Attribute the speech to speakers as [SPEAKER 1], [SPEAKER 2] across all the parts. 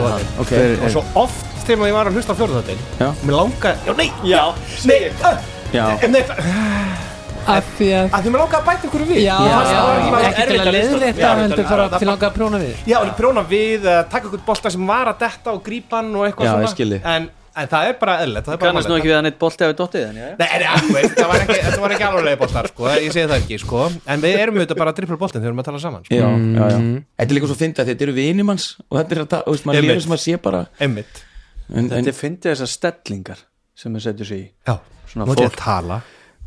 [SPEAKER 1] Hver
[SPEAKER 2] Og
[SPEAKER 1] er-
[SPEAKER 2] svo oft þegar ég var að hlusta á fjórðatinn
[SPEAKER 1] Eh. Já.
[SPEAKER 2] Mér langaði, já nei,
[SPEAKER 3] Já,
[SPEAKER 2] nei,
[SPEAKER 3] segir.
[SPEAKER 2] uh,
[SPEAKER 1] Já,
[SPEAKER 2] nei að
[SPEAKER 4] Af því að
[SPEAKER 2] því mér langaði að bæta ykkur við
[SPEAKER 4] Já,
[SPEAKER 1] Já,
[SPEAKER 4] já,
[SPEAKER 2] það var
[SPEAKER 4] ekki til
[SPEAKER 3] erfitt
[SPEAKER 4] að
[SPEAKER 3] að lesa. Já,
[SPEAKER 4] leiðrétta
[SPEAKER 3] erfitt að-
[SPEAKER 4] heldur bara til langa að prjóna við
[SPEAKER 2] Já, en prjóna við, uh, taka ykkur bolta sem var að detta og grípa hann og eitthvað
[SPEAKER 1] Já,
[SPEAKER 2] svona
[SPEAKER 1] ég skil þig.
[SPEAKER 2] en, en það er bara eðlilegt það er bara
[SPEAKER 3] kannast nú
[SPEAKER 2] mannlegt.
[SPEAKER 3] ekki við að neitt bolti hafi dottið en já, já.
[SPEAKER 2] Nei, en, ja, þú veist, það var ekki, þetta var ekki alvarlega boltar sko, ég segi það ekki sko. en við erum auðvitað bara að drippla boltin þegar við erum að tala saman sko.
[SPEAKER 1] já, já, já Mm. Þetta er líka svo fyndið að þetta eru vinimanns og þetta er að það, veist, maður
[SPEAKER 2] Einmitt.
[SPEAKER 1] lífið sem maður sé bara
[SPEAKER 2] einmitt
[SPEAKER 1] en, en,
[SPEAKER 3] Þetta er fyndið þessar stellingar sem þau setjur sig í
[SPEAKER 2] já,
[SPEAKER 3] Svona
[SPEAKER 2] nú er ég
[SPEAKER 3] fólk.
[SPEAKER 2] að tala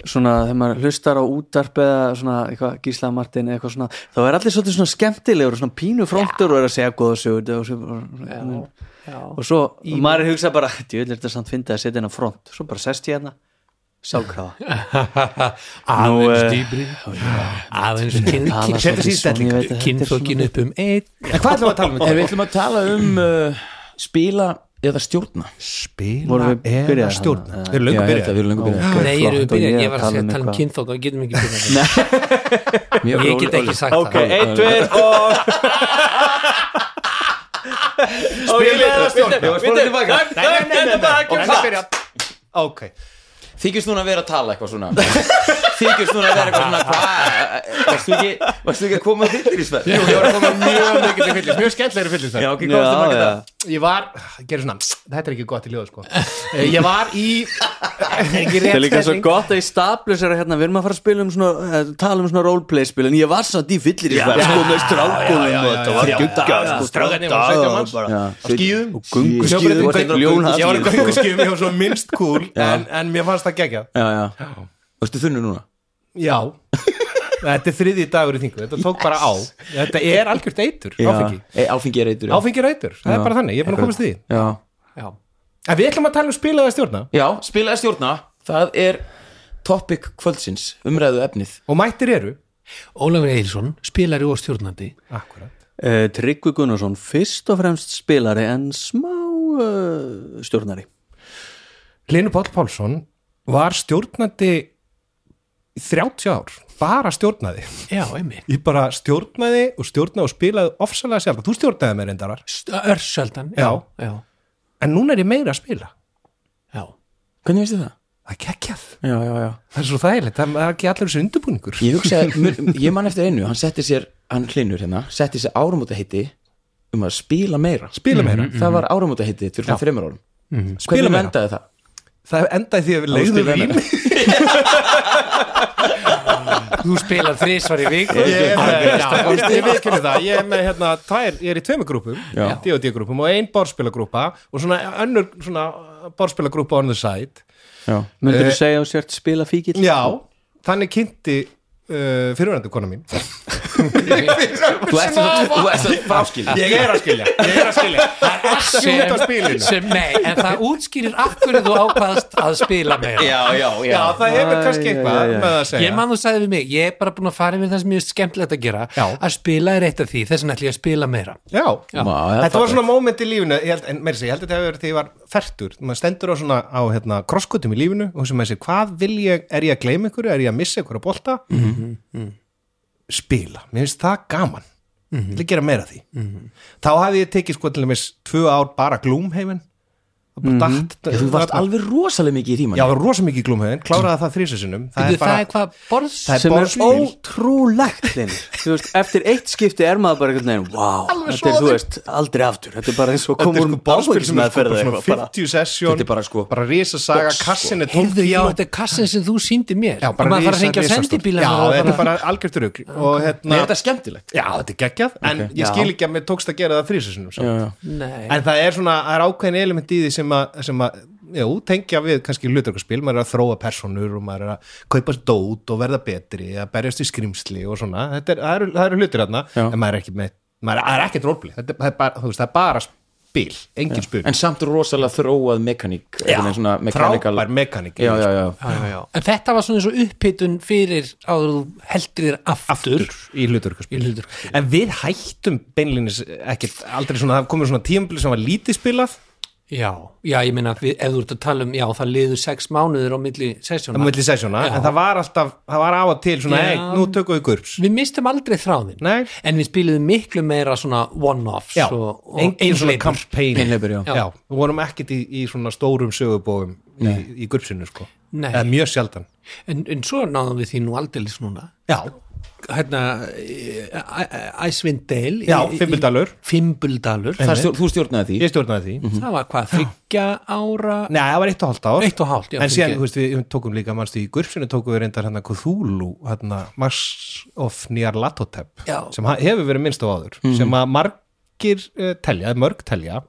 [SPEAKER 3] svona þegar maður hlustar á útarp eða svona eitthvað Gísla Martin eða eitthvað svona þá er allir svolítið svona skemmtilegur og svona pínu frontur og er að segja góða sögur og, svo, já, já. og svo og maður hugsa bara, djöðl er þetta samt fyndið að setja hennar front svo bara sest ég hérna sjálfkrafa
[SPEAKER 5] aðeins
[SPEAKER 3] eh,
[SPEAKER 5] dýbri aðeins kyn- kyn-
[SPEAKER 3] tala svolítið
[SPEAKER 2] sig í
[SPEAKER 3] svona,
[SPEAKER 2] stellingar.
[SPEAKER 3] ég veit að þetta er
[SPEAKER 5] kynfökin
[SPEAKER 3] svona-
[SPEAKER 5] upp um einn
[SPEAKER 2] en hvað ætlum við að tala um
[SPEAKER 1] en
[SPEAKER 2] þetta?
[SPEAKER 1] við ætlum að tala um uh, spila eða stjórna
[SPEAKER 2] spila
[SPEAKER 3] Vorum við byrjaðir
[SPEAKER 2] eða
[SPEAKER 3] þarna?
[SPEAKER 2] stjórna við erum
[SPEAKER 1] Já,
[SPEAKER 2] löngu
[SPEAKER 1] ég held að
[SPEAKER 2] byrjað
[SPEAKER 1] við erum lengur byrjað
[SPEAKER 3] Ok,
[SPEAKER 5] Nei,
[SPEAKER 3] flott,
[SPEAKER 5] erum við
[SPEAKER 3] og ég
[SPEAKER 5] byrjað, ég
[SPEAKER 3] að
[SPEAKER 5] var að segja að tala um
[SPEAKER 3] eitthvað.
[SPEAKER 5] kynþók og getum ekki byrjað hérna.
[SPEAKER 1] Mjög
[SPEAKER 5] Ég
[SPEAKER 1] róleg-
[SPEAKER 5] get ekki sagt
[SPEAKER 3] Ok,
[SPEAKER 5] það
[SPEAKER 3] einn, tveir og
[SPEAKER 2] spila eða
[SPEAKER 3] Við
[SPEAKER 2] stjórna
[SPEAKER 3] erum tilbaka Nei, nei, nei, nei
[SPEAKER 2] ok,
[SPEAKER 1] Þykist núna að vera að tala eitthvað svona Þykist núna að vera eitthvað svona hvað Varstu ekki, varstu ekki að koma að fyllirisverð? Jú, ég var að koma mjög mikið
[SPEAKER 2] Mikið til fyllis, mjög skemmtilegri fyllis
[SPEAKER 1] Já,
[SPEAKER 3] Já,
[SPEAKER 1] ok, komstu maður
[SPEAKER 3] já.
[SPEAKER 1] það
[SPEAKER 2] Ég var, ég gerir svona Þetta er ekki gott í ljóðu sko Eh, Ég var í
[SPEAKER 3] Það er líka svo gott að í staplus er að hérna, við erum að fara að spila um svona, eh, tala um svona roleplay spil en ég var samt í fyllir í svæð, sko, með strákunum og þetta var gugga, sko,
[SPEAKER 2] Strákarnir voru 17 manns.
[SPEAKER 3] bara,
[SPEAKER 1] Á skíðum?
[SPEAKER 3] og gungu
[SPEAKER 2] Ég var bara
[SPEAKER 3] skýðu,
[SPEAKER 2] í
[SPEAKER 3] og þetta
[SPEAKER 2] göngu-
[SPEAKER 3] ljón sko.
[SPEAKER 2] Ég var í
[SPEAKER 3] hans
[SPEAKER 2] gönguskjum, ég var svo minnst cool en, en mér fannst það gegja
[SPEAKER 1] Já, já Varstu þunnu núna?
[SPEAKER 2] Já Þetta er þriði dagur í þingu, þetta tók bara á Þetta er algjört eitur, áfengi
[SPEAKER 1] e, Áfengi er eitur já.
[SPEAKER 2] Áfengi er eitur, það
[SPEAKER 1] Já.
[SPEAKER 2] er bara þannig, ég er búin að komast því
[SPEAKER 1] Já,
[SPEAKER 5] Já.
[SPEAKER 2] En við ætlum að tala um spilaða stjórna
[SPEAKER 1] já spilaði stjórna Það er topic kvöldsins Umræðu efnið
[SPEAKER 2] Og mættir eru
[SPEAKER 5] Ólafur Eilsson, spilari og stjórnandi
[SPEAKER 2] Akkurat
[SPEAKER 3] Eh, Tryggvi Gunnarsson, fyrst og fremst spilari en smá uh, stjórnari
[SPEAKER 2] Hlynur Páll Pálsson var stjórnandi í 30 ár Bara stjórnaði
[SPEAKER 5] Já, einmitt
[SPEAKER 2] Ég bara stjórnaði og stjórnaði og spilaði ofsalega sjálf Þú stjórnaði mér eindarar
[SPEAKER 5] Örseldan, já, já,
[SPEAKER 2] En núna er ég meira að spila
[SPEAKER 5] já
[SPEAKER 1] Hvernig veistu það?
[SPEAKER 2] Það er geggjað
[SPEAKER 1] Já, já, já
[SPEAKER 2] Það er svo þægilegt, það það er ekki allir þessu undirbúningur
[SPEAKER 1] Ég hugsaði, mun- ég man eftir einu Hann setti sér, hann hlinur hérna Setti sér áramóta heiti um að spila meira Mhm.
[SPEAKER 2] Spila meira
[SPEAKER 1] Það var áramóta heiti fyrir svona þreymur árum
[SPEAKER 2] Spila
[SPEAKER 1] Hvernig
[SPEAKER 2] meira.
[SPEAKER 1] vendaði það?
[SPEAKER 2] Það endaði því að við leiðum
[SPEAKER 1] spila
[SPEAKER 2] vín
[SPEAKER 5] Þú spilar þrísvar í viku
[SPEAKER 2] Ég er með, já, ég- ég viðkynni það Ég er með hérna, tvær, ég er í tveimur grúpum
[SPEAKER 1] Já.
[SPEAKER 2] D&D grúpum og ein borðspilagrúpa og svona önnur svona borðspilagrúpa on the side
[SPEAKER 1] Já,
[SPEAKER 3] Möndur þú segja að þú sért spila fíkil?
[SPEAKER 2] Já, þannig kynnti uh, fyrirverandi kona mín
[SPEAKER 1] þú ert svo, þú ert svo fráskil
[SPEAKER 2] Ég er að skilja, ég er að skilja Það er ekki út af spilinu
[SPEAKER 5] sem, nei, en það útskýrir af hverju þú ákvaðast að spila meira
[SPEAKER 1] Já, já,
[SPEAKER 2] Já, það hefur kannski
[SPEAKER 3] Æ,
[SPEAKER 2] eitthvað
[SPEAKER 3] já, já, já.
[SPEAKER 2] með að segja
[SPEAKER 5] Ég man þú sagði við mig, ég er bara búin að fara með það sem ég er skemmtilegt að gera
[SPEAKER 2] Já.
[SPEAKER 5] að spila er eitt af því, þess vegna ætlum ég að spila meira
[SPEAKER 2] Já,
[SPEAKER 1] Má,
[SPEAKER 2] þetta var svona moment í lífinu ég held, en meira sér, ég held að þetta hefur verið því ég var fertur maður stendur á svona á hérna, krosskutum í lífinu og sem maður sér, hvað vil ég, er ég að gleyma ykkur er ég að missa ykkur að bolta spila, mér finnst það gaman mm -hmm. gera meira af því þá hafði ég tekið sko til dæmis tvö ár bara glúmheiminn og bara datt
[SPEAKER 1] Þú varst alveg rosalega mikið í
[SPEAKER 2] já,
[SPEAKER 1] ríman
[SPEAKER 2] það var rosa mikið í glúmheiminn, kláraði það þrísasunum það
[SPEAKER 5] Það,
[SPEAKER 2] er bara,
[SPEAKER 5] er hvað borðs
[SPEAKER 2] það er
[SPEAKER 3] sem er
[SPEAKER 2] borðspil.
[SPEAKER 3] ótrúlegt Hlynur. Þú veist, eftir eitt skipti er maður bara einhvern veginn, vá, þetta er, þú veist, aldrei aftur þetta er bara eins og
[SPEAKER 2] Þetta
[SPEAKER 3] koma
[SPEAKER 2] er
[SPEAKER 3] úr
[SPEAKER 2] sko borðspil sem er
[SPEAKER 3] áfengismeðferð
[SPEAKER 2] bara
[SPEAKER 3] eða
[SPEAKER 2] svona
[SPEAKER 3] eitthvað, bara-
[SPEAKER 2] 50 sesjón
[SPEAKER 1] Þetta er bara sko-
[SPEAKER 2] bara risasaga, kassin er 12
[SPEAKER 5] Heyrðu, já, þetta er kassin sem þú síndi mér
[SPEAKER 2] Já, bara
[SPEAKER 5] Og maður þarf
[SPEAKER 2] risa-
[SPEAKER 5] að hengja
[SPEAKER 2] risastórt.
[SPEAKER 5] sendibíla
[SPEAKER 2] Já, þetta er bara algjört rugg Og hérna
[SPEAKER 1] Er þetta skemmtilegt?
[SPEAKER 2] Já, þetta er geggjað En ég skil ekki að mér tókst að gera það þrísasunum
[SPEAKER 1] Já,
[SPEAKER 2] samt.
[SPEAKER 1] já
[SPEAKER 5] Nei,
[SPEAKER 2] En það er svona, það er ákveðin element í því sem að, sem að jú, tengja við kannski hluturkarspil Maður er að þróa personur og maður er að kaupa dót og verða betri Að berjast í skrimsli og svona Þetta er, það eru, það eru hlutir þarna
[SPEAKER 1] Já.
[SPEAKER 2] En maður er ekki með, maður er ekkert rólbli Þetta er, það er bara, þú veist, það er bara spil Engin spil
[SPEAKER 1] en samt rosalega þróað mekaník
[SPEAKER 2] Já,
[SPEAKER 1] einhvern veginn svona mechanical-
[SPEAKER 2] frábær mekaník
[SPEAKER 1] já, já, já.
[SPEAKER 5] já, já, já. en þetta var svona eins og upphittun fyrir áður þú heldur þér aftur,
[SPEAKER 2] í hluturkarspil
[SPEAKER 5] í hlutur
[SPEAKER 2] En við hættum beinlinis ekkert aldrei svona, það komið svona tímabili sem var lítið spilað
[SPEAKER 5] já, já, ég meina við- ef þú ert að tala um, já, það liður sex mánuðir á milli
[SPEAKER 2] á
[SPEAKER 5] sessjóna
[SPEAKER 2] milli sessjóna, en það var alltaf það var á að til svona,
[SPEAKER 5] Já.
[SPEAKER 2] hei, nú tökum við gurps
[SPEAKER 5] Við mistum aldrei þráðin
[SPEAKER 2] Nei.
[SPEAKER 5] En við spiliðum miklu meira svona one-offs
[SPEAKER 2] já,
[SPEAKER 5] og, og
[SPEAKER 2] engin svona
[SPEAKER 5] einhleypur.
[SPEAKER 2] kampæn
[SPEAKER 3] Einhleypur, já.
[SPEAKER 2] já, við vorum ekkit í, í svona stórum sögubóðum í, í gurpsinu, sko
[SPEAKER 5] Nei.
[SPEAKER 2] eða mjög sjaldan
[SPEAKER 5] en, en svo náðum við því nú aldeilis núna
[SPEAKER 2] já,
[SPEAKER 5] Hérna eh, Æ- Æ- Icewind Dale í-
[SPEAKER 2] já,
[SPEAKER 5] í-
[SPEAKER 2] fimmuldalur
[SPEAKER 5] Fimbuldagur
[SPEAKER 1] Það stjór, þú stjórnaði því
[SPEAKER 2] ég stjórnaði því
[SPEAKER 5] Það var hvað, þryggja ára
[SPEAKER 2] Nei, það var eitt og hálft ár
[SPEAKER 5] Mhm. Eitt og hálft, já,
[SPEAKER 2] En síðan,
[SPEAKER 5] fyrirgefðu.
[SPEAKER 2] þú veist, við tókum líka, mannstu, í Gurfsinu tókum við reyndar hérna Cthulhu, hérna Mars of Nyarlathotep
[SPEAKER 5] Já.
[SPEAKER 2] sem ha- hefur verið minnst á áður sem að margir uh, telja, eða mörg telja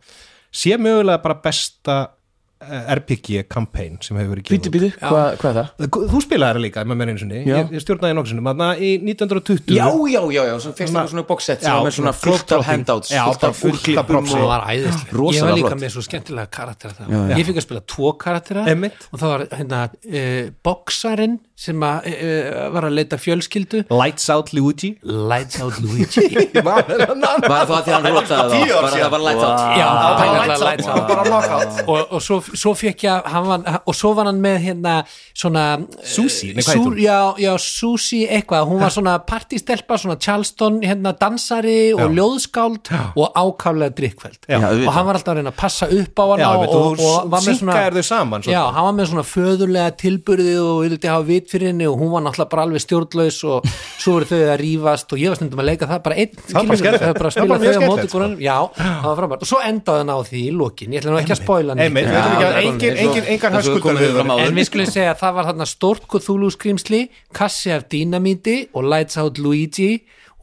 [SPEAKER 2] sé mögulega bara besta uh, RPG-kampæn sem hefur verið gefið
[SPEAKER 3] Býtu,
[SPEAKER 2] út.
[SPEAKER 3] býtu, hvað hva er það?
[SPEAKER 2] Þú spilaði það líka, ef maður meina einu sinni
[SPEAKER 3] Já.
[SPEAKER 2] ég, ég stjórnaði nokkuð sinni, maður í 1920
[SPEAKER 1] Já, já, já, já, svo fyrst eitthvað svona boxset sem
[SPEAKER 2] Já,
[SPEAKER 1] var með svona fullt af
[SPEAKER 2] fulltrópping.
[SPEAKER 1] handouts
[SPEAKER 2] Já,
[SPEAKER 1] fullt
[SPEAKER 2] bara
[SPEAKER 1] af
[SPEAKER 2] fullt af
[SPEAKER 1] úrklippum
[SPEAKER 2] propsi.
[SPEAKER 5] Það
[SPEAKER 1] og-
[SPEAKER 5] var æðislega Ég
[SPEAKER 1] Rosalega
[SPEAKER 5] var líka
[SPEAKER 1] flott.
[SPEAKER 5] með svo skemmtilega karaktera það
[SPEAKER 1] Já, já.
[SPEAKER 5] Ég fikk að spila tvo karaktera
[SPEAKER 2] Einmitt.
[SPEAKER 5] og það var hérna e, boksarinn sem að, e, var að leita fjölskyldu
[SPEAKER 2] Lights Out Luigi
[SPEAKER 5] Lights Out Luigi
[SPEAKER 1] Var það því hann rotaði þá? Bara það var lights out
[SPEAKER 5] Já, það var
[SPEAKER 1] Lights
[SPEAKER 5] nefnilega Lights Out.
[SPEAKER 1] Bara knockout
[SPEAKER 5] og, og svo, svo fekk ég hann var, og svo var hann með hérna svona
[SPEAKER 2] Susie, nei, hvað heitir
[SPEAKER 5] sú,
[SPEAKER 2] hún?
[SPEAKER 5] já, já, Susie eitthvað, hún var svona partístelpa, svona Charleston hérna dansari og ljóðskáld og ákaflega drikkveld
[SPEAKER 2] Já,
[SPEAKER 5] og hann var alltaf að reyna að passa upp á hann
[SPEAKER 2] Já,
[SPEAKER 5] og,
[SPEAKER 2] einmitt, og
[SPEAKER 5] og,
[SPEAKER 2] þú
[SPEAKER 5] og var með svona
[SPEAKER 2] synkaðir þau saman svolítið.
[SPEAKER 5] já, hann var með svona föðurlega tilburði og vildi hafa vit fyrir henni og hún var náttúrulega bara alveg stjórnlaus og svo voru þau að rífast og ég var stundum að leika það bara einn
[SPEAKER 2] var bara skemmtilegt.
[SPEAKER 5] það var bara að spila
[SPEAKER 2] Það var bara
[SPEAKER 5] þau
[SPEAKER 2] mjög
[SPEAKER 5] á móti
[SPEAKER 2] skemmtilegt, sko.
[SPEAKER 5] hvorum já, það var frábært og svo endaði hann á því í lokin ég ætla nú ekki að spoila neitt.
[SPEAKER 2] Einmitt, við ætlum ekki að- engin- engin- engar
[SPEAKER 1] eins og við komum
[SPEAKER 2] höskuldar
[SPEAKER 1] fram áður.
[SPEAKER 5] en við skulum segja að það var þarna stórt Cthulhu skrýmsli kassi af dýnamíti og Lights Out Luigi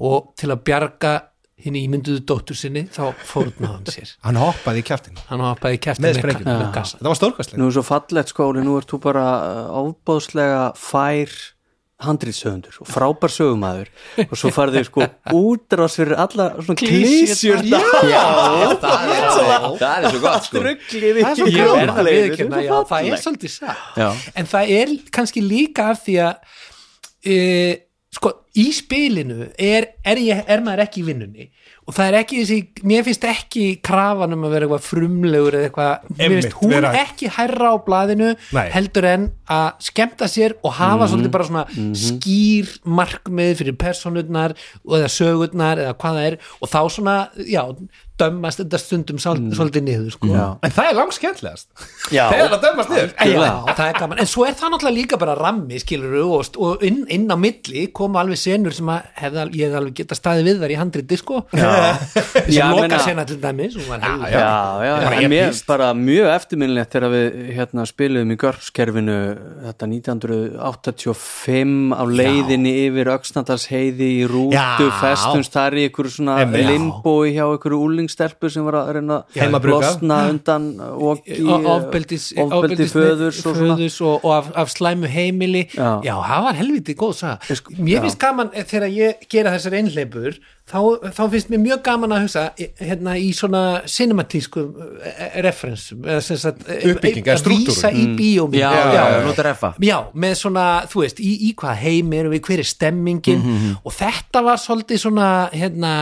[SPEAKER 5] og til að bjarga hinn ímynduðu dóttur sinni þá fórnaði hann sér
[SPEAKER 2] Hann hoppaði í kjartinu
[SPEAKER 5] hann hoppaði í kæftin
[SPEAKER 2] Með sprengjum.
[SPEAKER 5] með kassa
[SPEAKER 2] Þetta var stórkastlegt
[SPEAKER 3] Nú er svo fallegt skóli, nú ert þú bara uh, ofbáðslega fær handriðsöfundur og frábær sögumæður og svo farið þau sko útrás fyrir alla svona klísjur
[SPEAKER 1] Já, það er svo- það er svo gott sko
[SPEAKER 3] Druglið í
[SPEAKER 5] Ég verð að
[SPEAKER 3] gróðleginu,
[SPEAKER 5] viðurkenna, já,
[SPEAKER 3] þetta er
[SPEAKER 5] það
[SPEAKER 3] svo
[SPEAKER 5] er
[SPEAKER 3] fallegt.
[SPEAKER 5] svolítið satt
[SPEAKER 1] Já.
[SPEAKER 5] en það er kannski líka af því að e, sko, í spilinu er, er, ég, er maður ekki í vinnunni og það er ekki þessi, mér finnst ekki krafan um að vera eitthvað frumlegur eða eitthvað, mér
[SPEAKER 2] Einmitt,
[SPEAKER 5] finnst hún
[SPEAKER 2] vera-
[SPEAKER 5] ekki hærra á blaðinu
[SPEAKER 2] Nei.
[SPEAKER 5] heldur en að skemmta sér og hafa svolítið bara svona skýr markmið fyrir personurnar og eða sögurnar eða hvað það er og þá svona, já, dömmast þetta stundum sál, svolítið niður sko. já.
[SPEAKER 2] En það er langt skemmtilegast Þegar það dömast niður
[SPEAKER 5] Já, það er gaman, en svo er það náttúrulega líka bara rammi skilur og, st- og inn, inn á milli koma alveg senur sem að hef, ég hef alveg geta staðið við þar í handriti sko sem
[SPEAKER 3] Já,
[SPEAKER 5] loka
[SPEAKER 3] meina-
[SPEAKER 5] sena til dæmis og var eh, helvita
[SPEAKER 3] Já, já, en mér bara mjög eftirminnilegt þegar við hérna, spilum í görpskerfinu þetta 1985 á leiðinni yfir Öxnadals heiði í rútu
[SPEAKER 2] Já.
[SPEAKER 3] festumst þar í einhverju svona
[SPEAKER 2] Einmitt.
[SPEAKER 3] limbói hjá einhverju úlingstelpu sem var að reyna að
[SPEAKER 2] Heimabrugga.
[SPEAKER 3] losna undan oki,
[SPEAKER 5] ofbeldis,
[SPEAKER 3] eh, ofbeldi föðurs og svona
[SPEAKER 5] föðurs og, og af, af slæmu heimili
[SPEAKER 3] Já.
[SPEAKER 5] það var helviti góð saga
[SPEAKER 3] sko-
[SPEAKER 5] mér
[SPEAKER 3] já.
[SPEAKER 5] finnst gaman eh, þegar ég gera þessar einhleipur þá, þá finnst mér mjög gaman að hugsa eh, hérna í svona cinematískum eh, referensum eða sem sagt eh,
[SPEAKER 2] Uppbygging, eða
[SPEAKER 5] að vísa í
[SPEAKER 3] Mm.
[SPEAKER 5] bíómynd
[SPEAKER 1] Já, já, já, nota refa
[SPEAKER 5] já, með svona, þú veist, í, í hvað heim erum við, hver er stemmingin og þetta var svolítið svona hérna,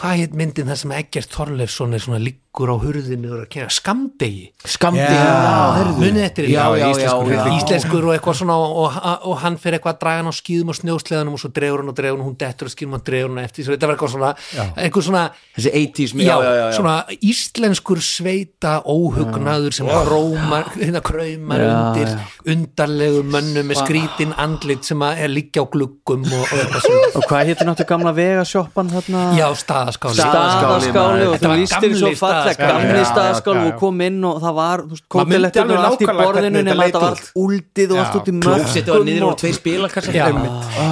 [SPEAKER 5] hvað heit myndin það sem Eggert Þorleifsson er svona liggur á hurðinu og er að kynna skamdegi
[SPEAKER 1] Skamdi
[SPEAKER 5] munið eftir því?
[SPEAKER 1] Ah, Já, já, já,
[SPEAKER 5] íslenskur,
[SPEAKER 1] já.
[SPEAKER 5] íslenskur og eitthvað svona og, og, og hann fyrir eitthvað að draga hann á skýðum og snjósleðanum og svo dregur hann og dregur hann, hún dettur og skýðum og dregur hann eftir, svo þetta var eitthvað svona eitthvað svona
[SPEAKER 1] Þessi 80s
[SPEAKER 5] já, svona íslenskur sveita óhugnaður sem hrómar, hérna kraumar
[SPEAKER 3] Já,
[SPEAKER 5] undir
[SPEAKER 3] já.
[SPEAKER 5] undarlegur mönnum með skrítin andlit sem að er liggja á gluggum og, og eitthvað svona
[SPEAKER 3] og hvað hétur náttúrulega gamla vegasjoppan þarna
[SPEAKER 5] já, staðaskáli
[SPEAKER 1] Staðaskáli,
[SPEAKER 3] staðaskáli og
[SPEAKER 5] Þetta
[SPEAKER 3] þú
[SPEAKER 5] var
[SPEAKER 3] lístir svo
[SPEAKER 5] gamli
[SPEAKER 3] falleg
[SPEAKER 5] staðaskáli.
[SPEAKER 3] gamli
[SPEAKER 2] Já, já,
[SPEAKER 3] staðaskáli
[SPEAKER 2] já, já.
[SPEAKER 3] og kom inn og það var
[SPEAKER 2] Maður myndi alveg
[SPEAKER 3] kótelettur hérna og allt í
[SPEAKER 2] nákvæmlega
[SPEAKER 3] borðinu
[SPEAKER 2] hvernig þetta
[SPEAKER 3] nema þetta
[SPEAKER 2] leit
[SPEAKER 3] var allt úldið og allt
[SPEAKER 2] Já.
[SPEAKER 3] út í
[SPEAKER 1] Klósettið var niður
[SPEAKER 3] mörgum
[SPEAKER 1] og tveir spila kannski
[SPEAKER 5] Já,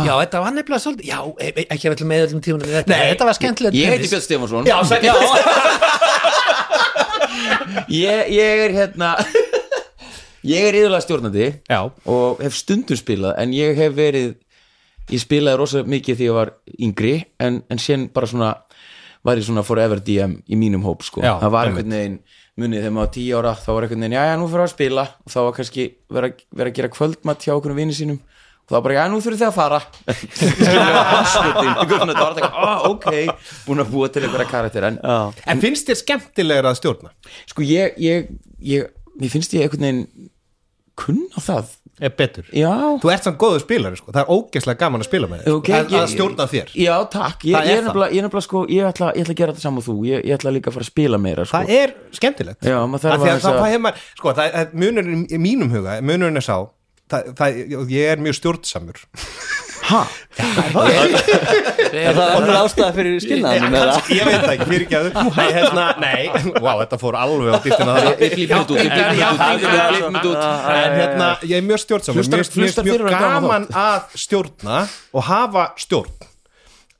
[SPEAKER 5] já, þetta var nefnilega svolítið Já, e- e- ekki að við ætlum með öllum tímanum í þetta, Þetta var skemmtilegt
[SPEAKER 1] Ég heiti
[SPEAKER 5] tennis.
[SPEAKER 1] Björn Stefánsson
[SPEAKER 5] Já, sæ- já.
[SPEAKER 1] ég, ég er hérna Ég er yðurlega stjórnandi
[SPEAKER 2] Já.
[SPEAKER 1] Og hef stundum spilað En ég hef verið Ég spilaði rosa mikið því ég var yngri En, en sén bara svona Var ég svona forever DM í mínum hóp sko
[SPEAKER 2] Já,
[SPEAKER 1] Það var
[SPEAKER 2] einmitt.
[SPEAKER 1] einhvern veginn Munið þegar maður var tíu ára Þá var einhvern veginn, já já nú fyrir að spila Og þá var kannski vera, vera að gera kvöldmatt hjá okkur vinni sínum þá bara, já, nú þurfið þið að fara Skilurðu, andskotin. Eitthvað svona, þetta var alltaf, "Ah, ok, búin að búa til einhverja karakter en
[SPEAKER 3] Já.
[SPEAKER 2] En finnst þér skemmtilegra að stjórna?
[SPEAKER 1] sko ég, ég, ég mér finnst ég einhvern veginn kunna það
[SPEAKER 2] Er betur
[SPEAKER 1] já,
[SPEAKER 2] Þú ert samt góður spilari sko, það er ógeðslega gaman að spila með þér
[SPEAKER 1] Ok,
[SPEAKER 2] að, að
[SPEAKER 1] ég-
[SPEAKER 2] stjórna þér
[SPEAKER 1] já takk ég,
[SPEAKER 2] Það er
[SPEAKER 1] ég er
[SPEAKER 2] það.
[SPEAKER 1] nefnilega, ég, er nefnilega sko, ég, ætla, ég ætla að gera þetta saman og þú ég, ég ætla líka að fara að spila meira sko.
[SPEAKER 2] Það er skemmtilegt
[SPEAKER 1] Já, maður þarf
[SPEAKER 2] Af því að
[SPEAKER 1] aðeins
[SPEAKER 2] það
[SPEAKER 1] að-
[SPEAKER 2] hefur maður, sko, það er munurinn í mínum huga, munurinn er sá það, það, ég er mjög stjórnsamur
[SPEAKER 3] Er það önnur ástæða fyrir skilnaðanum eða?
[SPEAKER 2] Kannski, ég veit það ekki, fyrir ekki að þú Nei, hérna, nei, vá, þetta fór alveg á dýttina það
[SPEAKER 1] ég flýpum þetta út ég flýpum þetta út, ég flýpum þetta út
[SPEAKER 2] En hérna, ég er mjög stjórnsam
[SPEAKER 1] Hlustar-
[SPEAKER 2] Mér finnst
[SPEAKER 1] hlustar
[SPEAKER 2] mjög
[SPEAKER 1] fyrir að hafa
[SPEAKER 2] gaman að stjórna og hafa stjórn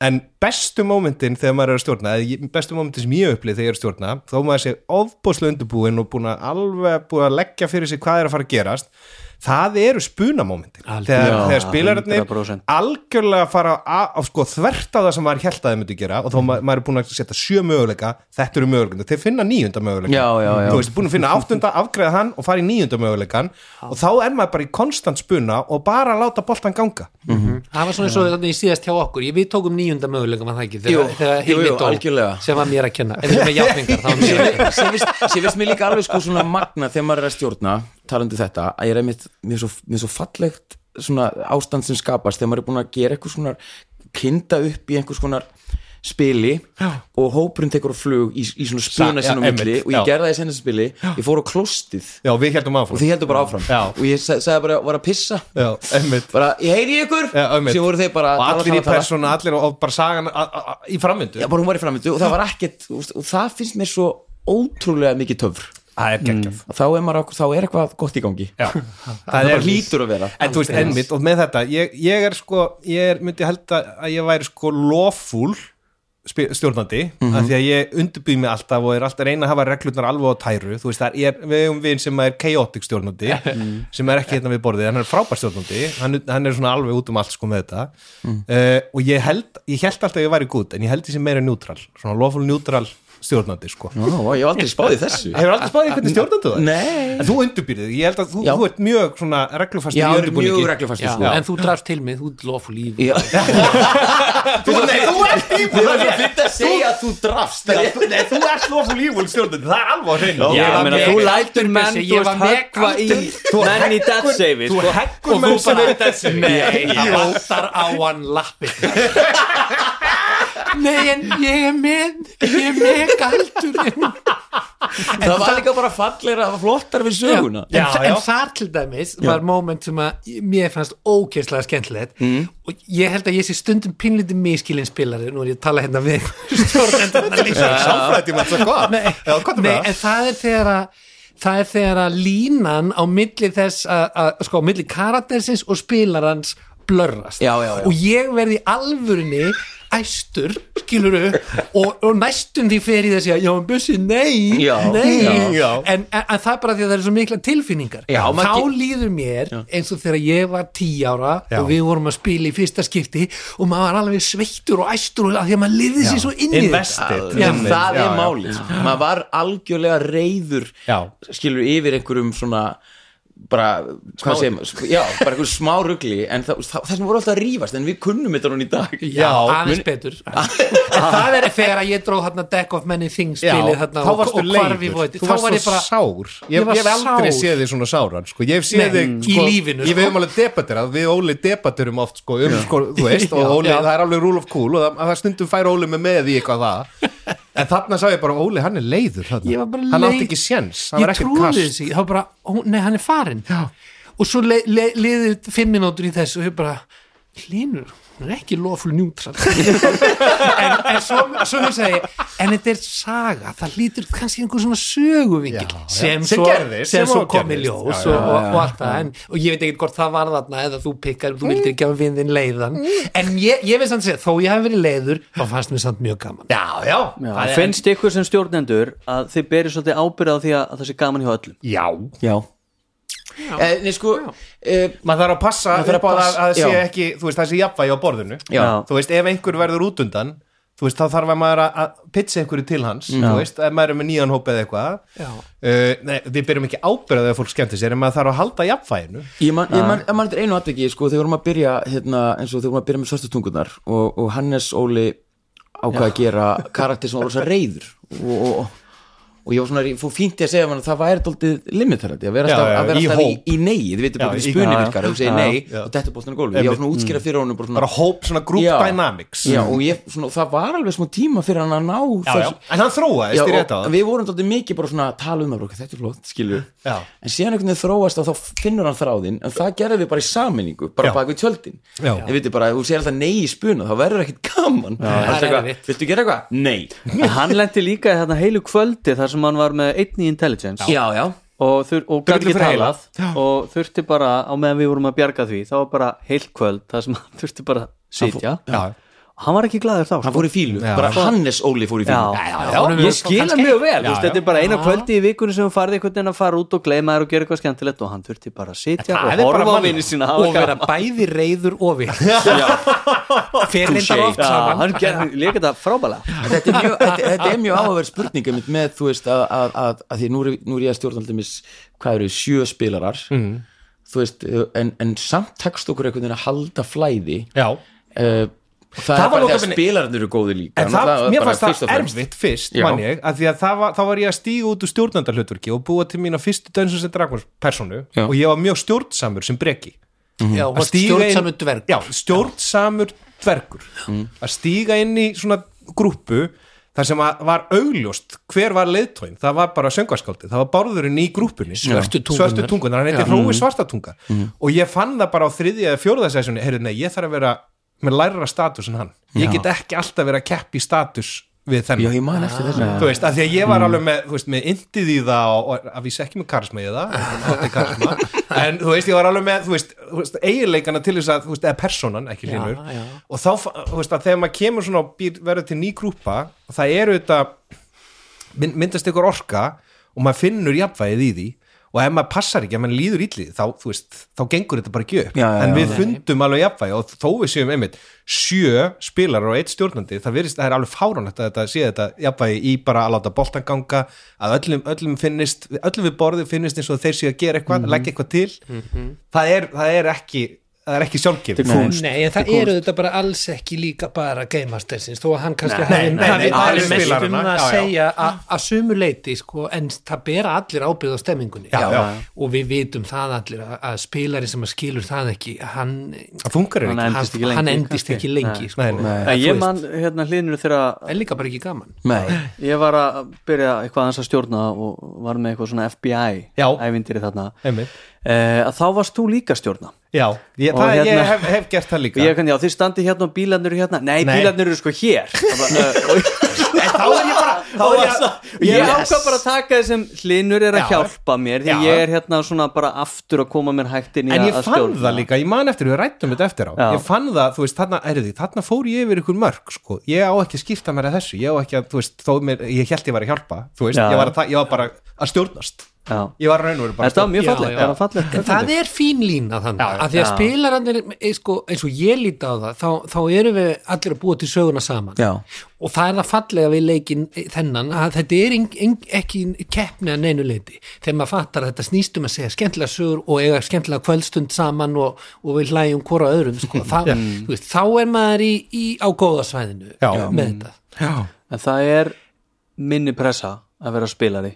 [SPEAKER 2] En bestu mómentin þegar maður er að stjórna eða ég- bestu mómentin sem ég upplið þegar ég er að stjórna þó maður sé ofbúslega undurbúin og búin að alveg búin að leggja fyrir sig hvað er að fara að gerast það eru spunamómentin þegar,
[SPEAKER 3] Já,
[SPEAKER 2] þegar spilararnir
[SPEAKER 3] 100%.
[SPEAKER 2] algjörlega fara á, á sko þvert á það sem maður held að þið myndi gera og
[SPEAKER 1] Mhm.
[SPEAKER 2] þá maður, maður er búin að setja sjö möguleika þetta eru möguleikana, þeir finna níunda möguleika
[SPEAKER 1] Já, já, já.
[SPEAKER 2] þú veist, búin að finna áttunda, afgreða hann og fara í níunda möguleikan og þá er maður bara í konstant spuna og bara láta boltan ganga
[SPEAKER 5] það var svona eins og þannig í síðast hjá okkur ég, við tókum nýjunda mögulega var það ekki
[SPEAKER 1] Jú,
[SPEAKER 5] þegar, þegar
[SPEAKER 1] jú,
[SPEAKER 5] Hilmi
[SPEAKER 1] jú,
[SPEAKER 5] dó,
[SPEAKER 1] algjörlega.
[SPEAKER 5] sem var mér að kenna en með játningar þá var mér að kenna
[SPEAKER 1] sem finnst- sem finnst mér líka alveg sko svona magna þegar maður er að stjórna talandi um þetta, að ég er einmitt mér er svo, mér er svo fallegt svona ástand sem skapast þegar maður er búin að gera eitthvað svona kinda upp í einhvers konar spili og hópurinn tekur á flug í, í svona spuna
[SPEAKER 2] Sa- já,
[SPEAKER 1] sinna á milli
[SPEAKER 2] einmitt,
[SPEAKER 1] og ég
[SPEAKER 2] já.
[SPEAKER 1] gerði það í senast spili ég fór á klostið
[SPEAKER 2] já, við heldum
[SPEAKER 1] og
[SPEAKER 2] áfram
[SPEAKER 1] þið heldur bara áfram
[SPEAKER 2] Já.
[SPEAKER 1] og ég sa- sagði bara, var að pissa
[SPEAKER 2] já, einmitt
[SPEAKER 1] bara, ég heyri í ykkur
[SPEAKER 2] Já, einmitt.
[SPEAKER 1] sem voru þeir bara að
[SPEAKER 2] og
[SPEAKER 1] tala,
[SPEAKER 2] allir í
[SPEAKER 1] tala, tala.
[SPEAKER 2] persónu, allir og, og bara sagan a, a, a, í framvindu
[SPEAKER 1] Já, bara hún var í framvindu og það var ekkert og, og það finnst mér svo ótrúlega mikið töfr Mm.
[SPEAKER 2] það er geggjað
[SPEAKER 1] þá er, maður, á- þá er eitthvað gott í gangi
[SPEAKER 2] Já,
[SPEAKER 1] það bara hlýtur að vera.
[SPEAKER 2] En þú veist, ennmitt, og með þetta ég, ég er sko, ég er, myndi held að að ég væri sko lofúl spi- stjórnandi, af
[SPEAKER 1] Mhm.
[SPEAKER 2] því að ég undirbýð mig alltaf og er alltaf að reyna að hafa reglurnar alveg á tæru, þú veist, það er, við hefum vin sem er chaotic stjórnandi,
[SPEAKER 1] Mm.
[SPEAKER 2] sem er ekki hérna við borðið, hann er frábær stjórnandi hann, hann er svona alveg út um allt sko með þetta
[SPEAKER 1] Mm.
[SPEAKER 2] uh, og ég held, ég held alltaf að ég væri gútt, en ég held ég sem meira neutral svona lofúl neutral stjórnandi sko
[SPEAKER 1] Ó, ég hef aldrei spáðið þessu
[SPEAKER 2] Hefur aldrei spáðið hvernig stjórnandi það? er?
[SPEAKER 1] Nei.
[SPEAKER 2] En þú undurbyrðið, ég held að þú,
[SPEAKER 1] Já.
[SPEAKER 2] þú ert mjög svona reglufast
[SPEAKER 1] Já, ég er mjög reglufastur, sko.
[SPEAKER 5] Já, en þú drafst til mig, þú lof og lífi
[SPEAKER 1] Já.
[SPEAKER 2] Þú, nei, þú ert
[SPEAKER 1] Þú
[SPEAKER 2] evil
[SPEAKER 1] er svo fyrst að segja að þú drafst
[SPEAKER 2] Já, þú- Nei, þú ert loful evil stjórnandi Það er alveg á hreinu
[SPEAKER 3] Já, ég meina,
[SPEAKER 5] ég-
[SPEAKER 3] þú
[SPEAKER 5] ég-
[SPEAKER 3] lætur menn,
[SPEAKER 5] ég
[SPEAKER 3] þú
[SPEAKER 5] var
[SPEAKER 3] veist,
[SPEAKER 5] með
[SPEAKER 3] höggva í
[SPEAKER 5] galdur.
[SPEAKER 3] menn í death save
[SPEAKER 2] Þú heggur
[SPEAKER 3] Og þú
[SPEAKER 2] menn sem
[SPEAKER 3] bara-
[SPEAKER 2] eru þessi
[SPEAKER 3] Nei,
[SPEAKER 5] það vantar á hann lappi Nei, en ég er með ég er með galdurinn
[SPEAKER 1] það var líka bara fallegra, það var flottar við söguna
[SPEAKER 5] Já,
[SPEAKER 2] Já,
[SPEAKER 5] en,
[SPEAKER 2] já.
[SPEAKER 5] en þar til dæmis var moment sem að mér fannst ógeðslega skemmtilegt og ég held að ég sé stundum pinlítið miskilin spilari nú er ég að tala hérna við stjórnendarna líka
[SPEAKER 2] Sáfrætti maður svo gott
[SPEAKER 5] Nei,
[SPEAKER 2] Já, hvað er
[SPEAKER 5] nei,
[SPEAKER 2] það?
[SPEAKER 5] en það er þegar að það er þegar að línan á milli þess að, að sko, á milli karaktersins og spilarans blörrast
[SPEAKER 1] Já, já, já.
[SPEAKER 5] og ég verði alvörunni æstur, skiluru og, og næstum því fer í þessi að já, en bussi, nei,
[SPEAKER 1] Já,
[SPEAKER 5] nei
[SPEAKER 1] já.
[SPEAKER 2] Já.
[SPEAKER 5] En, en, en það er bara því að það eru svo mikla tilfinningar
[SPEAKER 1] Já,
[SPEAKER 5] þá
[SPEAKER 1] maður ge-
[SPEAKER 5] líður mér eins og þegar ég var tí ára
[SPEAKER 2] Já.
[SPEAKER 5] og við vorum að spila í fyrsta skipti og maður var alveg sveittur og æstur og af því að maður liði sér svo inn í þetta.
[SPEAKER 2] Invested
[SPEAKER 5] Já,
[SPEAKER 2] Invested,
[SPEAKER 1] það
[SPEAKER 2] já,
[SPEAKER 1] er
[SPEAKER 2] já.
[SPEAKER 1] málið sko. maður var algjörlega reyður
[SPEAKER 2] Já.
[SPEAKER 1] skilur yfir einhverjum svona bara, hvað segjum sp- já, bara einhverjum smá rugli en það, það, þessum voru alltaf að rífast en við kunnum þetta núna í dag
[SPEAKER 5] Já, aðeins
[SPEAKER 1] Muni-
[SPEAKER 5] betur En það er þegar að ég dróð þarna Deck of Many Things
[SPEAKER 2] Já,
[SPEAKER 5] spilið þarna
[SPEAKER 2] þá
[SPEAKER 5] og,
[SPEAKER 2] varstu
[SPEAKER 5] og hvarf í
[SPEAKER 2] leiður
[SPEAKER 5] vóti
[SPEAKER 2] Þú
[SPEAKER 5] þá var
[SPEAKER 2] varst
[SPEAKER 5] ég
[SPEAKER 2] svo
[SPEAKER 5] bara
[SPEAKER 2] sár Ég
[SPEAKER 5] Ég
[SPEAKER 2] ég
[SPEAKER 5] var
[SPEAKER 2] hef aldrei
[SPEAKER 5] sár.
[SPEAKER 2] séð þig svona sáran sko. Ég hef séð
[SPEAKER 5] Nei,
[SPEAKER 2] þig
[SPEAKER 5] mm.
[SPEAKER 2] sko,
[SPEAKER 5] í lífinu,
[SPEAKER 2] Ég
[SPEAKER 5] sko.
[SPEAKER 2] við hefum alveg debatterað, við Óli debatterum oft sko, um, sko, þú veist, og
[SPEAKER 5] Já.
[SPEAKER 2] Óli,
[SPEAKER 5] Já.
[SPEAKER 2] það er alveg rule of cool og það, það stundum fær Óli með með í eitthvað það En þarna sá ég bara, Óli, hann er leiður
[SPEAKER 5] Ég
[SPEAKER 2] þarna.
[SPEAKER 5] var bara
[SPEAKER 2] Hann
[SPEAKER 5] leið-
[SPEAKER 2] átti ekki séns, hann
[SPEAKER 5] ég
[SPEAKER 2] var ekkert
[SPEAKER 5] trúði
[SPEAKER 2] kast
[SPEAKER 5] þessi þá bara, ó, nei hann er farin
[SPEAKER 2] Já.
[SPEAKER 5] og svo le, le, liðið fimm minútur í þessu og ég bara, hlínur hún er ekki loful njútral en, en svo, svo ég segi en þetta er saga, það lítur kannski einhver svona söguvingil
[SPEAKER 2] Já, já.
[SPEAKER 5] sem,
[SPEAKER 2] Sem
[SPEAKER 5] svo,
[SPEAKER 2] gerðist,
[SPEAKER 5] sem
[SPEAKER 2] sem
[SPEAKER 5] svo
[SPEAKER 2] og
[SPEAKER 5] kom í
[SPEAKER 2] gerðist.
[SPEAKER 5] ljós
[SPEAKER 2] Já, já,
[SPEAKER 5] og, og, og allt það en, og ég veit ekkert hvort það var þarna eða þú pikkar, þú vildir ekki að vinðin leiðan en ég, ég veist að segja, þó ég hef verið leiður þá fannst mér samt mjög gaman
[SPEAKER 2] Já, já,
[SPEAKER 3] Já,
[SPEAKER 2] það er-
[SPEAKER 3] finnst ykkur sem stjórnendur að þið berið svolítið ábyrða á því að, að það sé gaman hjá öllum
[SPEAKER 2] Já,
[SPEAKER 1] já Eh, nei sko eh,
[SPEAKER 2] maður þarf að passa
[SPEAKER 1] Maður þarf að
[SPEAKER 2] upp á það
[SPEAKER 1] passa-
[SPEAKER 2] að það sé
[SPEAKER 1] já.
[SPEAKER 2] ekki, þú veist, það sé jafnvægi á borðinu
[SPEAKER 1] Já.
[SPEAKER 2] Þú veist, ef einhver verður út undan þú veist, þá þarf að maður að- að pitcha einhverju til hans,
[SPEAKER 1] Mm.
[SPEAKER 2] þú veist, ef maður er með nýjan hóp eða eitthvað
[SPEAKER 5] Já.
[SPEAKER 2] uh, nei, við byrjum ekki ábyrðað að fólk skemmti sér en maður þarf að halda jafnfæðinu
[SPEAKER 1] Ég man,
[SPEAKER 2] Ah.
[SPEAKER 1] ég man, ég man þetta einu atviki, sko, þegar vorum að byrja hérna, eins og þegar vorum að byrja með svartu tungunar og, og Hannes Óli ákvað að gera karakter sem var rosa reyður og, og, og, og ég var svona, ég fór fínt í að segja að það væri daldið limiterandi að vera
[SPEAKER 2] Já,
[SPEAKER 1] alltaf,
[SPEAKER 2] já,
[SPEAKER 1] að vera
[SPEAKER 2] í
[SPEAKER 1] alltaf í,
[SPEAKER 2] hóp.
[SPEAKER 1] í nei þið veitum
[SPEAKER 2] Já,
[SPEAKER 1] bara
[SPEAKER 2] í-
[SPEAKER 1] hvernig spunni
[SPEAKER 3] já, já.
[SPEAKER 1] virkar, ef þú segir
[SPEAKER 3] Já,
[SPEAKER 1] nei
[SPEAKER 2] já.
[SPEAKER 1] og þetta bóttan á gólfi, ég var svona að útskýra fyrir honum bara
[SPEAKER 2] bara
[SPEAKER 1] svona,
[SPEAKER 2] hóp, svona group
[SPEAKER 1] Já.
[SPEAKER 2] dynamics Mm.
[SPEAKER 1] já, og ég, svona, það var alveg smá tíma fyrir hann að ná
[SPEAKER 2] já, já.
[SPEAKER 1] þessu-
[SPEAKER 2] en hann þróaðist
[SPEAKER 1] Já,
[SPEAKER 2] í rétt á
[SPEAKER 1] og
[SPEAKER 2] það
[SPEAKER 1] við vorum daldið mikið bara svona að tala um það bara, ok, þetta er flott, skilju
[SPEAKER 2] Já.
[SPEAKER 1] en síðan einhvern veginn þróast og þá finnur hann þráðinn en það gerðum við bara í saminningu, bara
[SPEAKER 2] Já.
[SPEAKER 1] bak við tjöldin
[SPEAKER 2] Já.
[SPEAKER 1] en við veitum bara, þú segir alltaf nei í spuna þá verður ekkert gaman Það er eitthvað, viltu gera eitthvað? Nei
[SPEAKER 3] En hann lendi líka í þarna heilu kvöldi þar sem hann var með einn í intelligence
[SPEAKER 1] Já, já,
[SPEAKER 3] og, þur, og gæti
[SPEAKER 2] Drullu
[SPEAKER 3] ekki
[SPEAKER 2] fyrir heila.
[SPEAKER 3] talað og þurfti bara, á meðan við vorum að bjarga því þá var bara heilt kvöld þar sem hann þurfti bara að sitja
[SPEAKER 2] já.
[SPEAKER 3] og hann var ekki glaður þá sko.
[SPEAKER 1] hann fór í fílu,
[SPEAKER 2] Já.
[SPEAKER 1] bara Hannes Óli fór í
[SPEAKER 3] já,
[SPEAKER 1] fílu
[SPEAKER 5] honum
[SPEAKER 3] ég
[SPEAKER 5] hefur
[SPEAKER 3] skila
[SPEAKER 5] kannski-
[SPEAKER 3] mjög vel
[SPEAKER 2] Já,
[SPEAKER 3] já,
[SPEAKER 2] já.
[SPEAKER 3] þetta er bara eina kvöldi í vikunni sem hann farði einhvern veginn að fara út og gleyma þér og gera eitthvað skemmtilegt og hann þurfti bara að sitja
[SPEAKER 2] Það er
[SPEAKER 3] og
[SPEAKER 2] bara
[SPEAKER 3] horfa á
[SPEAKER 2] mannlegt.
[SPEAKER 3] vinni sína
[SPEAKER 5] og vera bæði reyður og vil fyrir reyndar oft
[SPEAKER 3] já,
[SPEAKER 5] saman
[SPEAKER 3] hann gerði líka þetta frábælega
[SPEAKER 1] En þetta er mjög, þetta, þetta er mjög áhugaverð spurning einmitt með, þú veist, að, að, að, að því nú er, nú er ég að stjórna alltaf mis, hvað eru, sjö spilarar þú veist, en, en samt tekst okkur einhvern veginn að halda flæði
[SPEAKER 2] Já.
[SPEAKER 1] uh, það,
[SPEAKER 2] var
[SPEAKER 1] það er bara því að
[SPEAKER 2] lokaminni-
[SPEAKER 1] spilarnir eru góði líka
[SPEAKER 2] En það,
[SPEAKER 1] Náttúrulega
[SPEAKER 2] mér
[SPEAKER 1] bara
[SPEAKER 2] fannst
[SPEAKER 1] fyrst og
[SPEAKER 2] það
[SPEAKER 1] fremst.
[SPEAKER 2] erfitt fyrst,
[SPEAKER 1] Já.
[SPEAKER 2] mann ég að því að það var, þá var ég að stíga út úr stjórnandarhlutverki og búa til mína fyrstu Dungeons and Dragons personu
[SPEAKER 1] Já.
[SPEAKER 2] og ég var mjög stjórnsamur sem breki
[SPEAKER 5] já,
[SPEAKER 2] Mhm. Að
[SPEAKER 5] og
[SPEAKER 2] stíga inn-
[SPEAKER 5] stjórnsamur Mm. dverg
[SPEAKER 2] Já, stjórnsamur dvergur að stíga inn í svona grúpu þar sem að var augljóst hver var leiðtóin, það var bara söngarskáldið það var bárðurinn í grúpunni
[SPEAKER 5] Svörtu Mm. tungunar.
[SPEAKER 2] svörtu tungunar, hann heitir Hrói Svartatunga og ég fann það bara á þriðja eða fjóruða sessunni, heyrðu nei, ég þarf að vera með lærra status en hann, ég get ekki alltaf verið að keppi status við þennan
[SPEAKER 1] já, ég man eftir þessu
[SPEAKER 2] þú veist, af því að ég var alveg með, þú veist, með indið í það og, og að vísa ekki með karisma í það þátti karisma, en þú veist, ég var alveg með þú veist, þú veist eiginleikana til þess að þú veist, eða personan, ekki hlínur
[SPEAKER 5] já.
[SPEAKER 2] og þá, fa- þú veist, að þegar maður kemur svona og býr- verður til ný grúpa, það eru þetta mynd- myndast ykkur orka og maður finnur jafnvægið í því og ef maður passar ekki, ef maður líður illið þá, þú veist, þá gengur þetta bara ekki upp
[SPEAKER 1] Já, já,
[SPEAKER 2] en
[SPEAKER 1] já.
[SPEAKER 2] við fundum alveg jafnvægi og þó við séum einmitt sjö spilarar og eitt stjórnandi það, virðist, það er alveg fáránlegt að þetta sé þetta jafnvægi í bara að láta boltan ganga að öllum, öllum finnist, öllum við borðið finnist eins og þeir séu að gera eitthvað, leggja eitthvað til það, er, það er ekki það er ekki sjálfgefið
[SPEAKER 3] Þetta er kúnst.
[SPEAKER 5] Nei, en það eru þetta bara alls ekki líka bara Game Mastersins, þó að hann kannski hafi
[SPEAKER 2] nei, nei,
[SPEAKER 5] hafi-
[SPEAKER 2] nei,
[SPEAKER 5] hafi
[SPEAKER 2] allir
[SPEAKER 5] mest um
[SPEAKER 2] spilarana,
[SPEAKER 5] það
[SPEAKER 2] já,
[SPEAKER 5] að
[SPEAKER 2] já.
[SPEAKER 5] segja að- að sumu leiti, sko, en það bera allir ábyrð á stemmingunni
[SPEAKER 2] Já, já.
[SPEAKER 5] og við vitum það allir að, að spilari sem að skilur það ekki hann,
[SPEAKER 2] það funkar ekki
[SPEAKER 3] Hann
[SPEAKER 5] hann,
[SPEAKER 3] endist ekki lengi,
[SPEAKER 5] hann endist
[SPEAKER 3] kannski.
[SPEAKER 5] ekki lengi sko.
[SPEAKER 2] Nei, nei.
[SPEAKER 1] Nei.
[SPEAKER 3] en
[SPEAKER 5] Þú
[SPEAKER 3] ég
[SPEAKER 5] veist.
[SPEAKER 3] man hérna hlýðinu þegar
[SPEAKER 5] en líka bara ekki gaman
[SPEAKER 1] Nei.
[SPEAKER 3] Ég var að byrja eitthvað hans að stjórna og var með eitthvað svona FBI
[SPEAKER 2] Já.
[SPEAKER 3] ævindiri þarna
[SPEAKER 2] Einmitt.
[SPEAKER 3] Eh, að þá varst þú líka að stjórna
[SPEAKER 2] já, ég,
[SPEAKER 3] Og
[SPEAKER 2] það,
[SPEAKER 3] hérna-
[SPEAKER 2] ég hef, hef gert það
[SPEAKER 3] og
[SPEAKER 2] líka
[SPEAKER 3] ég kann, já þið standið hérna og bílarnir eru hérna nei,
[SPEAKER 2] Nei.
[SPEAKER 3] bílarnir eru sko hér Það bara, eh, og
[SPEAKER 2] en þá er ég bara þá
[SPEAKER 3] og
[SPEAKER 2] er
[SPEAKER 3] ég,
[SPEAKER 2] ég,
[SPEAKER 3] og ég
[SPEAKER 2] Yes.
[SPEAKER 3] ákvað bara að taka þessum hlinur er að
[SPEAKER 2] Já.
[SPEAKER 3] hjálpa mér því
[SPEAKER 2] Já.
[SPEAKER 3] ég er hérna svona bara aftur að koma mér hægt inn í
[SPEAKER 2] en
[SPEAKER 3] að
[SPEAKER 2] ég
[SPEAKER 3] að
[SPEAKER 2] fann
[SPEAKER 3] stjórna.
[SPEAKER 2] það líka, ég man eftir við rættum þetta eftir á,
[SPEAKER 3] Já.
[SPEAKER 2] ég fann það, þú veist, þarna er því, þarna fór ég yfir ykkur mörg sko. ég á ekki að skipta mér að þessu ég á ekki að, þú veist, þó mér, ég held ég var að hjálpa þú veist,
[SPEAKER 3] Já.
[SPEAKER 2] ég var, að, ég var bara að stjórnast
[SPEAKER 3] já.
[SPEAKER 2] ég var raun og verið bara að
[SPEAKER 3] þetta var mjög
[SPEAKER 5] Já,
[SPEAKER 3] fallegt
[SPEAKER 5] já.
[SPEAKER 3] það var fallegt
[SPEAKER 5] en það er fín lína þannig
[SPEAKER 2] Já, já.
[SPEAKER 5] að því að
[SPEAKER 3] Já.
[SPEAKER 5] spilarandir sko, eins og ég líti á það þá, þá erum við allir að búa til söguna saman
[SPEAKER 1] Já.
[SPEAKER 5] og það er það fallega við leikin þennan að þetta er eng, eng, ekki keppni að neinu leiti þegar maður fattar að þetta snýstum að segja skemmtilega sögur og eiga skemmtilega kvöldstund saman og, og við hlæjum hvora öðrum sko. það, þú veist, þá er maður í, í á góðasvæðinu
[SPEAKER 2] Já.
[SPEAKER 5] með þetta
[SPEAKER 3] en það er minni pressa að vera spilari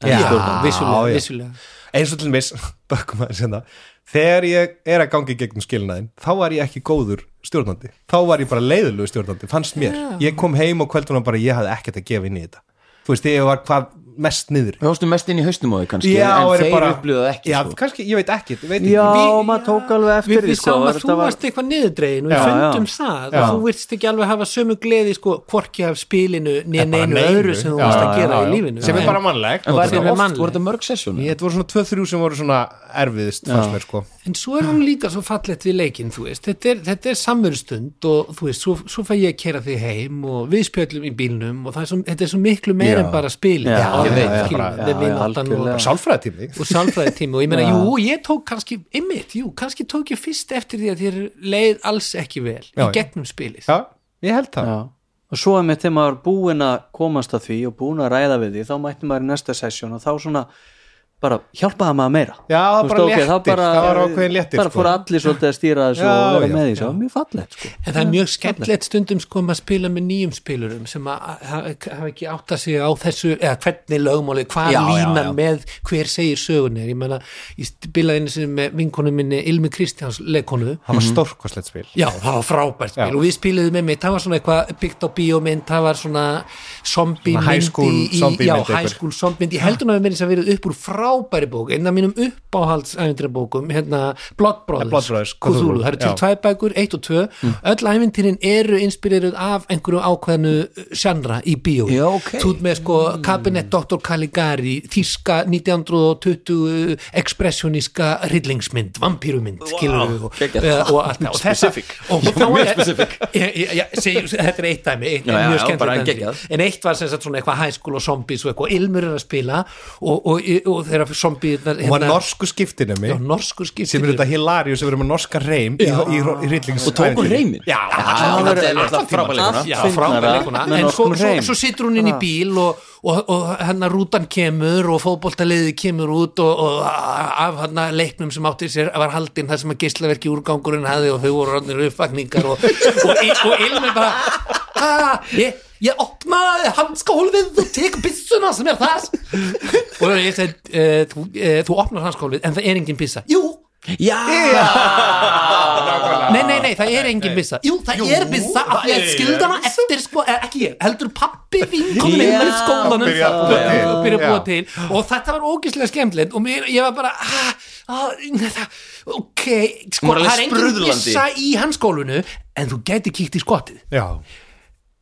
[SPEAKER 3] en
[SPEAKER 2] Já.
[SPEAKER 3] stjórna.
[SPEAKER 5] vissulega,
[SPEAKER 2] já.
[SPEAKER 5] vissulega.
[SPEAKER 2] eins og til mis, bökum aðeins hérna þegar ég er að gangi gegnum skilnaðin þá var ég ekki góður stjórnandi þá var ég bara leiðilegu stjórnandi, fannst mér ég kom heim og kveldunum bara, ég hafði ekkert að gefa inn í þetta þú veist, ég var hvað mest niður
[SPEAKER 1] Við hóstum mest inn í haustum á þau kannski
[SPEAKER 2] Já,
[SPEAKER 1] en-
[SPEAKER 2] er
[SPEAKER 1] en þeir
[SPEAKER 2] bara-
[SPEAKER 1] upplýðu það ekki
[SPEAKER 2] já,
[SPEAKER 1] sko.
[SPEAKER 2] kannski, ég veit ekki, veit ekki.
[SPEAKER 3] já,
[SPEAKER 5] Við-
[SPEAKER 3] maður tók alveg eftir
[SPEAKER 5] við, við
[SPEAKER 3] því, sko,
[SPEAKER 5] sáum að
[SPEAKER 3] þetta
[SPEAKER 5] þú
[SPEAKER 3] var-
[SPEAKER 5] varst eitthvað niðurdregin og við
[SPEAKER 3] Já,
[SPEAKER 5] fundum
[SPEAKER 3] já.
[SPEAKER 5] það
[SPEAKER 2] Já.
[SPEAKER 5] og þú virtist ekki alveg hafa sömu gleði sko, hvorki af spilinu né
[SPEAKER 2] Bara
[SPEAKER 5] neinu
[SPEAKER 2] neinu.
[SPEAKER 5] öðru sem þú
[SPEAKER 2] Já,
[SPEAKER 5] varst að
[SPEAKER 2] já,
[SPEAKER 5] gera í
[SPEAKER 2] já, já.
[SPEAKER 5] lífinu
[SPEAKER 2] sem er
[SPEAKER 5] En-
[SPEAKER 2] bara mannleg
[SPEAKER 1] En var
[SPEAKER 5] sem
[SPEAKER 1] þetta
[SPEAKER 5] er
[SPEAKER 1] oft,
[SPEAKER 5] mannleg.
[SPEAKER 1] voru þetta mörg sessjónu?
[SPEAKER 2] Ég, þetta voru svona 2-3 sem voru svona erfiðist fannst mér sko
[SPEAKER 5] en svo er hún líka svo fallett við leikinn þú veist, þetta er, þetta er samverðstund og þú veist, svo, svo fæ ég að kera þig heim og við spjöllum í bílnum og það er svo, þetta er svo miklu meir
[SPEAKER 1] Já.
[SPEAKER 5] en bara spil
[SPEAKER 3] Já,
[SPEAKER 2] ég veit, já, bara-
[SPEAKER 5] það er
[SPEAKER 3] já,
[SPEAKER 5] vinnáttan
[SPEAKER 3] algjörlega.
[SPEAKER 5] og,
[SPEAKER 2] sálfræðatími
[SPEAKER 5] og sálfræði tími og ég meina,
[SPEAKER 3] Já.
[SPEAKER 5] jú, ég tók kannski ymmit, jú, kannski tók ég fyrst eftir því að þér leið alls ekki vel
[SPEAKER 2] Já, já.
[SPEAKER 5] í gegnum spilið
[SPEAKER 2] já, ég held það
[SPEAKER 3] Já. og svo einmitt þegar maður er búin að komast að því og búin að ræða við því þá mætti maður í næsta sesjón og þá svona bara hjálpaði maður meira
[SPEAKER 2] Já, það var
[SPEAKER 3] Þú
[SPEAKER 2] bara
[SPEAKER 3] ok,
[SPEAKER 2] léttir,
[SPEAKER 3] þá bara,
[SPEAKER 2] það var ákveðin léttir,
[SPEAKER 3] bara
[SPEAKER 2] sko.
[SPEAKER 3] fór allir svolítið að stýra þessu
[SPEAKER 2] Já,
[SPEAKER 3] og vera
[SPEAKER 2] já,
[SPEAKER 3] með því, það
[SPEAKER 2] já.
[SPEAKER 3] var mjög fallegt sko.
[SPEAKER 5] En það er mjög skemmtilegt stundum sko um að spila með nýjum spilurum sem að að- að- hafa ekki átt að sig á þessu eða hvernig lögmáli, hvað
[SPEAKER 1] Já, já,
[SPEAKER 5] línan
[SPEAKER 1] já.
[SPEAKER 5] með hver segir sögunir ég meina, ég spilaði einu sinni með vinkonu minni Ilmi Kristjáns leikonu
[SPEAKER 2] það var stórkoslegt spil
[SPEAKER 5] Já, það var frábært spil
[SPEAKER 2] Já.
[SPEAKER 5] og við spiluðum með mig, það var svona eitthvað byggt á bíómynd, það var svona zombie
[SPEAKER 2] Svona high school
[SPEAKER 5] myndi í,
[SPEAKER 2] zombie
[SPEAKER 5] já,
[SPEAKER 2] mynd
[SPEAKER 5] high
[SPEAKER 2] einhver.
[SPEAKER 5] school zombie mynd, ég heldur að við minni sem verið upp úr frábæri bók, einn af mínum uppáhaldsævindra bókum, hérna Blood Brothers,
[SPEAKER 2] Ja, Blood Brothers,
[SPEAKER 5] Cthulhu,
[SPEAKER 2] Cthulhu,
[SPEAKER 5] það eru til
[SPEAKER 2] já. Mm.
[SPEAKER 5] tvær bækur, eitt og tvö, öll ævindirinn eru inspireruð af einhverju ákveðnu sjandra í bíó,
[SPEAKER 1] Já, ok.
[SPEAKER 5] þú ert með sko Kabinett Dr. Caligari, þýska 1920 expressioníska hryllingsmynd, vampírumynd, skilur við og,
[SPEAKER 1] geggjað.
[SPEAKER 5] eh, og allt það og þetta og þá er Ég- ég- ég- segi- þetta er eitt dæmi eitt,
[SPEAKER 1] Já,
[SPEAKER 5] er
[SPEAKER 1] já,
[SPEAKER 5] mjög
[SPEAKER 1] já,
[SPEAKER 5] skemmtilegt
[SPEAKER 1] bara
[SPEAKER 5] dæmi.
[SPEAKER 1] geggjað.
[SPEAKER 5] en eitt var sem sagt svona eitthvað hæskúl og zombies og eitthvað ilmur er að spila og, og, og þeirra hérna, zombie
[SPEAKER 2] hún var norsku skiptinemi
[SPEAKER 5] norsku skiptir
[SPEAKER 2] sem er þetta Hilarius sem verður með norska reym í, í, í rillings
[SPEAKER 1] og tók hún reymin
[SPEAKER 2] já,
[SPEAKER 1] það var alltaf frábæleikuna
[SPEAKER 5] Já,
[SPEAKER 3] Fyndnara
[SPEAKER 5] frábæleikuna
[SPEAKER 3] með
[SPEAKER 5] en svo,
[SPEAKER 3] norskum
[SPEAKER 5] svo,
[SPEAKER 3] hreim. Ah.
[SPEAKER 5] svo situr hún inn í bíl og, og, og hennar rútan kemur og fótboltaliði kemur út og, og af hann leiknum sem átti sér var haldinn það sem að geislaverki úrgangurinn hafði og þau voru rannir uppvakningar og, og, og, og ilmi bara ah, ég, ég opnaði hanskólfið og tek byssuna sem er þar og ég segi eh, þú, eh, þú opnar hanskólfið en það er engin byssa jú, Nei, nei, nei, það er engin bissa Jú, það er bissa af því að skildana eftir sko, eh, ekki ég, heldur pappi vinkonum
[SPEAKER 1] Já.
[SPEAKER 5] yeah. í skólanum
[SPEAKER 2] Byrja að búa
[SPEAKER 5] Já.
[SPEAKER 2] til.
[SPEAKER 5] Byrja að búa
[SPEAKER 2] Já.
[SPEAKER 5] til og þetta var ógislega skemmtilegt og mér, ég var bara ah, ah, það, ok,
[SPEAKER 1] Hún
[SPEAKER 5] sko,
[SPEAKER 1] var alveg
[SPEAKER 5] það er engin
[SPEAKER 1] sprudlandi.
[SPEAKER 5] bissa í hanskólfinu en þú gæti kíkt í skottið
[SPEAKER 2] já,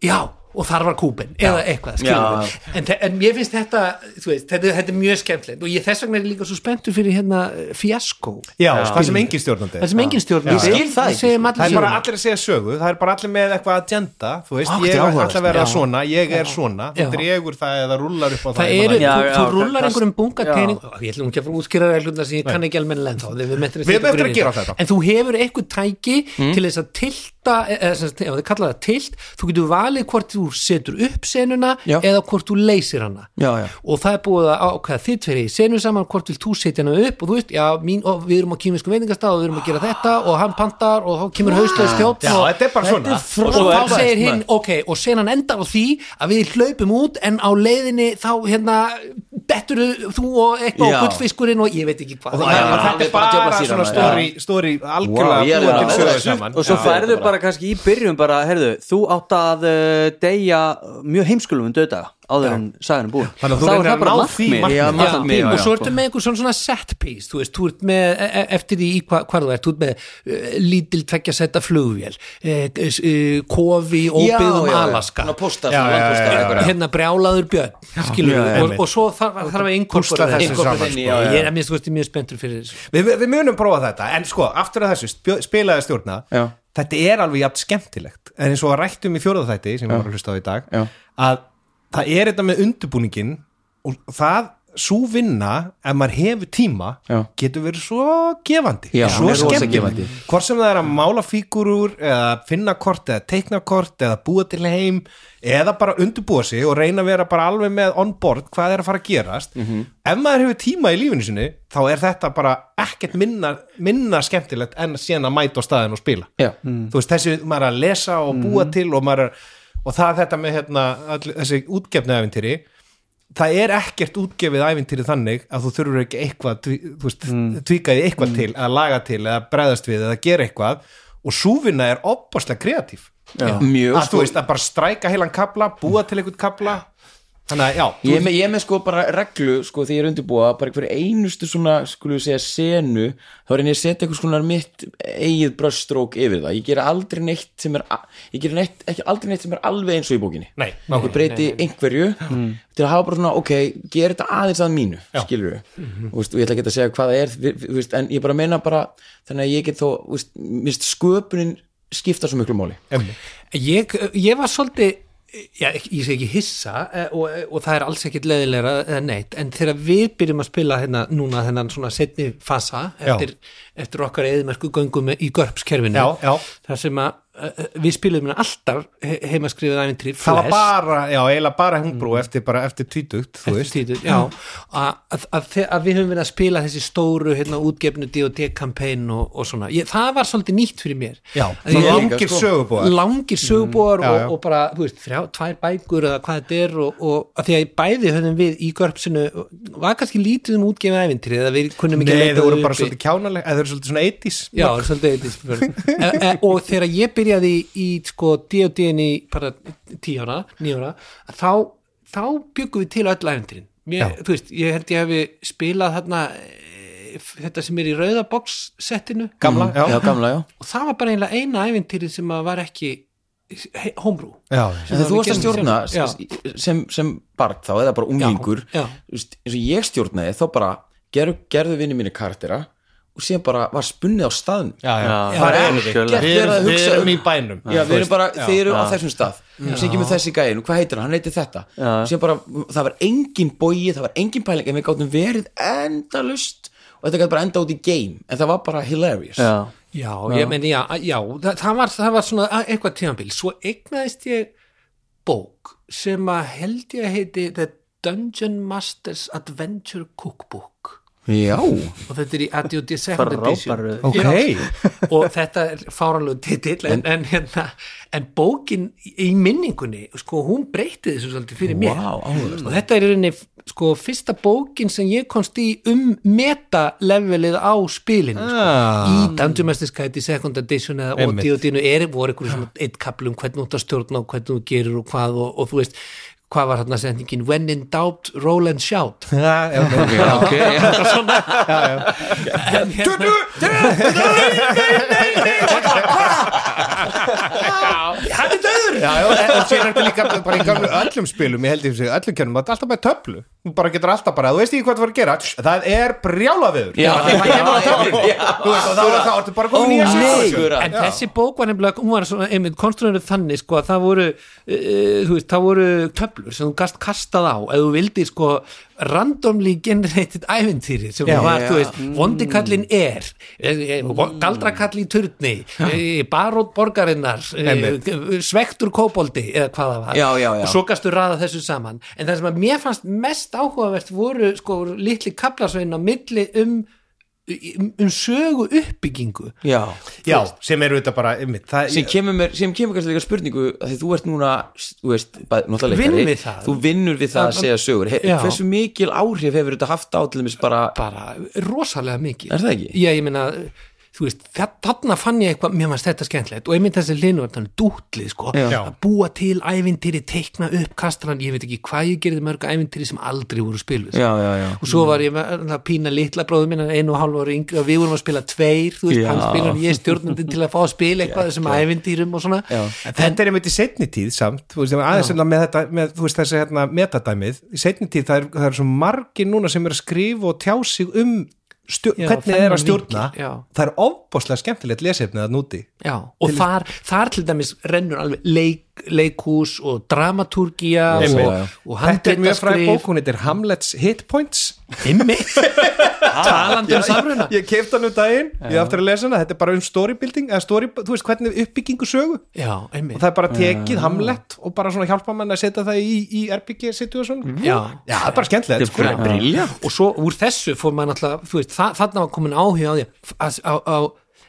[SPEAKER 5] já og þar var kúpin eða eitthvað
[SPEAKER 1] Já.
[SPEAKER 5] skilur við. en, þe- en mér finnst þetta, þú veist, þetta, þetta er mjög skemmtilegt og ég þess vegna er ég líka svo spenntur fyrir hérna fjasko,
[SPEAKER 2] já, það sem engin stjórnandi
[SPEAKER 5] það sem engin stjórn
[SPEAKER 1] Ég skil það ekki, sko.
[SPEAKER 2] það er bara allir að segja sögu, það er bara allir með eitthvað agenda, þú veist,
[SPEAKER 1] Ó, þetta
[SPEAKER 2] ég
[SPEAKER 1] er
[SPEAKER 2] ætla
[SPEAKER 1] áhugavert.
[SPEAKER 2] að vera
[SPEAKER 1] Já.
[SPEAKER 2] svona, ég er svona þú
[SPEAKER 5] Já.
[SPEAKER 2] dregur það eða rullar upp á það
[SPEAKER 5] það
[SPEAKER 2] ég
[SPEAKER 5] eru, þú,
[SPEAKER 2] man ekki.
[SPEAKER 3] Já,
[SPEAKER 5] þú
[SPEAKER 3] já,
[SPEAKER 5] rúlar
[SPEAKER 3] kast-
[SPEAKER 5] einhverjum bunga
[SPEAKER 3] já.
[SPEAKER 5] pening ég ætlum ekki að fara að útskýra reglurna sem ég kann ekki almennilega ennþá við höfum eftir að,
[SPEAKER 2] Við höfum
[SPEAKER 5] setja okkur
[SPEAKER 2] eftir að
[SPEAKER 5] inn í
[SPEAKER 2] gera
[SPEAKER 5] þetta.
[SPEAKER 2] þetta.
[SPEAKER 5] en þú hefur eitthvað tæki til þess að tilta eða sem sagt, ef þið kalla það tilt þú getur valið hvort þú setur upp senuna
[SPEAKER 1] Já.
[SPEAKER 5] eða hvort þú leysir hana
[SPEAKER 1] já, já
[SPEAKER 5] og það er búið að ákveða þið tveri í senu saman hvort vil þú setja hana upp og þú veist, já, mín, og við erum á kýmisku veitingastað og við erum að gera þetta og hann pantar og þá kemur haustlega stjótt
[SPEAKER 2] já,
[SPEAKER 5] og,
[SPEAKER 2] þetta er bara svona
[SPEAKER 1] er
[SPEAKER 5] og þá
[SPEAKER 1] frábært,
[SPEAKER 5] segir hinn, ok, og senan endar á því að við hlaupum út en á leiðinni þá hérna dettur þú og eitthvað
[SPEAKER 1] Já.
[SPEAKER 5] og gullfiskurinn og ég veit ekki hvað
[SPEAKER 1] það er-
[SPEAKER 5] Já.
[SPEAKER 2] þetta er
[SPEAKER 1] alveg bara djöfla
[SPEAKER 2] bara
[SPEAKER 1] síðan,
[SPEAKER 2] svona
[SPEAKER 1] já.
[SPEAKER 2] stóri, stóri
[SPEAKER 1] Vá, ég
[SPEAKER 2] algjörlega
[SPEAKER 1] er
[SPEAKER 2] búa
[SPEAKER 1] alveg
[SPEAKER 2] til sögu
[SPEAKER 1] alveg
[SPEAKER 2] saman
[SPEAKER 3] og svo
[SPEAKER 2] Já.
[SPEAKER 3] færðu bara kannski í byrjun bara, heyrðu, þú átt að uh, deyja mjög heimskulum um döðdaga áður en sagan er búin
[SPEAKER 2] Þannig að þú
[SPEAKER 3] Þá er
[SPEAKER 2] reynir
[SPEAKER 3] það
[SPEAKER 2] að
[SPEAKER 3] bara
[SPEAKER 2] ná því
[SPEAKER 3] markmið.
[SPEAKER 1] markmiði.
[SPEAKER 3] Já,
[SPEAKER 1] Já,
[SPEAKER 3] allan
[SPEAKER 1] markmið,
[SPEAKER 3] tímann.
[SPEAKER 1] já, sko.
[SPEAKER 5] og
[SPEAKER 1] já.
[SPEAKER 5] svo ertu með einhver svona, svona set piece þú veist, þú ert með, e- e- eftir því í hva, hvað þú ert, þú ert með uh, lítil tveggja setta flugvél uh, uh, kofi óbyðum Alaska
[SPEAKER 1] Ná, posta,
[SPEAKER 2] um Já, já, já, já.
[SPEAKER 5] hérna brjálaður björn skilur,
[SPEAKER 1] já,
[SPEAKER 5] og,
[SPEAKER 2] einmitt.
[SPEAKER 5] og svo þarf, þarf að
[SPEAKER 2] Púsla
[SPEAKER 5] inkorpora
[SPEAKER 2] þessu saman,
[SPEAKER 1] sko.
[SPEAKER 5] ég er að minnst kosti mjög spenntur fyrir þessu
[SPEAKER 2] við, við munum prófa þetta, en sko, aftur að þessu spjó- spilaði stjórna,
[SPEAKER 1] Já.
[SPEAKER 2] þetta er alveg jafn skemmtilegt, en eins og að rættum í fjóraðþætti sem við varum að hlusta á í dag
[SPEAKER 1] Já.
[SPEAKER 2] að það er þetta með undirbúningin og það svo vinna ef maður hefur tíma
[SPEAKER 1] Já.
[SPEAKER 2] getur verið svo gefandi
[SPEAKER 1] Já,
[SPEAKER 2] svo
[SPEAKER 1] hún er rosa
[SPEAKER 2] skemmtilegt,
[SPEAKER 1] gefandi.
[SPEAKER 2] hvort sem það er að mála fígurur eða finna kort eða teikna kort eða búa til heim eða bara undirbúa sig og reyna að vera bara alveg með on board hvað er að fara að gerast ef maður hefur tíma í lífinu sinni þá er þetta bara ekkert minna, minna skemmtilegt en að síðan að mæta á staðin og spila
[SPEAKER 1] Já.
[SPEAKER 2] þú veist þessi maður er að lesa og búa til og maður er og það er þetta með hérna, all, þessi útgefni ævintýri það er ekkert útgefið ævintýri þannig að þú þurfur ekki eitthvað tví- þú veist, mm. tvíkaði eitthvað til eða laga til eða bregðast við eða gera eitthvað og súvinna er opaslega kreatíf
[SPEAKER 1] mjög
[SPEAKER 2] að þú veist að bara stræka heilan kabla búa til eitthvað kabla þannig að já, þú-
[SPEAKER 1] Ég er, með, ég er með sko bara reglu sko þegar ég er undirbúa bara einhverju einustu svona skulum við segja senu þá er ég að setja einhvers konar mitt eigið bröstrók yfir það ég gera aldrei neitt sem er a- ég gera neitt, ekki, aldrei neitt sem er alveg eins og í bókinni
[SPEAKER 2] Nei, Mm.
[SPEAKER 1] ég breyti einhverju til að hafa bara svona ok, gera þetta aðeins að mínu Já. skilur við,
[SPEAKER 2] Mhm.
[SPEAKER 1] veist, og ég ætla ekki að segja hvað það er vi- vi- þú veist, en ég bara meina bara þannig að ég get þó, þú veist, mist sköpunin skipta svo miklu máli
[SPEAKER 2] emmi
[SPEAKER 5] ég, ég var svolítið já, ekki- ég segi ekki hissa eh, og, og það er alls ekkit leðilegra eða neitt en þegar við byrjum að spila hérna núna þennan svona setni fasa
[SPEAKER 2] Já.
[SPEAKER 5] eftir, eftir okkar eðmerku göngum í görpskerfinu
[SPEAKER 2] Já, já.
[SPEAKER 5] þar sem að uh, við spilum hérna alltaf he- heimaskrifið ævintri
[SPEAKER 2] það var
[SPEAKER 5] Flash.
[SPEAKER 2] bara, já, eiginlega bara hengbrú eftir, bara, eftir tvítugt, þú veist
[SPEAKER 5] Títur, já, að, að, að, þe- að við höfum verið að spila þessi stóru hérna, útgefnu D&D-kampæn og, og svona ég, það var svolítið nýtt fyrir mér
[SPEAKER 2] já,
[SPEAKER 5] Að
[SPEAKER 2] svo
[SPEAKER 5] ég-
[SPEAKER 2] langir
[SPEAKER 1] sko.
[SPEAKER 2] sögubúðar
[SPEAKER 5] langir sögubóar
[SPEAKER 2] Já, já.
[SPEAKER 5] og, og bara, þú veist, þrjá, tvær bækur eða hvað þetta er og, og að því að bæði höfðum við í görpsinu, var kannski lítið um útgefið ævintri eða við kunum ekki að
[SPEAKER 2] Nei,
[SPEAKER 5] leita
[SPEAKER 2] þau voru
[SPEAKER 5] uppi.
[SPEAKER 2] bara svolítið kjánaleg eða þau eru svolítið svona 80s
[SPEAKER 5] Já, það er svolítið eitthvað spurning. e, e, og þegar ég byrjaði í sko D&D-in í bara tíu ára, níu ára þá, þá byggum við til öll æventirinn Mér,
[SPEAKER 2] Já.
[SPEAKER 5] þú veist, ég held ég hefi spilað þarna e, f- þetta sem er í rauðaboks settinu
[SPEAKER 2] gamla, Mm. já,
[SPEAKER 1] Mhm. já, gamla, já
[SPEAKER 5] og það var bara eiginlega eina æventirinn sem að var ekki he- homebrew
[SPEAKER 2] já,
[SPEAKER 1] En þegar þú varst
[SPEAKER 5] Við
[SPEAKER 1] að stjórna
[SPEAKER 5] gerðum sjálf.
[SPEAKER 1] sem, sem barn þá eða bara unglingur
[SPEAKER 5] Já, já.
[SPEAKER 1] þú veist, eins og ég stjórnaði þá bara gerðu, gerðu vinni mínu karaktera og síðan bara var spunnið á staðn
[SPEAKER 2] já, já.
[SPEAKER 3] Já,
[SPEAKER 1] það er
[SPEAKER 3] algjörlega.
[SPEAKER 1] ekkert
[SPEAKER 2] Við
[SPEAKER 1] verið
[SPEAKER 2] erum,
[SPEAKER 1] að
[SPEAKER 2] við
[SPEAKER 1] hugsa
[SPEAKER 2] erum í
[SPEAKER 1] um-
[SPEAKER 2] bænum
[SPEAKER 1] Já, við erum bara, þeir eru á
[SPEAKER 3] Já.
[SPEAKER 1] þessum stað sem kemur þessi gæðin, hvað heitir hann, hann heitir þetta
[SPEAKER 3] Já.
[SPEAKER 1] sem bara, það var engin bogi það var engin pæling, en við gáttum verið endalust og þetta gæti bara enda út í game en það var bara hilarious
[SPEAKER 3] já,
[SPEAKER 5] Já, ég meni, já, já það, það, var, það var svona a- eitthvað tímabil svo eignaðist ég bók sem að held ég að heiti The Dungeon Masters Adventure Cookbook
[SPEAKER 1] Já,
[SPEAKER 5] og þetta er í ADOD Second Edition
[SPEAKER 3] frábæru
[SPEAKER 2] Ok,
[SPEAKER 5] og þetta er fáranlegu titill en, en, hérna, en bókin í minningunni, sko, hún breyti þessu svolítið fyrir mér
[SPEAKER 1] Vá, áhugavert.
[SPEAKER 5] og þetta er í rauninni, sko, fyrsta bókin sem ég komst í um metalevelið á spilinu
[SPEAKER 2] Ah.
[SPEAKER 5] sko. í Dungeon Masters Kite í Second Edition eða
[SPEAKER 2] Einmitt.
[SPEAKER 5] OD og dinu er voru einhverjum svona eitt kapl um hvernig þú út að stjórna og hvernig þú gerir og hvað og, og þú veist hvað var hérna setningin when in doubt, roll and shout
[SPEAKER 2] já, já, ok, ok
[SPEAKER 5] en hérna
[SPEAKER 2] Já, já, en- og sér er þetta líka bara í gamlu öllum spilum, ég held ég fyrir sig, öllum kjörnum það er alltaf með töflu, þú bara getur alltaf bara þú veist ekki hvað þú var að gera, tss, það er brjálaviður
[SPEAKER 1] Já.
[SPEAKER 2] það kemur á töflu
[SPEAKER 1] Já.
[SPEAKER 2] þú veist, og þá er það bara
[SPEAKER 1] Ó,
[SPEAKER 2] komin í að
[SPEAKER 1] nei.
[SPEAKER 5] en þessi bók var nefnilega hún var svona, einmitt, konstruðinu þannig sko að það voru uh, þú veist, það voru töflur sem þú gast kastað á eða þú vildi sko randomly generated æventýri sem
[SPEAKER 2] Já.
[SPEAKER 5] var,
[SPEAKER 1] Já. Mm.
[SPEAKER 5] þú veist, vondikallin er eh, eh, galdrakall í turni eh, barótt borgarinnar eh, svektur kóboldi eða hvað það var
[SPEAKER 1] Já, já, já.
[SPEAKER 5] og svo gastu raða þessu saman en það sem að mér fannst mest áhugavert voru sko litli kaplarsvein á milli um um um sögu uppbyggingu
[SPEAKER 1] já
[SPEAKER 2] já, sem eru þetta bara einmitt, það,
[SPEAKER 1] sem kemur, mér, sem kemur kannski líka spurningu af því þú ert núna, þú veist, bæ- náttúrulega
[SPEAKER 5] Vinn
[SPEAKER 1] leikari.
[SPEAKER 5] við það.
[SPEAKER 1] þú vinnur við það að segja sögur He,
[SPEAKER 5] Já.
[SPEAKER 1] hversu mikil áhrif hefur þetta haft á til þess bara,
[SPEAKER 5] bara rosalega mikið
[SPEAKER 1] er það ekki?
[SPEAKER 5] Já, ég meina, þú veist, þa- þarna fann ég eitthvað, mér varst þetta skemmtilegt og einmitt þessi linuvartan dútlið, sko
[SPEAKER 1] Já.
[SPEAKER 5] að búa til ævintýri, teikna upp kastran, ég veit ekki hvað ég gerði mörg ævintýri sem aldrei voru spiluð
[SPEAKER 1] Já, já, já
[SPEAKER 5] og svo var ég með að pína litla bróðum minna einu og hálf ára yngri og við vorum að spila tveir þú veist,
[SPEAKER 1] Já.
[SPEAKER 5] hann spilar og ég stjórnandi til að fá að spila eitthvað þessum ævintýrum og svona
[SPEAKER 1] Já.
[SPEAKER 2] En þetta er einmitt í setni tíð samt þú veist, aðeins hérna með þetta, með, þú veist þessi hérna metadæmið, í setni tíð það er, það er svo margir núna sem er að skrifa og tjá sig um stjó,
[SPEAKER 5] Já,
[SPEAKER 2] hvernig
[SPEAKER 5] þennan
[SPEAKER 2] það er að stjórna
[SPEAKER 5] vinkil, já.
[SPEAKER 2] það er ofbóðslega skemmtilegt lesefnið að núti
[SPEAKER 5] Já, og þar, þar til dæmis rennur alveg leik, leikhús og dramaturgía
[SPEAKER 2] Einmitt.
[SPEAKER 5] og,
[SPEAKER 1] Já, já.
[SPEAKER 5] og
[SPEAKER 2] Þetta er mjög fræg
[SPEAKER 5] handreitaskrif
[SPEAKER 2] bók, hún heitir Hamlet's Hit Points
[SPEAKER 5] Einmitt, talandi um samruna
[SPEAKER 2] Ég kefti hann um daginn, ég aftur að lesa hana Þetta er bara um storybuilding, eða story, þú veist hvernig uppbyggingu sögu
[SPEAKER 5] Já, einmitt
[SPEAKER 2] og það er bara tekið Hamlet og bara svona hjálpa mann að setja það í, í RPG situation
[SPEAKER 5] Já.
[SPEAKER 2] Já, það er bara skemmtilegt sko.
[SPEAKER 1] Brilja
[SPEAKER 5] Og svo úr þessu fór maður náttúrulega þú veist, þa þarna var komin áhuga á því að, á, á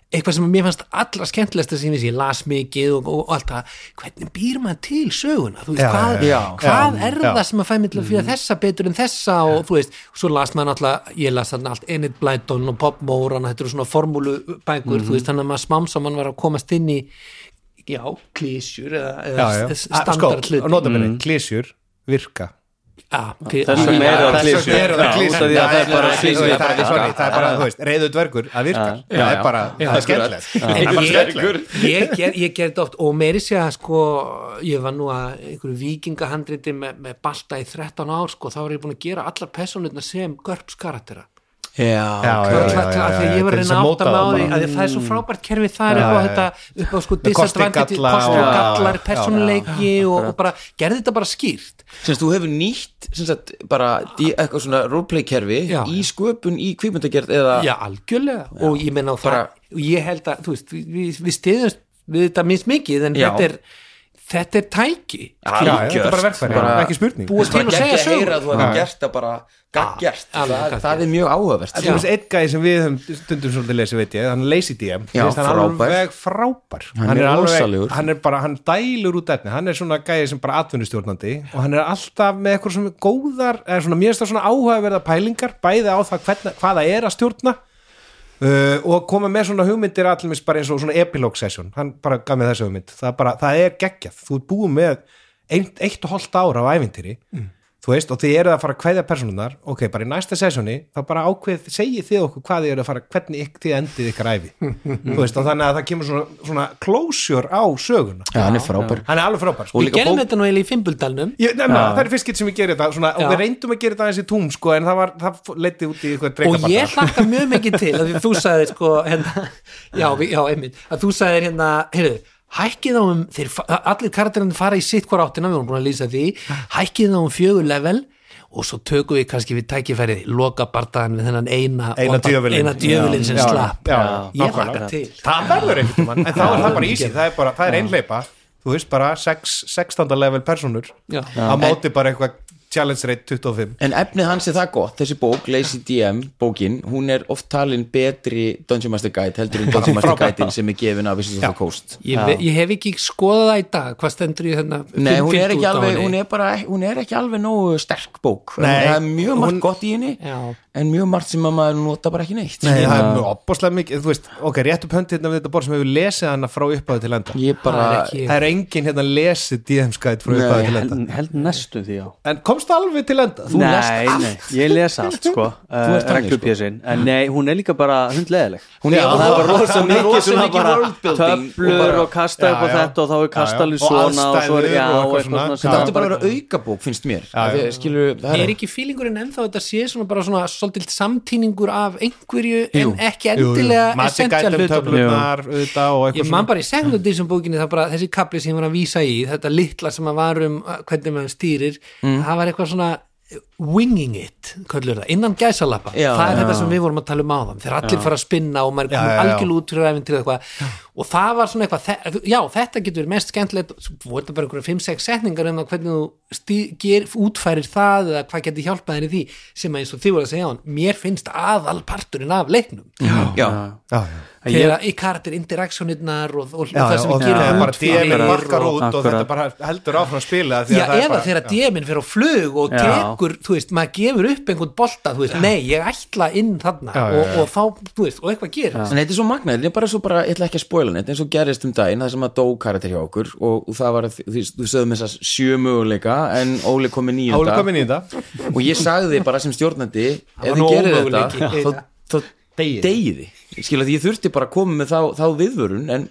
[SPEAKER 5] eitthvað sem mér fannst allra skemmtilegsta sem ég vissi, ég las mikið og, og, og allt það, hvernig býr maður til söguna, þú veist,
[SPEAKER 2] Já,
[SPEAKER 5] hvað,
[SPEAKER 2] já, já.
[SPEAKER 5] hvað
[SPEAKER 2] Já,
[SPEAKER 5] er
[SPEAKER 2] já.
[SPEAKER 5] það sem að fæ mig til að fyrir þessa betur en þessa og þú veist, svo las maður náttúrulega, ég las þarna allt Enid Blyton og Bob Moran, þetta eru svona formúlubækur, þú veist, þannig að maður smámsaman var að komast inn í, já, klísjur eða,
[SPEAKER 2] já,
[SPEAKER 5] eða
[SPEAKER 2] já.
[SPEAKER 5] s- s-
[SPEAKER 2] Ah, Sko,
[SPEAKER 5] standard hluti.
[SPEAKER 2] og nota minni, klísjur virka
[SPEAKER 5] Ah, pi-
[SPEAKER 3] Þessum
[SPEAKER 5] ah,
[SPEAKER 3] meira
[SPEAKER 2] Þess
[SPEAKER 3] klísjur.
[SPEAKER 2] vegna eru það
[SPEAKER 3] Já, út af
[SPEAKER 2] klísjur
[SPEAKER 3] því að það er bara
[SPEAKER 2] þú
[SPEAKER 3] klísjur.
[SPEAKER 2] veist, það er sorry, það er bara, þú veist, reyðu dvergur að virka það
[SPEAKER 1] já.
[SPEAKER 2] er bara, það er skemmtilegt Það er
[SPEAKER 5] En
[SPEAKER 2] bara
[SPEAKER 5] ég,
[SPEAKER 2] skemmtilegt
[SPEAKER 5] ég, ger, ég gerði þetta oft og meiri sé að sko ég var nú að einhverju vikingahandriti með, með balta í 13 ár sko þá var ég búin að gera allar personutna sem görps karaktera
[SPEAKER 1] Já,
[SPEAKER 2] Já, já, já, já,
[SPEAKER 5] Örugglega til- af því að
[SPEAKER 2] já,
[SPEAKER 5] ég var að
[SPEAKER 2] til þess
[SPEAKER 5] reyna að
[SPEAKER 2] móta
[SPEAKER 5] átta mig á
[SPEAKER 2] það
[SPEAKER 5] því
[SPEAKER 2] bara.
[SPEAKER 5] að því að það er svo frábært kerfi það er
[SPEAKER 2] Já,
[SPEAKER 5] upp á
[SPEAKER 2] já, já.
[SPEAKER 5] þetta upp á sko
[SPEAKER 2] Með kosti
[SPEAKER 5] disadvantage,
[SPEAKER 2] galla
[SPEAKER 5] kosti
[SPEAKER 2] og-
[SPEAKER 5] og gallar
[SPEAKER 2] já, já,
[SPEAKER 5] personuleiki og, og bara gerði þetta bara skýrt
[SPEAKER 1] Semst, þú hefur nýtt sem sagt, bara dí, eitthvað svona roleplay kerfi
[SPEAKER 5] Já.
[SPEAKER 1] í sköpun í kvikmyndagerð eða
[SPEAKER 5] Já, algjörlega og ég menna á það
[SPEAKER 1] Bara-
[SPEAKER 5] og ég held að, þú veist, við, við stiðumst við þetta minst mikið en
[SPEAKER 1] Já.
[SPEAKER 5] þetta er, þetta er tæki
[SPEAKER 2] já, þetta er bara verkfæri,
[SPEAKER 1] Bara-
[SPEAKER 2] ekki spurning
[SPEAKER 5] Búið- til að segja
[SPEAKER 1] að heyra
[SPEAKER 5] sögur.
[SPEAKER 1] að þú hefur gert það bara gaggjert, það, það er mjög áhugavert
[SPEAKER 2] Þú veist, einn gæði sem við höfum stundum svolítið lesið, veit ég, hann er Lazy DM
[SPEAKER 1] Já,
[SPEAKER 2] Mér finnst hann
[SPEAKER 1] frábær.
[SPEAKER 2] alveg frábær
[SPEAKER 1] Hann er rosalegur.
[SPEAKER 2] Hann er bara, hann dælur út efni Hann er svona gæði sem bara atvinnustjórnandi og hann er alltaf með eitthvað svona góðar eða svona, mér finnst það svona áhugaverða pælingar bæði á það hverna, hvað það er að stjórna uh, og koma með svona hugmyndir allmest bara eins og svona epilog session hann bara gaf með þessu hugmynd það er, bara, það er geggjað, þú ert búið með ein, eitt og hálft ára á ævintýri
[SPEAKER 5] Mm.
[SPEAKER 2] þú veist, og þið eruð að fara að kveðja personunar ok, bara í næsta sessjóni, þá bara ákveð segið þið okkur hvað þið eruð að fara hvernig ykk, þið endið ykkar æfi þú veist, og þannig að það kemur svona, svona closure á söguna
[SPEAKER 1] Já, hann er frábær
[SPEAKER 2] hann er alveg frábær sko.
[SPEAKER 1] Og
[SPEAKER 5] við
[SPEAKER 1] líka
[SPEAKER 5] gerum
[SPEAKER 1] bók-
[SPEAKER 5] þetta nú eiginlega í fimbuldalnum
[SPEAKER 2] Ég, nefna, það er fyrst skitt sem ég gerir þetta svona, og
[SPEAKER 5] Já.
[SPEAKER 2] við reyndum að gera þetta aðeins í túm sko, en það, var, það leiti út í eitthvað
[SPEAKER 5] og
[SPEAKER 2] dreikabarta
[SPEAKER 5] ég hlakka mjög mikið til að þú sagðir sko hérna, já, við- já, einmitt, að þú sagðir hérna heyrðu, hækkið á um þeir, fa- allir karakterinn fara í sitt hvar áttina við erum búin að lýsa því, hækkið á um fjögur level og svo tökum við kannski við tækifærið, loka bardaðan við þennan eina,
[SPEAKER 2] Eina djöfulinn.
[SPEAKER 5] eina djöfulinn sem
[SPEAKER 2] Já, já,
[SPEAKER 5] slapp
[SPEAKER 2] já,
[SPEAKER 5] ég
[SPEAKER 2] nákvæmlega.
[SPEAKER 5] hlakka til
[SPEAKER 2] það verður einhvern veginn, en þá er það bara easy það er bara, það er einleipa, þú veist bara 16. level personur
[SPEAKER 5] Já.
[SPEAKER 2] að móti bara eitthvað challenge rate 25
[SPEAKER 1] En efnið hans er það gott, þessi bók, Lazy DM bókin, hún er oft talin betri Dungeon Master Guide heldur en Dungeon Master Guide sem er gefin af Wizards of the Coast
[SPEAKER 5] ég, ve- ég hef ekki skoðað það í dag hvað stendur ég hérna
[SPEAKER 1] Nei, hún er, ekki alveg, hún,
[SPEAKER 5] hún
[SPEAKER 1] er bara, hún er ekki alveg nógu sterk bók En
[SPEAKER 2] Nei,
[SPEAKER 1] Það er mjög margt
[SPEAKER 2] hún-
[SPEAKER 1] gott í henni
[SPEAKER 5] Já.
[SPEAKER 1] En mjög margt sem að maður nota bara ekki neitt
[SPEAKER 2] Nei, það er mjög opbáslega mikið, þú veist, ok, rétt upp hönd hérna við þetta borð sem hefur lesið hana frá upphafi til enda
[SPEAKER 1] Ég bara,
[SPEAKER 5] Það er ekki-
[SPEAKER 2] Það er enginn hérna lesið DM-skæð frá upphafi til enda
[SPEAKER 3] held, held næstu því á
[SPEAKER 2] En komst það alveg til enda? Þú
[SPEAKER 3] Nei, nei, ég les allt sko uh,
[SPEAKER 1] ert þannig, sko.
[SPEAKER 3] reglupjössin, en nei, hún er líka bara hundleðileg
[SPEAKER 1] Hún er-
[SPEAKER 3] og það er bara rosa
[SPEAKER 1] hún er
[SPEAKER 3] mikið
[SPEAKER 1] rosa
[SPEAKER 3] svona
[SPEAKER 1] mikið
[SPEAKER 3] bara
[SPEAKER 1] worldbuilding og
[SPEAKER 3] töflur
[SPEAKER 1] bara-
[SPEAKER 3] og kasta upp á
[SPEAKER 2] Já, já.
[SPEAKER 3] þetta og þá er kastalið
[SPEAKER 2] Já, já. Og
[SPEAKER 3] svona og svo er
[SPEAKER 2] aðstæður
[SPEAKER 3] já
[SPEAKER 2] og eitthvað
[SPEAKER 3] og eitthvað
[SPEAKER 2] svona.
[SPEAKER 3] svona
[SPEAKER 2] Já,
[SPEAKER 1] þetta átti bara að vera aukabók finnst mér
[SPEAKER 2] já.
[SPEAKER 1] Því að skilur, það
[SPEAKER 5] er ekki fílingurinn ennþá að þetta sé svona bara svona svolítið samtíningur af einhverju en ekki endilega
[SPEAKER 2] Magic
[SPEAKER 5] essential
[SPEAKER 2] item
[SPEAKER 5] hlutum
[SPEAKER 2] töflunar auðvitað og
[SPEAKER 5] ég
[SPEAKER 2] eitthvað
[SPEAKER 5] man bara í segundum þessum bókinni það bara þessi kapli sem ég var að vísa í þetta litla sem að var um uh, hvernig maður stýrir
[SPEAKER 2] Mm.
[SPEAKER 5] það var eitthvað svona uh, winging it, kallur það, innan gæsalappa
[SPEAKER 1] Já,
[SPEAKER 5] það er
[SPEAKER 1] já.
[SPEAKER 5] þetta sem við vorum að tala um áðan þegar allir fara að spinna og maður
[SPEAKER 2] Já,
[SPEAKER 5] komur
[SPEAKER 2] já, já.
[SPEAKER 5] algjörlega út fyrir æfintýrið eitthvað og það var svona eitthvað, þe- já þetta getur verið mest skemmtilegt, svo voru þetta bara einhverja 5-6 setningar um það hvernig þú stý, ger, útfærir það eða hvað getur hjálpað þér í því sem að eins og þið voru að segja á hann, mér finnst aðalparturinn af leiknum
[SPEAKER 1] Já,
[SPEAKER 2] Já, já.
[SPEAKER 5] þegar í karakter interaktsjónirnar og, og,
[SPEAKER 2] Já,
[SPEAKER 5] og það
[SPEAKER 2] já,
[SPEAKER 5] sem
[SPEAKER 2] og
[SPEAKER 5] við
[SPEAKER 2] það er
[SPEAKER 5] gerum
[SPEAKER 2] bara
[SPEAKER 5] út fyrir
[SPEAKER 2] DM-in barkar
[SPEAKER 5] og,
[SPEAKER 2] út og
[SPEAKER 3] akkurat.
[SPEAKER 2] þetta bara heldur áfram að spila því
[SPEAKER 5] já,
[SPEAKER 2] að það er
[SPEAKER 5] eða
[SPEAKER 2] bara-
[SPEAKER 5] þegar
[SPEAKER 2] Já.
[SPEAKER 5] DM-in fer á flug og
[SPEAKER 3] Já.
[SPEAKER 5] tekur, þú veist, maður gefur upp einhvern bolta, þú veist, nei, ég ætla inn þarna
[SPEAKER 2] Já, já,
[SPEAKER 5] og,
[SPEAKER 2] já.
[SPEAKER 5] og þá, þú veist, og eitthvað gerist
[SPEAKER 1] En þetta er svo magnað, þetta er bara svo bara, ég ætla ekki að spoila neitt, eins og gerist um daginn, það sem að dó karakter hjá okkur og, og það var, að því- því, þú sögðum þess að sjö möguleika en Óli komi nýjunda
[SPEAKER 2] Óli komin í þetta
[SPEAKER 1] og ég sagði þið bara sem stjórnandi ef
[SPEAKER 5] var
[SPEAKER 1] þið
[SPEAKER 5] nú
[SPEAKER 1] gerir þetta
[SPEAKER 5] ómöguleiki.
[SPEAKER 1] þá, þá deyiði skil að ég þurfti bara að koma með þá, þá viðvörun en,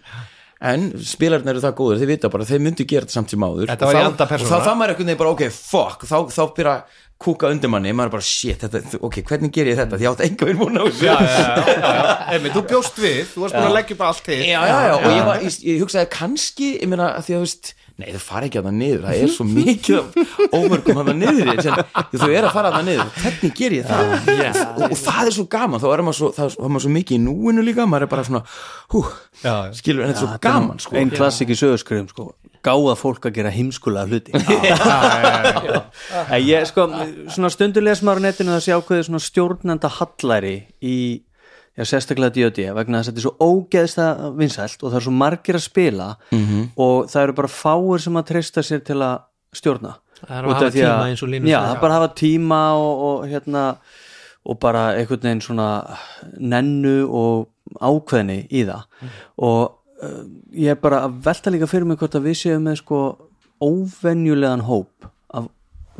[SPEAKER 1] en spilarinn eru það góður þeir vita bara, þeir myndu gera þetta samt sem áður
[SPEAKER 2] Þetta var
[SPEAKER 1] og
[SPEAKER 2] í
[SPEAKER 1] þá-
[SPEAKER 2] anda persónuna.
[SPEAKER 1] og þá það maður einhvern veginn bara, ok, fuck þá, þá byrja að kúka undir manni, maður bara shit, þetta, ok, hvernig ger ég þetta, því ég átt enga við múna á þessu
[SPEAKER 2] Já, já, já, já, já. Einmitt, Þú bjóst við, þú varst búin að leggja upp allt til
[SPEAKER 1] já, já, já, og ég, var, ég, ég hugsaði kannski, ég meina, af því að þú veist nei, þau fara ekki að það niður, það er svo mikið af ómörgum að það niður í, hérna. sem, þau eru að fara að það niður, hvernig ger ég það og, og það er svo gaman, þá er maður svo, það, það er maður svo mikið í núinu líka, maður er bara svona hú,
[SPEAKER 2] Já, já.
[SPEAKER 1] skilur, en þetta er svo gaman sko.
[SPEAKER 3] einn klassik í sögurskriðum sko gáða fólk að gera heimskulega hluti En ég sko svona stundur les maður á netinu að það sé ákveðið svona stjórnenda hallæri í Já, sérstaklega D.O.D. vegna þess að þetta er svo ógeðsta vinsælt og það er svo margir að spila -hmm. og það eru bara fáir sem að treysta sér til að stjórna
[SPEAKER 5] Það eru að
[SPEAKER 3] Út af
[SPEAKER 5] hafa
[SPEAKER 3] því
[SPEAKER 5] tíma eins og Linus
[SPEAKER 3] Já,
[SPEAKER 5] sagði.
[SPEAKER 3] það er bara að hafa tíma og, og hérna og bara einhvern veginn svona nennu og ákveðni í það og uh, ég er bara að velta líka fyrir mig hvort að við séum með sko óvenjulegan hóp af,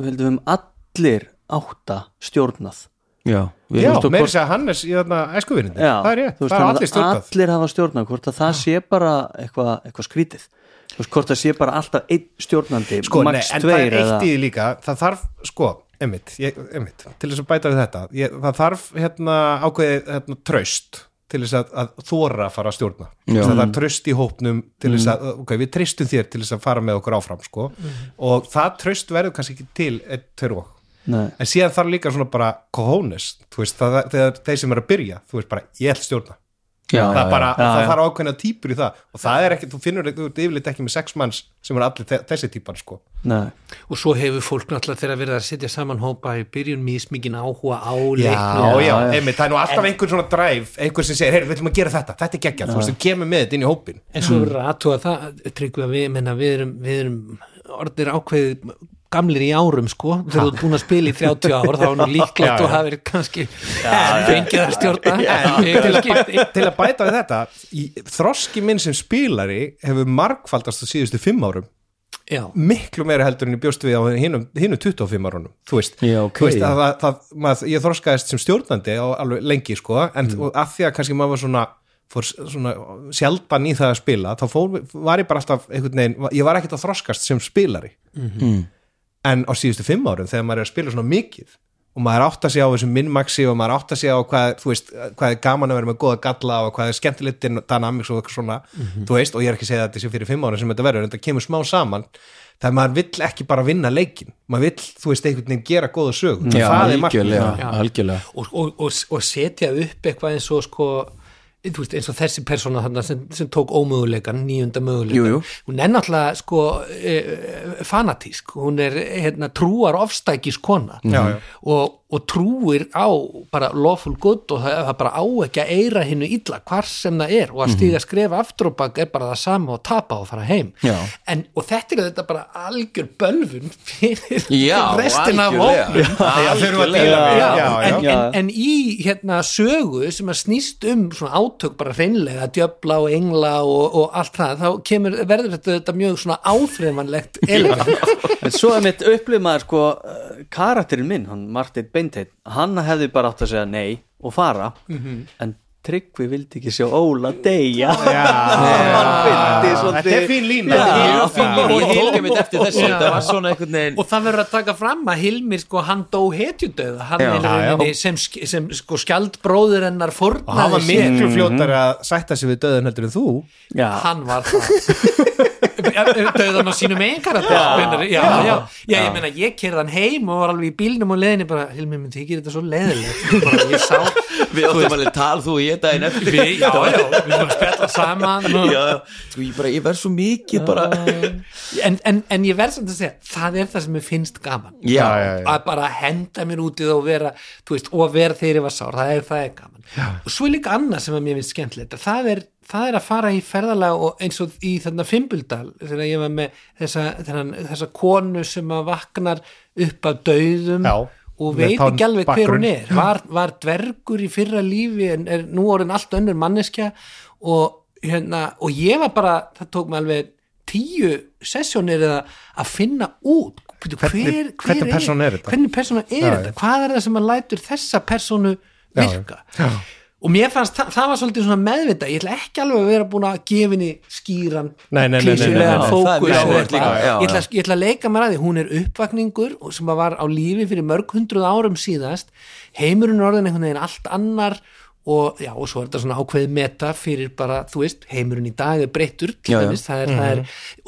[SPEAKER 3] við heldum við um allir átta stjórnað
[SPEAKER 1] já, við
[SPEAKER 2] Já,
[SPEAKER 1] erum
[SPEAKER 2] meira að segja Hannes í þarna æskuvinninni
[SPEAKER 3] Já,
[SPEAKER 2] Það er ég,
[SPEAKER 3] þú
[SPEAKER 2] það er allir
[SPEAKER 3] þannig að
[SPEAKER 2] stjórnað
[SPEAKER 3] allir hafa stjórnað hvort að það sé bara eitthvað, eitthvað skrítið Þú veist, hvort það sé bara alltaf einn stjórnandi
[SPEAKER 2] sko, nei,
[SPEAKER 3] max
[SPEAKER 2] en það
[SPEAKER 3] tveir
[SPEAKER 2] er eitt
[SPEAKER 3] eða-
[SPEAKER 2] í því líka það þarf, sko, einmitt, ég, einmitt til þess að bæta við þetta ég, það þarf hérna ákveðið hérna, traust til þess að, að þóra að fara að stjórna Þess að það er traust í hópnum til
[SPEAKER 3] Mm.
[SPEAKER 2] þess að, ok, við treystum þér til þess að fara með okkur áfram, sko og það traust verður kannski ekki til eitt, tveir og
[SPEAKER 3] Nei.
[SPEAKER 2] en síðan þarf líka svona bara cojones, þú veist, það, það, þegar þeir sem eru að byrja, þú veist bara, ég ætl stjórna
[SPEAKER 3] Já,
[SPEAKER 2] það,
[SPEAKER 3] já,
[SPEAKER 2] er bara,
[SPEAKER 3] já,
[SPEAKER 2] það
[SPEAKER 3] já.
[SPEAKER 2] þarf ákveðna típur í það og það er ekki, þú finnur þú ert yfirleitt ekki með sex manns sem eru allir þe- þessi típar sko
[SPEAKER 3] Nei.
[SPEAKER 5] og svo hefur fólk náttúrulega þegar verið að setja saman hópa í byrjun mismikinn áhuga á
[SPEAKER 2] já,
[SPEAKER 5] leiknum
[SPEAKER 2] já,
[SPEAKER 3] já.
[SPEAKER 2] einmitt, það er nú alltaf einhver svona drive einhver sem segir, heyrðu, við ætlum að gera þetta, þetta er geggjað þú veist, þú kemur með þetta inn í hópin
[SPEAKER 5] en svo verður að aðtúa það tryggva við, menna, við erum, við erum orðir ákveðið gamlir í árum sko, þegar þú ert búin að spila í 30 ár þá er nú líklegt
[SPEAKER 2] Já, já.
[SPEAKER 5] og hafið kannski fengið að stjórna Ég
[SPEAKER 2] til, að,
[SPEAKER 5] kannski-
[SPEAKER 2] til að bæta við þetta í, þroski minn sem spilari hefur margfaldast á síðustu fimm árum
[SPEAKER 5] já,
[SPEAKER 2] miklu meira heldur en ég bjóst við á hinum, hinum 25 árunum, þú veist,
[SPEAKER 1] Já, ok.
[SPEAKER 2] þú veist að það, það, maður, ég þroskaðist sem stjórnandi á alveg lengi, sko, en mm. að því að kannski maður var svona, fór s- svona sjaldan í það að spila, þá fór, var ég bara alltaf einhvern veginn, ég var ekkert að þroskast sem spilari, en á síðustu fimm árum þegar maður er að spila svona mikið og maður átta sig á þessum minnmaxi og maður átta sig á hvað, þú veist, hvað er gaman að vera með góða galla og hvað er skemmtilegt dynamics og eitthvað svona, þú veist, og ég er ekki að segja þetta sé fyrir fimm árum sem þetta verður, en þetta kemur smá saman þegar maður vill ekki bara vinna leikin maður vill, þú veist, einhvern veginn gera góða sög
[SPEAKER 1] Já,
[SPEAKER 2] það er
[SPEAKER 1] algjörlega,
[SPEAKER 2] markmið.
[SPEAKER 1] algjörlega.
[SPEAKER 5] og, og, og, og setja upp eitthvað eins og sko þú veist, eins og þessi persóna þarna sem, sem tók ómöguleikan, nýjunda möguleikan
[SPEAKER 1] Jú, jú.
[SPEAKER 5] hún er náttúrulega sko e, fanatísk, hún er hérna, trúar ofstækis kona
[SPEAKER 1] Mhm.
[SPEAKER 2] Já, já.
[SPEAKER 5] Og, og trúir á bara lawful good og það, það bara á ekki að eira hinnu illa hvar sem það er og
[SPEAKER 1] Mhm.
[SPEAKER 5] að stíga skref aftur og bak er bara það sama og tapa og fara heim
[SPEAKER 1] Já.
[SPEAKER 5] en, og þetta er þetta bara algjör bölvun fyrir
[SPEAKER 1] Já,
[SPEAKER 5] restina af
[SPEAKER 1] algjörlega.
[SPEAKER 5] hópnum
[SPEAKER 2] Já, þurfum að díla
[SPEAKER 3] Já,
[SPEAKER 2] við
[SPEAKER 5] já,
[SPEAKER 2] já, já,
[SPEAKER 5] En,
[SPEAKER 3] já.
[SPEAKER 5] en, en í hérna sögu sem að snýst um svona átök bara hreinlega, djöfla og engla og, og allt það, þá kemur, verður þetta, þetta mjög svona áþreifanlegt element
[SPEAKER 3] en svo er mitt upplif maður sko eh, karakterinn minn, hann Martin Beinteinn hann hefði bara átt að segja nei og fara
[SPEAKER 2] Mhm.
[SPEAKER 3] en Tryggvi vildi ekki sjá Óla deyja Hann fyndi svolítið-
[SPEAKER 2] þetta er fín lína
[SPEAKER 3] Já.
[SPEAKER 1] Ég er fín- ég heilga mitt eftir þessu þetta var svona einhvern veginn
[SPEAKER 5] og það verður að taka fram að Hilmir sko hann dó hetjudauða hann
[SPEAKER 1] Já.
[SPEAKER 5] er í
[SPEAKER 2] Já, já.
[SPEAKER 5] rauninni sem, sk- sem sko skjaldbróður hennar
[SPEAKER 2] og
[SPEAKER 5] fornaði
[SPEAKER 2] hann var miklu fljótar að sætta sig við döðun heldur en þú
[SPEAKER 3] já,
[SPEAKER 5] hann var það döðan á sínum einhverja já, já, já, já, ég meina ég kerði hann heim og var alveg í bílnum og leðinni bara, Hilmi, minn þykir þetta svo leðilegt bara ég sá
[SPEAKER 1] við áttum alveg tal þú og ég daginn eftir
[SPEAKER 5] við, já, já, við erum að spjalla saman og,
[SPEAKER 1] já, sko ég bara, ég verð svo mikið bara
[SPEAKER 5] en, en, en ég verð samt að segja, það er það sem mér finnst gaman
[SPEAKER 1] já,
[SPEAKER 5] að bara henda mér út í það og vera, þú veist, og vera þegar ég var sár það er, það er gaman og svo er líka annað sem að mér finnst skemmtilegt að það er, það er að fara í ferðalag og eins og í þarna Fimbildal þegar ég var með þessa, þennan, þessa konu sem að vaknar upp af dauðum
[SPEAKER 2] Já,
[SPEAKER 5] og
[SPEAKER 2] með
[SPEAKER 5] veit
[SPEAKER 2] þann
[SPEAKER 5] ekki alveg hver hún
[SPEAKER 2] bakgrunn.
[SPEAKER 5] er var, var dvergur í fyrra lífi en er nú orðin allt önnur manneskja og, hérna, og ég var bara það tók mig alveg tíu sessjónir eða að finna út hvernig, hver, hver
[SPEAKER 2] Hvernig- hvernig
[SPEAKER 5] er-
[SPEAKER 2] persóna er þetta?
[SPEAKER 5] hvernig persóna er þetta, hvað er það sem að lætur þessa persónu virka
[SPEAKER 2] já.
[SPEAKER 5] og mér fannst, það, það var svolítið svona meðvita ég ætla ekki alveg að vera búin að gefa henni skýran,
[SPEAKER 2] Nei, nei, nei, nei,
[SPEAKER 5] klísulegan
[SPEAKER 1] nei, nei, nei,
[SPEAKER 5] fókus
[SPEAKER 1] það er
[SPEAKER 5] og
[SPEAKER 1] mjög áhugavert
[SPEAKER 5] eitthvað.
[SPEAKER 1] líka, já,
[SPEAKER 5] ég, ætla,
[SPEAKER 1] já.
[SPEAKER 5] ég ætla að leika mér að því, hún er uppvakningur og sem að var á lífi fyrir mörg hundruð árum síðast heimurinn er orðin einhvern veginn allt annar og já, og svo er þetta svona ákveðið meta fyrir bara, þú veist, heimurinn í dag er breyttur til
[SPEAKER 1] Já, já.
[SPEAKER 5] dæmis, það er, það er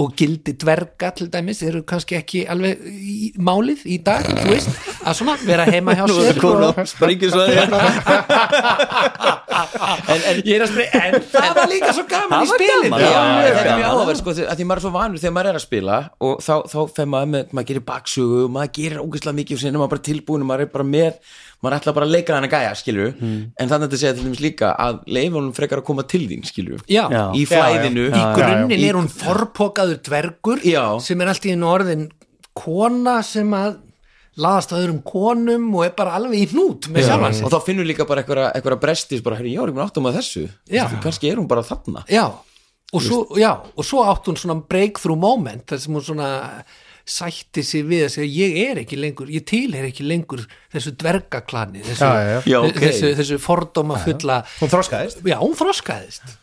[SPEAKER 5] og gildi dverga til dæmis, eru kannski ekki alveg í, málið í dag þú veist, að svona vera heima hjá
[SPEAKER 3] nú er
[SPEAKER 5] sér
[SPEAKER 3] það komin á springisvæði
[SPEAKER 5] en, en, ég er að spyrja, en það var líka svo gaman í
[SPEAKER 3] Það var
[SPEAKER 5] spilinu
[SPEAKER 3] gaman. Já,
[SPEAKER 1] Já, já,
[SPEAKER 3] já,
[SPEAKER 1] þetta
[SPEAKER 3] já.
[SPEAKER 1] er mjög áhverð sko, að því maður er svo vanur þegar maður er að spila og þá, þá fer maður með, maður gerir baksögu maður gerir ógeðslega mikið og sinni maður er bara tilbúin maður er bara með, maður ætla bara að leika hann að gæja skilur, en þannig að þetta segja til dæmis líka að leifunum frekar að koma til þín skilur
[SPEAKER 5] já,
[SPEAKER 3] Já.
[SPEAKER 1] í flæðinu
[SPEAKER 5] í grunninn er hún forpokaður dvergur
[SPEAKER 1] Já.
[SPEAKER 5] sem er allt í einu orðin kona sem að laðast að öðrum konum og er bara alveg í hnút með sjálfan sig
[SPEAKER 1] og þá finnur líka bara eitthvað, eitthvað brestis bara, herri, já, ég mun áttum að þessu
[SPEAKER 5] Já.
[SPEAKER 1] Þú veist, kannski er hún bara þarna
[SPEAKER 5] já. Og, svo, já, og svo átt hún svona breakthrough moment þar sem hún svona sætti sig við að segja ég er ekki lengur, ég tilher ekki lengur þessu dvergaklani þessu,
[SPEAKER 2] Já, já, já.
[SPEAKER 1] Já, ok.
[SPEAKER 5] þessu, þessu fordóma fulla
[SPEAKER 2] hún þroskaðist
[SPEAKER 5] já, hún þroskaðist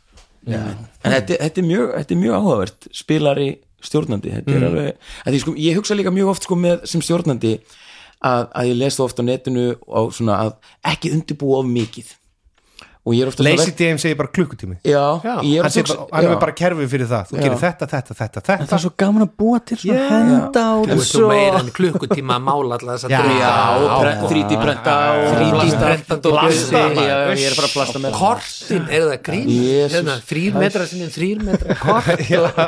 [SPEAKER 1] en þetta, þetta, er mjög, þetta er mjög áhugavert spilari stjórnandi þetta er alveg, að því sko, ég hugsa líka mjög oft sko með sem stjórnandi að, að ég les það oft á netinu á svona að ekki undirbúa of mikið og ég er ofta
[SPEAKER 2] Lazy DM segir bara klukkutími
[SPEAKER 1] Já,
[SPEAKER 5] Já,
[SPEAKER 1] ég er
[SPEAKER 2] hann,
[SPEAKER 1] ofta
[SPEAKER 2] segir bara, hann er bara kerfið fyrir það þú
[SPEAKER 1] Já.
[SPEAKER 2] gerir þetta, þetta, þetta,
[SPEAKER 3] En það
[SPEAKER 2] þetta
[SPEAKER 3] er svo gaman að búa til svona
[SPEAKER 2] Yeah.
[SPEAKER 3] henda og
[SPEAKER 5] þú veist þú
[SPEAKER 3] svo
[SPEAKER 5] meira en klukkutíma að mála alltaf þess að
[SPEAKER 2] Já.
[SPEAKER 1] Já, pre- 3D prenta og
[SPEAKER 5] 3D
[SPEAKER 1] plasta.
[SPEAKER 5] prentandi og
[SPEAKER 1] Plasta,
[SPEAKER 5] blasi.
[SPEAKER 1] maður. Já, já, ég er bara að plasta með
[SPEAKER 5] kortin, er það grín
[SPEAKER 1] Jesus.
[SPEAKER 5] hérna, þrýr metra sinni þrýr metra kort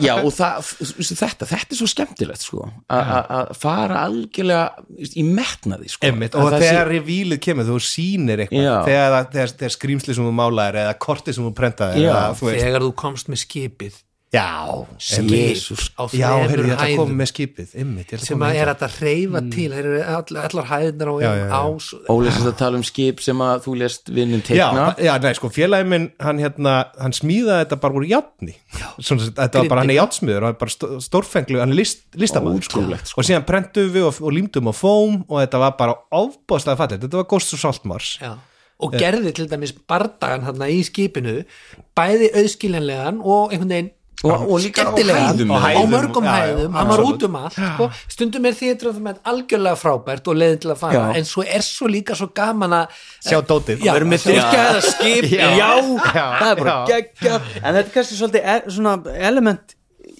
[SPEAKER 1] Já, og það, þetta, þetta er svo skemmtilegt sko, a- a- að fara algjörlega í metnaði sko.
[SPEAKER 2] Einmitt,
[SPEAKER 1] Að
[SPEAKER 2] og
[SPEAKER 1] það
[SPEAKER 2] þegar revílið kemur, þú sýnir
[SPEAKER 1] Já.
[SPEAKER 2] eitthvað þegar, það- þegar, þegar skrýmsli sem þú málaðir eða kortið sem þú prentaðir
[SPEAKER 1] Já.
[SPEAKER 2] eða, þú veist,
[SPEAKER 5] þegar þú komst með skipið
[SPEAKER 2] já,
[SPEAKER 1] sé
[SPEAKER 2] einmitt.
[SPEAKER 1] Jesus,
[SPEAKER 5] á
[SPEAKER 2] já, heyrðu,
[SPEAKER 5] þremur
[SPEAKER 2] ég ætla að koma
[SPEAKER 5] hæðum
[SPEAKER 2] með skipið einmitt, ég ætla að
[SPEAKER 5] sem
[SPEAKER 2] koma
[SPEAKER 5] að
[SPEAKER 2] með
[SPEAKER 5] er hægt að hreyfa til þeir eru all, allar hæðnar á
[SPEAKER 2] Já, já,
[SPEAKER 5] einum
[SPEAKER 2] já.
[SPEAKER 5] ás
[SPEAKER 1] Óli sem þetta tala um skip sem að þú lest vinnum
[SPEAKER 2] já,
[SPEAKER 1] teikna
[SPEAKER 2] já, nei, sko, félagi minn hann, hérna, hann smíðaði þetta bara úr játni Svona, sem- þetta var bara, hann er játsmiður hann er bara stó- stórfenglu, hann er list, listamæður sko.
[SPEAKER 1] Ótrúlegt,
[SPEAKER 2] og síðan prentum við og, og límdum á fóm og þetta var bara ofbóðslega fallið þetta var Ghost of Saltmars
[SPEAKER 5] Já. og gerði til dæmis bardagan þarna í skipinu bæði auðskiljanlegan og einhvern veginn
[SPEAKER 1] Og- og líka á
[SPEAKER 5] skemmtilegan,
[SPEAKER 1] hæðum.
[SPEAKER 5] á,
[SPEAKER 1] Á
[SPEAKER 2] hæðum,
[SPEAKER 5] mörgum
[SPEAKER 2] já, já,
[SPEAKER 5] hæðum, hann var
[SPEAKER 2] absolutt.
[SPEAKER 5] út um allt sko. stundum er þýttur að það með algjörlega frábært og leiðin til að fara,
[SPEAKER 1] Já.
[SPEAKER 5] en svo er svo líka svo gaman að
[SPEAKER 2] sjá dótið
[SPEAKER 5] Já,
[SPEAKER 3] erum með
[SPEAKER 5] Já.
[SPEAKER 3] þyrkjaða skip já, það er bara
[SPEAKER 2] já.
[SPEAKER 3] geggja en þetta er kannski svolítið e svona element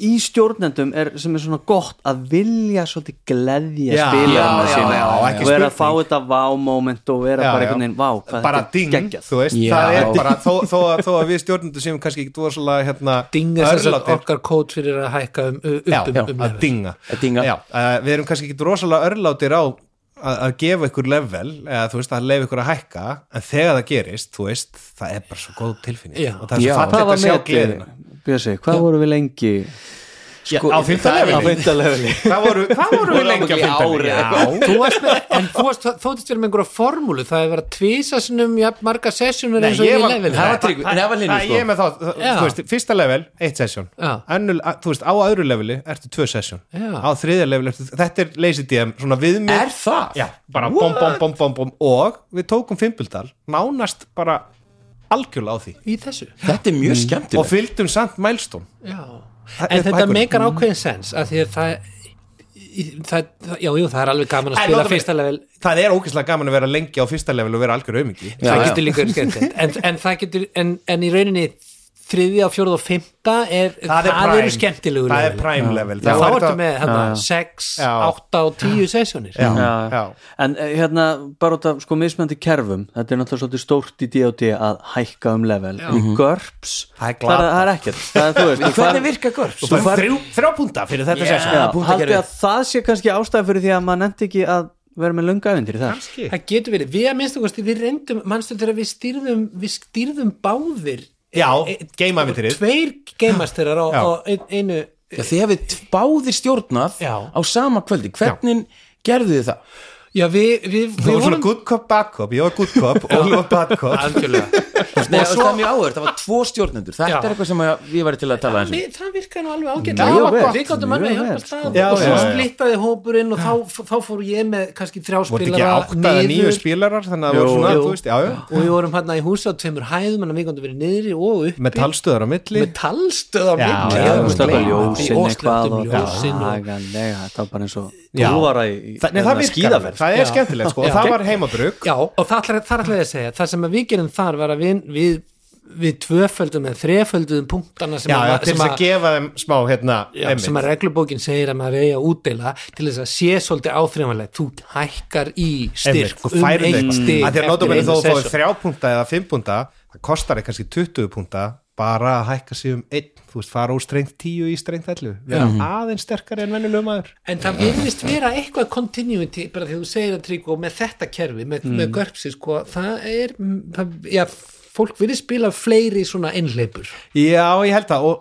[SPEAKER 3] í stjórnendum er, sem er svona gott að vilja svolítið gleðja
[SPEAKER 2] Já,
[SPEAKER 3] spilarana
[SPEAKER 2] já,
[SPEAKER 3] sína
[SPEAKER 2] já, ekki
[SPEAKER 3] og er að
[SPEAKER 2] spurning.
[SPEAKER 3] fá þetta vá-moment og vera
[SPEAKER 2] Já,
[SPEAKER 3] bara
[SPEAKER 2] já.
[SPEAKER 3] einhvern veginn vá hvað
[SPEAKER 2] bara
[SPEAKER 3] þetta
[SPEAKER 2] ding,
[SPEAKER 3] er geggjað
[SPEAKER 2] þú veist,
[SPEAKER 1] Já.
[SPEAKER 2] það er bara þó, þó, að- þó að við stjórnundu séum kannski ekki dvosalega hérna,
[SPEAKER 5] dinga þess að
[SPEAKER 2] örlátir.
[SPEAKER 5] okkar kót fyrir að hækka um, upp
[SPEAKER 2] já,
[SPEAKER 5] um,
[SPEAKER 2] já,
[SPEAKER 5] um
[SPEAKER 2] að
[SPEAKER 5] level.
[SPEAKER 2] dinga,
[SPEAKER 1] Að dinga.
[SPEAKER 2] Já, uh, við erum kannski ekki rosalega örlátir á að, að gefa ykkur level eða þú veist að leifa ykkur að hækka en þegar það gerist, þú veist, það er bara svo góð tilfinning
[SPEAKER 5] Já.
[SPEAKER 2] og það er svo
[SPEAKER 3] hvað
[SPEAKER 2] fallegt
[SPEAKER 3] var
[SPEAKER 2] að sjá
[SPEAKER 3] með
[SPEAKER 2] gleðina
[SPEAKER 3] Bjössi, hvað voru við lengi
[SPEAKER 2] á fimmta
[SPEAKER 1] Sko, það er-
[SPEAKER 2] leveli.
[SPEAKER 1] á fimmta leveli
[SPEAKER 2] hvað voru, hvað voru við lengi á
[SPEAKER 1] Í ár
[SPEAKER 2] fylgdæmi?
[SPEAKER 1] eða
[SPEAKER 2] Já,
[SPEAKER 5] Þú varst með, en þú varst, þóttist verið með einhverja formúlu, það hefur verið að tvisa sinnum jafn marga sessjónur
[SPEAKER 2] Nei,
[SPEAKER 5] eins og
[SPEAKER 2] ég
[SPEAKER 5] ég
[SPEAKER 2] var-
[SPEAKER 5] lefið
[SPEAKER 1] það var tryggvi, nei, það var linni
[SPEAKER 2] Nei, ég er
[SPEAKER 1] sko
[SPEAKER 2] með þá, þú
[SPEAKER 5] Já.
[SPEAKER 2] veist, fyrsta level, eitt sesjón
[SPEAKER 5] Já.
[SPEAKER 2] Önnul, að- þú veist, á öðru leveli ertu tvö sesjón
[SPEAKER 5] Já.
[SPEAKER 2] á þriðja leveli, ertu, þetta er Lazy DM svona viðmið,
[SPEAKER 1] Er það?
[SPEAKER 2] já, bara bom, bom, bom, bom, bom, og við tókum fimbildal, nánast bara algjörlega á því
[SPEAKER 5] í þessu
[SPEAKER 1] Þetta er mjög
[SPEAKER 2] og
[SPEAKER 1] skemmtilegt
[SPEAKER 2] fylgdum samt mælstón
[SPEAKER 5] Já.
[SPEAKER 2] Það
[SPEAKER 5] En
[SPEAKER 2] er
[SPEAKER 5] þetta
[SPEAKER 2] bækur.
[SPEAKER 5] meikar ákveðin sens að því að það, í- það, það já, jú, það er alveg gaman að
[SPEAKER 2] En
[SPEAKER 5] spila
[SPEAKER 2] notabene-
[SPEAKER 5] fyrsta level
[SPEAKER 2] það er ógeðslega gaman að vera lengi á fyrsta level og vera algjör aumingi
[SPEAKER 1] Já,
[SPEAKER 5] það
[SPEAKER 1] já.
[SPEAKER 5] getur líka verið skemmtilegt en, en það getur, en, en í rauninni þriðja, fjórða og fimmta er, eru skemmtilegu
[SPEAKER 2] það er prime level
[SPEAKER 5] þá
[SPEAKER 2] Þá er
[SPEAKER 5] ertu
[SPEAKER 2] þetta-
[SPEAKER 5] með hérna, sex,
[SPEAKER 2] Já.
[SPEAKER 5] átta og tíu sessjónir
[SPEAKER 2] já,
[SPEAKER 3] Já.
[SPEAKER 2] já,
[SPEAKER 3] En eh, hérna, bara út af sko mismöndi kerfum, þetta er náttúrulega svolítið stórt í D&D að hækka um level í GURPS,
[SPEAKER 2] Það er
[SPEAKER 3] það er,
[SPEAKER 2] glatað.
[SPEAKER 3] það er ekkert það er, þú veist, þú far-
[SPEAKER 1] Hvernig virka görps?
[SPEAKER 2] þú fær þrjú, þrjá punta fyrir þetta yeah.
[SPEAKER 3] Já,
[SPEAKER 1] punktakerfið.
[SPEAKER 3] haldið að það sé kannski ástæða fyrir því að maður nefndi ekki að vera með lunga ævindir í það
[SPEAKER 2] sesjón
[SPEAKER 5] það getur verið, við að minnstakosti við reyndum, mannstu þegar við stýrðum við stýrðum báðir
[SPEAKER 2] já,
[SPEAKER 5] e- e-
[SPEAKER 2] geimavitrið
[SPEAKER 5] tveir geimasterar á,
[SPEAKER 2] Já.
[SPEAKER 5] á ein- einu
[SPEAKER 1] Já, þegar við t- báðir stjórnað
[SPEAKER 5] Já.
[SPEAKER 1] á sama kvöldi, hvernig gerðu þið það?
[SPEAKER 5] já, við, við,
[SPEAKER 2] Þú
[SPEAKER 5] við
[SPEAKER 2] var svona good cop, bad cop, ég var good cop og Óli var bad cop
[SPEAKER 5] algjörlega
[SPEAKER 1] Nei, það er mjög áhverð, það var tvo stjórnendur þetta
[SPEAKER 5] Já.
[SPEAKER 1] er eitthvað sem að- ég væri til að tala um. eins
[SPEAKER 5] Við, það virkaði nú alveg
[SPEAKER 2] Mjög
[SPEAKER 5] ágætlega
[SPEAKER 2] vel,
[SPEAKER 5] við gáttum alveg
[SPEAKER 3] mjög
[SPEAKER 5] að hjálpa
[SPEAKER 3] vel,
[SPEAKER 5] stað
[SPEAKER 3] sko.
[SPEAKER 2] Já,
[SPEAKER 5] og svo
[SPEAKER 2] já, já.
[SPEAKER 5] splittaði hópurinn og þá, þá fór ég með kannski þrjá
[SPEAKER 2] Voru ekki
[SPEAKER 5] spilara
[SPEAKER 2] átta eða nýju spilarar þannig að
[SPEAKER 5] Jú,
[SPEAKER 2] það voru svona,
[SPEAKER 5] jú.
[SPEAKER 2] þú veist, já, já
[SPEAKER 5] og við vorum hérna í húsi á tveimur hæðum en við gáttum verið niðri og upp
[SPEAKER 2] með talstöðar á milli
[SPEAKER 5] með talstöð á
[SPEAKER 2] Já,
[SPEAKER 5] milli
[SPEAKER 2] já,
[SPEAKER 5] Ég hafði
[SPEAKER 2] þú
[SPEAKER 5] nú gleymt því,
[SPEAKER 2] slökkva
[SPEAKER 3] ljósin
[SPEAKER 5] og
[SPEAKER 3] eitthvað
[SPEAKER 5] slökktum
[SPEAKER 3] og
[SPEAKER 5] ljósin og-
[SPEAKER 3] agalega, það var bara eins og
[SPEAKER 2] Já.
[SPEAKER 3] búvara í hérna,
[SPEAKER 2] Þa- Nei, það virkar, alveg.
[SPEAKER 3] skíðaferð
[SPEAKER 2] það
[SPEAKER 5] Já.
[SPEAKER 2] er skemmtilegt sko, og
[SPEAKER 5] Já.
[SPEAKER 2] það var heimabrug
[SPEAKER 5] Já, og það ætla, það ætla ég að segja það sem að við gerum þar var að við við, við tvöföldum eða þreföldum punktana sem
[SPEAKER 2] Já,
[SPEAKER 5] að,
[SPEAKER 2] já, til
[SPEAKER 5] sem
[SPEAKER 2] þess að
[SPEAKER 5] að,
[SPEAKER 2] gefa þeim smá hérna,
[SPEAKER 5] já,
[SPEAKER 2] einmitt.
[SPEAKER 5] sem að reglubókin segir að maður eigi að útdeila til þess að sé svolítið áþreifanlega þú hækkar í styrk
[SPEAKER 2] um
[SPEAKER 5] um eitt styrk
[SPEAKER 2] að því að
[SPEAKER 5] eftir
[SPEAKER 2] notabene
[SPEAKER 5] eina
[SPEAKER 2] þó þú
[SPEAKER 5] session.
[SPEAKER 2] er þrjá punta eða fimm punta það kostar þig kannski 20 punta bara að hækka sig um einn þú veist fara úr strengt 10 í strengt 11 vera
[SPEAKER 5] Mhm.
[SPEAKER 2] aðeins sterkari en venjulegum maður
[SPEAKER 5] En það virðist vera eitthvað continuity bara því þú segir að Tryggvo með þetta kerfi með,
[SPEAKER 2] Mm.
[SPEAKER 5] með görpsi sko það er, mm, það, já, fólk virðist spila fleiri svona innleipur
[SPEAKER 2] já ég held það og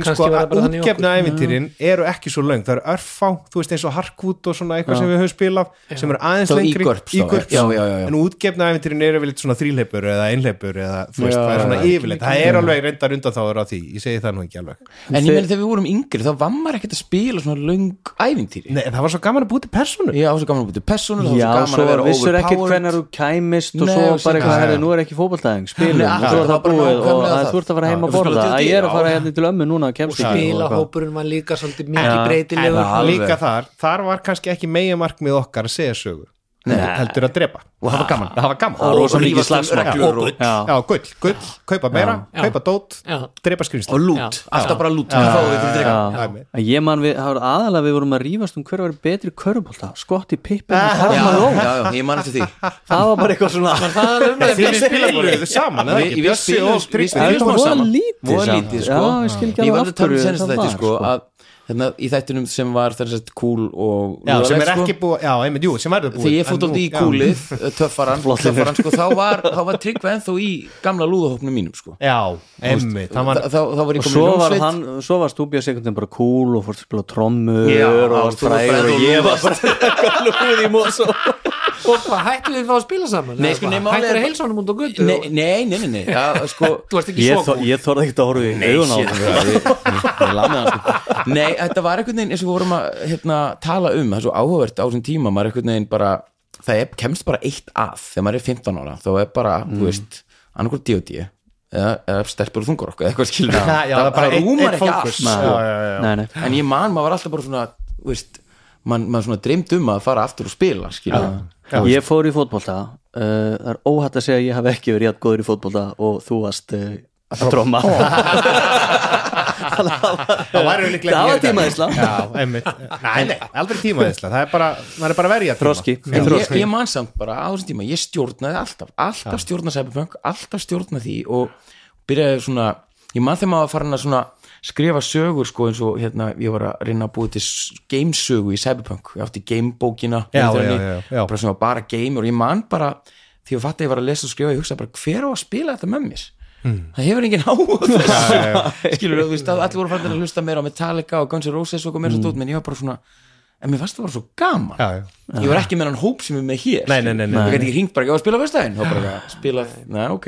[SPEAKER 5] Eða kannski
[SPEAKER 2] sko
[SPEAKER 5] var það bara þannig í
[SPEAKER 2] útgefna ævintýrin eru ekki svo löng það eru örfá þú veist eins og harkvút og svona eitthvað sem við höfum spilað sem eru aðeins
[SPEAKER 1] Þá í
[SPEAKER 2] lengri
[SPEAKER 1] GURPS þá,
[SPEAKER 2] GURPS.
[SPEAKER 1] já, já, já, já.
[SPEAKER 2] en útgefna ævintýrin eru vel svona þríleipur eða einleipur eða þú veist
[SPEAKER 1] Já,
[SPEAKER 2] það er svona
[SPEAKER 1] já, já.
[SPEAKER 2] yfirleitt það er alveg reyndar undan þáður á því ég segi það nú ekki alveg
[SPEAKER 1] en ég meina þegar við vorum yngri þá var maður ekkert að spila svona löng ævintýri
[SPEAKER 2] Nei, en það var svo gaman að búið til personu
[SPEAKER 1] ég á svo gaman að búti personur það
[SPEAKER 3] Já,
[SPEAKER 1] var svo
[SPEAKER 3] svo
[SPEAKER 1] gaman að vera
[SPEAKER 3] vissur ekkert hvernar
[SPEAKER 1] overpowered
[SPEAKER 3] þú kæmist og
[SPEAKER 1] Nei,
[SPEAKER 3] svo
[SPEAKER 1] og
[SPEAKER 3] bara
[SPEAKER 1] síðan-
[SPEAKER 3] eitthvað,
[SPEAKER 2] Já,
[SPEAKER 3] herri,
[SPEAKER 2] já.
[SPEAKER 3] nú er ekki fótboltaðing spilum,
[SPEAKER 1] Nei,
[SPEAKER 3] og svo er það
[SPEAKER 1] akkurat, það var bara
[SPEAKER 3] búið og
[SPEAKER 1] nákvæmlega
[SPEAKER 3] að
[SPEAKER 1] það.
[SPEAKER 3] þú ert að fara heim
[SPEAKER 1] Já,
[SPEAKER 3] að
[SPEAKER 1] þú
[SPEAKER 3] borða
[SPEAKER 1] spilar
[SPEAKER 3] að
[SPEAKER 1] D&D,
[SPEAKER 3] ég er að fara
[SPEAKER 1] já.
[SPEAKER 3] hérna til ömmu núna og kemst ekki
[SPEAKER 5] spila
[SPEAKER 3] og eitthvað.
[SPEAKER 5] hópurinn var líka svolítið mikið
[SPEAKER 3] Já,
[SPEAKER 5] breytilegur
[SPEAKER 3] en
[SPEAKER 2] líka
[SPEAKER 1] Alveg.
[SPEAKER 2] þar, þar var kannski ekki meginmarkmið okkar að segja sögu heldur að drepa og hafa gaman, hafa gaman
[SPEAKER 3] Og rosa mikið
[SPEAKER 2] rífast um-
[SPEAKER 3] slagsmál.
[SPEAKER 2] Já, og gull.
[SPEAKER 3] Já.
[SPEAKER 2] já, gull, gull, kaupa meira
[SPEAKER 5] Já.
[SPEAKER 2] kaupa dót,
[SPEAKER 5] Já.
[SPEAKER 2] drepa skrýmsli
[SPEAKER 3] og lút
[SPEAKER 1] alltaf bara lút hvað fáum við fyrir drega
[SPEAKER 2] Já.
[SPEAKER 3] Að ég man við, það var aðalega við vorum að rífast um hver var betri körubólta, skott í pippin og Karl Malone.
[SPEAKER 1] já, já, já, ég man eftir því
[SPEAKER 3] það var bara eitthvað svona
[SPEAKER 5] Það er umræðið
[SPEAKER 2] Þið spilaðu þau saman, eða
[SPEAKER 1] Við-
[SPEAKER 2] ekki?
[SPEAKER 1] við spilum- við
[SPEAKER 3] Það er bara
[SPEAKER 1] spilum smá
[SPEAKER 3] voða
[SPEAKER 1] saman.
[SPEAKER 3] lítið
[SPEAKER 1] Voða
[SPEAKER 3] samt.
[SPEAKER 1] lítið,
[SPEAKER 3] Já,
[SPEAKER 1] sko.
[SPEAKER 3] ég skil ekki
[SPEAKER 1] Ég
[SPEAKER 3] alveg
[SPEAKER 1] var
[SPEAKER 3] af
[SPEAKER 1] að tala um
[SPEAKER 3] hverju
[SPEAKER 1] senast
[SPEAKER 3] það
[SPEAKER 1] þetta
[SPEAKER 3] var,
[SPEAKER 1] sko
[SPEAKER 3] sko.
[SPEAKER 1] að hérna, í þættinum sem var þessast cool og
[SPEAKER 2] Já, sem er
[SPEAKER 1] lúðalegt, sko.
[SPEAKER 2] ekki búið, já, einmitt, jú, sem verður búið
[SPEAKER 1] þegar ég fótt
[SPEAKER 2] En nú-
[SPEAKER 1] aldrei í
[SPEAKER 2] já.
[SPEAKER 1] kúlið töffaran, töffaran sko, þá var, þá var tryggva ennþá í gamla lúðahopnum mínum sko.
[SPEAKER 2] Já, einmitt, hann var
[SPEAKER 1] Þa- þá, þá var
[SPEAKER 3] og
[SPEAKER 1] ég
[SPEAKER 3] svo
[SPEAKER 1] komin í
[SPEAKER 3] var,
[SPEAKER 1] ljónsveit
[SPEAKER 3] hann, svo var Stúbja sekundin bara cool og fórst að spila trommur
[SPEAKER 1] Já,
[SPEAKER 3] og
[SPEAKER 1] já,
[SPEAKER 3] varst
[SPEAKER 1] þú varst
[SPEAKER 3] frægur
[SPEAKER 1] frægur
[SPEAKER 3] og
[SPEAKER 1] og
[SPEAKER 3] ég var bara lúð í mós
[SPEAKER 5] Og hvað, hættu við þá að spila saman?
[SPEAKER 1] Nei,
[SPEAKER 5] Eða
[SPEAKER 1] sko,
[SPEAKER 5] hvað?
[SPEAKER 1] nei, málið
[SPEAKER 5] Hættu
[SPEAKER 1] er-
[SPEAKER 5] að heilsa honum út á götu
[SPEAKER 1] nei,
[SPEAKER 5] og-
[SPEAKER 1] nei, nei, nei, nei. Já, sko,
[SPEAKER 5] Þú ert ekki
[SPEAKER 3] ég,
[SPEAKER 5] svo
[SPEAKER 3] þor, ég þorði ekkert að horfa í augun á
[SPEAKER 1] shit,
[SPEAKER 3] það
[SPEAKER 1] það- ég- ég- ég lamaði hann, sko. Nei, þetta var einhvern veginn eins og við vorum að hérna, tala um, það er svo áhugavert á þessum tíma maður einhvern veginn bara, það er, kemst bara eitt að þegar maður er 15 ára, þá er bara
[SPEAKER 2] Mm.
[SPEAKER 1] þú veist, annarkur D.O.D. eða, eða stelpur og þungur okkur, eitthvað skilur
[SPEAKER 2] Já, já, það er bara einn- einn
[SPEAKER 1] rúmar ekki
[SPEAKER 2] fókus.
[SPEAKER 1] allt
[SPEAKER 2] Já,
[SPEAKER 1] sko.
[SPEAKER 2] já, já, já.
[SPEAKER 3] nei, nei.
[SPEAKER 1] en ég man, maður var alltaf bara svona þú veist, man, maður svona dreymd um að fara aftur og spila skilur
[SPEAKER 3] ég fór í fótbolta uh, það er óhætt að segja að ég haf ekki verið jætt góður í fótbolta og þú varst uh, að tromma
[SPEAKER 2] Það var auðvitað
[SPEAKER 3] Það var tímaðisla.
[SPEAKER 2] Já, einmitt Nei, nei, aldrei tímaðisla Það er bara, maður er bara að verja tíma.
[SPEAKER 3] Þroski.
[SPEAKER 2] Já.
[SPEAKER 1] En ég, ég man samt bara á þessum tíma ég stjórnaði alltaf, alltaf stjórnaði cyberpunk alltaf stjórnaði því og byrjaði svona, ég man þegar maður var farin að svona skrifa sögur sko eins og hérna, ég var að reyna að búi til s- gamesögu í cyberpunk, ég átti gamebókina
[SPEAKER 2] Já,
[SPEAKER 1] hérna,
[SPEAKER 2] já, já, já.
[SPEAKER 1] bara sem var bara game og ég man bara, því að fatta ég var að lesa og skrifa ég hugsaði bara hver á að spila þetta með mér
[SPEAKER 2] Hmm.
[SPEAKER 1] það hefur enginn áhuga á þessu skilur þú veist að allir voru farin að hlusta meira á Metallica og Guns N' Roses og eitthvað meira mm. út, menn ég var bara svona en mér fannst það bara svo
[SPEAKER 2] Hmm.
[SPEAKER 1] gaman
[SPEAKER 2] Já, já.
[SPEAKER 1] ég var ekki með hann hóp sem við með hér
[SPEAKER 2] Nei, nei, nei, nei.
[SPEAKER 1] ég gæti ekki hringt bara ekki á að spila verðstæðin þá bara eitthvað, spila, neða, ok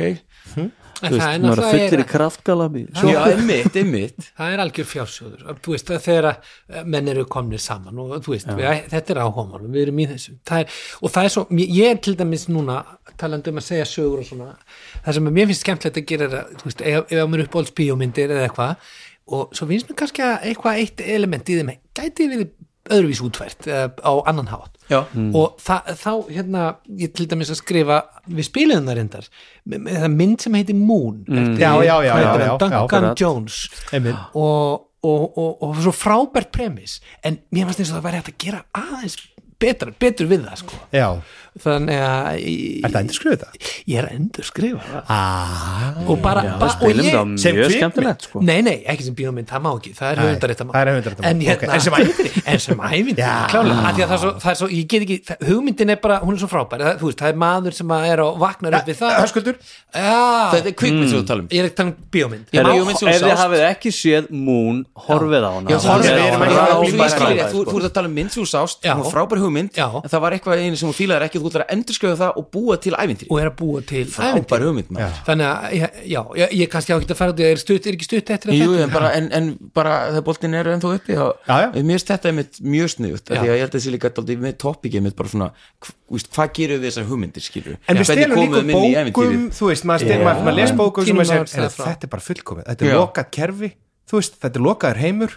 [SPEAKER 5] En það er
[SPEAKER 3] maður er
[SPEAKER 5] náttúrulega-
[SPEAKER 3] fullir í kraftgalabi
[SPEAKER 1] svo, já, einmitt, einmitt
[SPEAKER 5] það er algjör fjársjóður þú veist að þegar að menn eru komnir saman og þú veist, við, þetta er áhómanum við erum í þessu það er, og það er svo, mér- ég er til dæmis núna talandi um að segja sögur og svona það sem að mér finnst skemmtilegt að gera er að, þú veist, ef, ef mér uppáhalds bíómyndir eða eitthvað og svo finnst mér kannski að eitthvað eitt element í þeim gæti verið öðruvís útfært eða á annan hátt
[SPEAKER 1] Já.
[SPEAKER 3] Mm.
[SPEAKER 5] og það, þá hérna ég til dæmis að skrifa við spilum það reyndar með, með það mynd sem heiti Moon
[SPEAKER 3] Mm.
[SPEAKER 5] eftir,
[SPEAKER 2] Já, já, já,
[SPEAKER 5] hvað
[SPEAKER 2] já,
[SPEAKER 5] heitir hann?
[SPEAKER 2] já, já,
[SPEAKER 5] Duncan
[SPEAKER 2] akkurat.
[SPEAKER 5] Jones
[SPEAKER 2] Einmitt.
[SPEAKER 5] og, og, og, og svo frábært premis en mér fannst eins og það væri hægt að gera aðeins betra, betur við það sko
[SPEAKER 2] Já,
[SPEAKER 5] þannig að
[SPEAKER 2] er
[SPEAKER 5] ég,
[SPEAKER 2] það endur skrifa þetta?
[SPEAKER 5] ég er að endur skrifa það
[SPEAKER 2] Ah,
[SPEAKER 5] og bara,
[SPEAKER 3] Já,
[SPEAKER 5] bara
[SPEAKER 3] við spilum
[SPEAKER 5] og
[SPEAKER 3] það
[SPEAKER 5] ég,
[SPEAKER 2] Sem
[SPEAKER 3] mjög
[SPEAKER 2] kvikmynd.
[SPEAKER 3] skemmtilegt sko.
[SPEAKER 5] nei nei, ekki sem bíómynd, það má ekki það er
[SPEAKER 2] Nei,
[SPEAKER 5] höfundaréttamál
[SPEAKER 2] það er höfundaréttamál,
[SPEAKER 5] en, hérna,
[SPEAKER 2] ok. En sem ævintýri.
[SPEAKER 5] en sem ævindir,
[SPEAKER 2] Já.
[SPEAKER 5] klálega af því að það er svo, það er svo, ég get ekki, það, hugmyndin er bara hún er svo frábær, það, þú veist, það er maður sem að er og vaknar upp við það
[SPEAKER 2] Eh, höskuldur
[SPEAKER 5] já,
[SPEAKER 1] þetta er kvikmynd sem þú talum
[SPEAKER 5] ég er ekki tannig bíómynd Má-
[SPEAKER 1] Ég er
[SPEAKER 3] Herru,
[SPEAKER 1] bíómynd sem þú
[SPEAKER 3] ef þið
[SPEAKER 1] sást.
[SPEAKER 3] hafið ekki séð Moon horfið á hana
[SPEAKER 1] Já,
[SPEAKER 2] horfið,
[SPEAKER 1] það
[SPEAKER 2] við erum
[SPEAKER 1] er-
[SPEAKER 2] ekki að
[SPEAKER 1] Já, svo
[SPEAKER 2] tala um
[SPEAKER 1] ég
[SPEAKER 2] bara-
[SPEAKER 1] skil ég,
[SPEAKER 3] bara-
[SPEAKER 1] þú þú ert að tala um mynd sem þú sást
[SPEAKER 5] Já.
[SPEAKER 1] hún var frábær hugmynd,
[SPEAKER 5] Já.
[SPEAKER 1] en það var eitthvað einu sem þú fílaðir ekki þú ætlar að endurskjöða það og búa til ævintýri
[SPEAKER 5] og er að búa til ævintýri.
[SPEAKER 1] frábær hugmynd maður.
[SPEAKER 5] þannig að, ég- já, ég, ég kannski á ekki að fara út í það er, stutt, er ekki stutt eftir að
[SPEAKER 1] Jú,
[SPEAKER 5] þetta
[SPEAKER 1] en bara, en, en bara þegar boltin er ennþá uppi þá,
[SPEAKER 2] Já, já.
[SPEAKER 1] mér finnst þetta einmitt mjög sniðut
[SPEAKER 5] Já.
[SPEAKER 1] því að ég held að þessi líka dálítið með topikið mitt bara svona, hv- víst, hvað gerir við þessar hugmyndir skilur
[SPEAKER 2] En við stelum líka bókum, þú veist, maður stelum, maður, maður les bókum sem
[SPEAKER 5] Tímum
[SPEAKER 2] maður segir,
[SPEAKER 5] maður sagði
[SPEAKER 2] "Heyrðu,
[SPEAKER 5] frá."
[SPEAKER 2] þetta er bara fullkomið, þetta er
[SPEAKER 1] Já.
[SPEAKER 2] lokað kerfi, þú veist, þetta er lokaður heimur,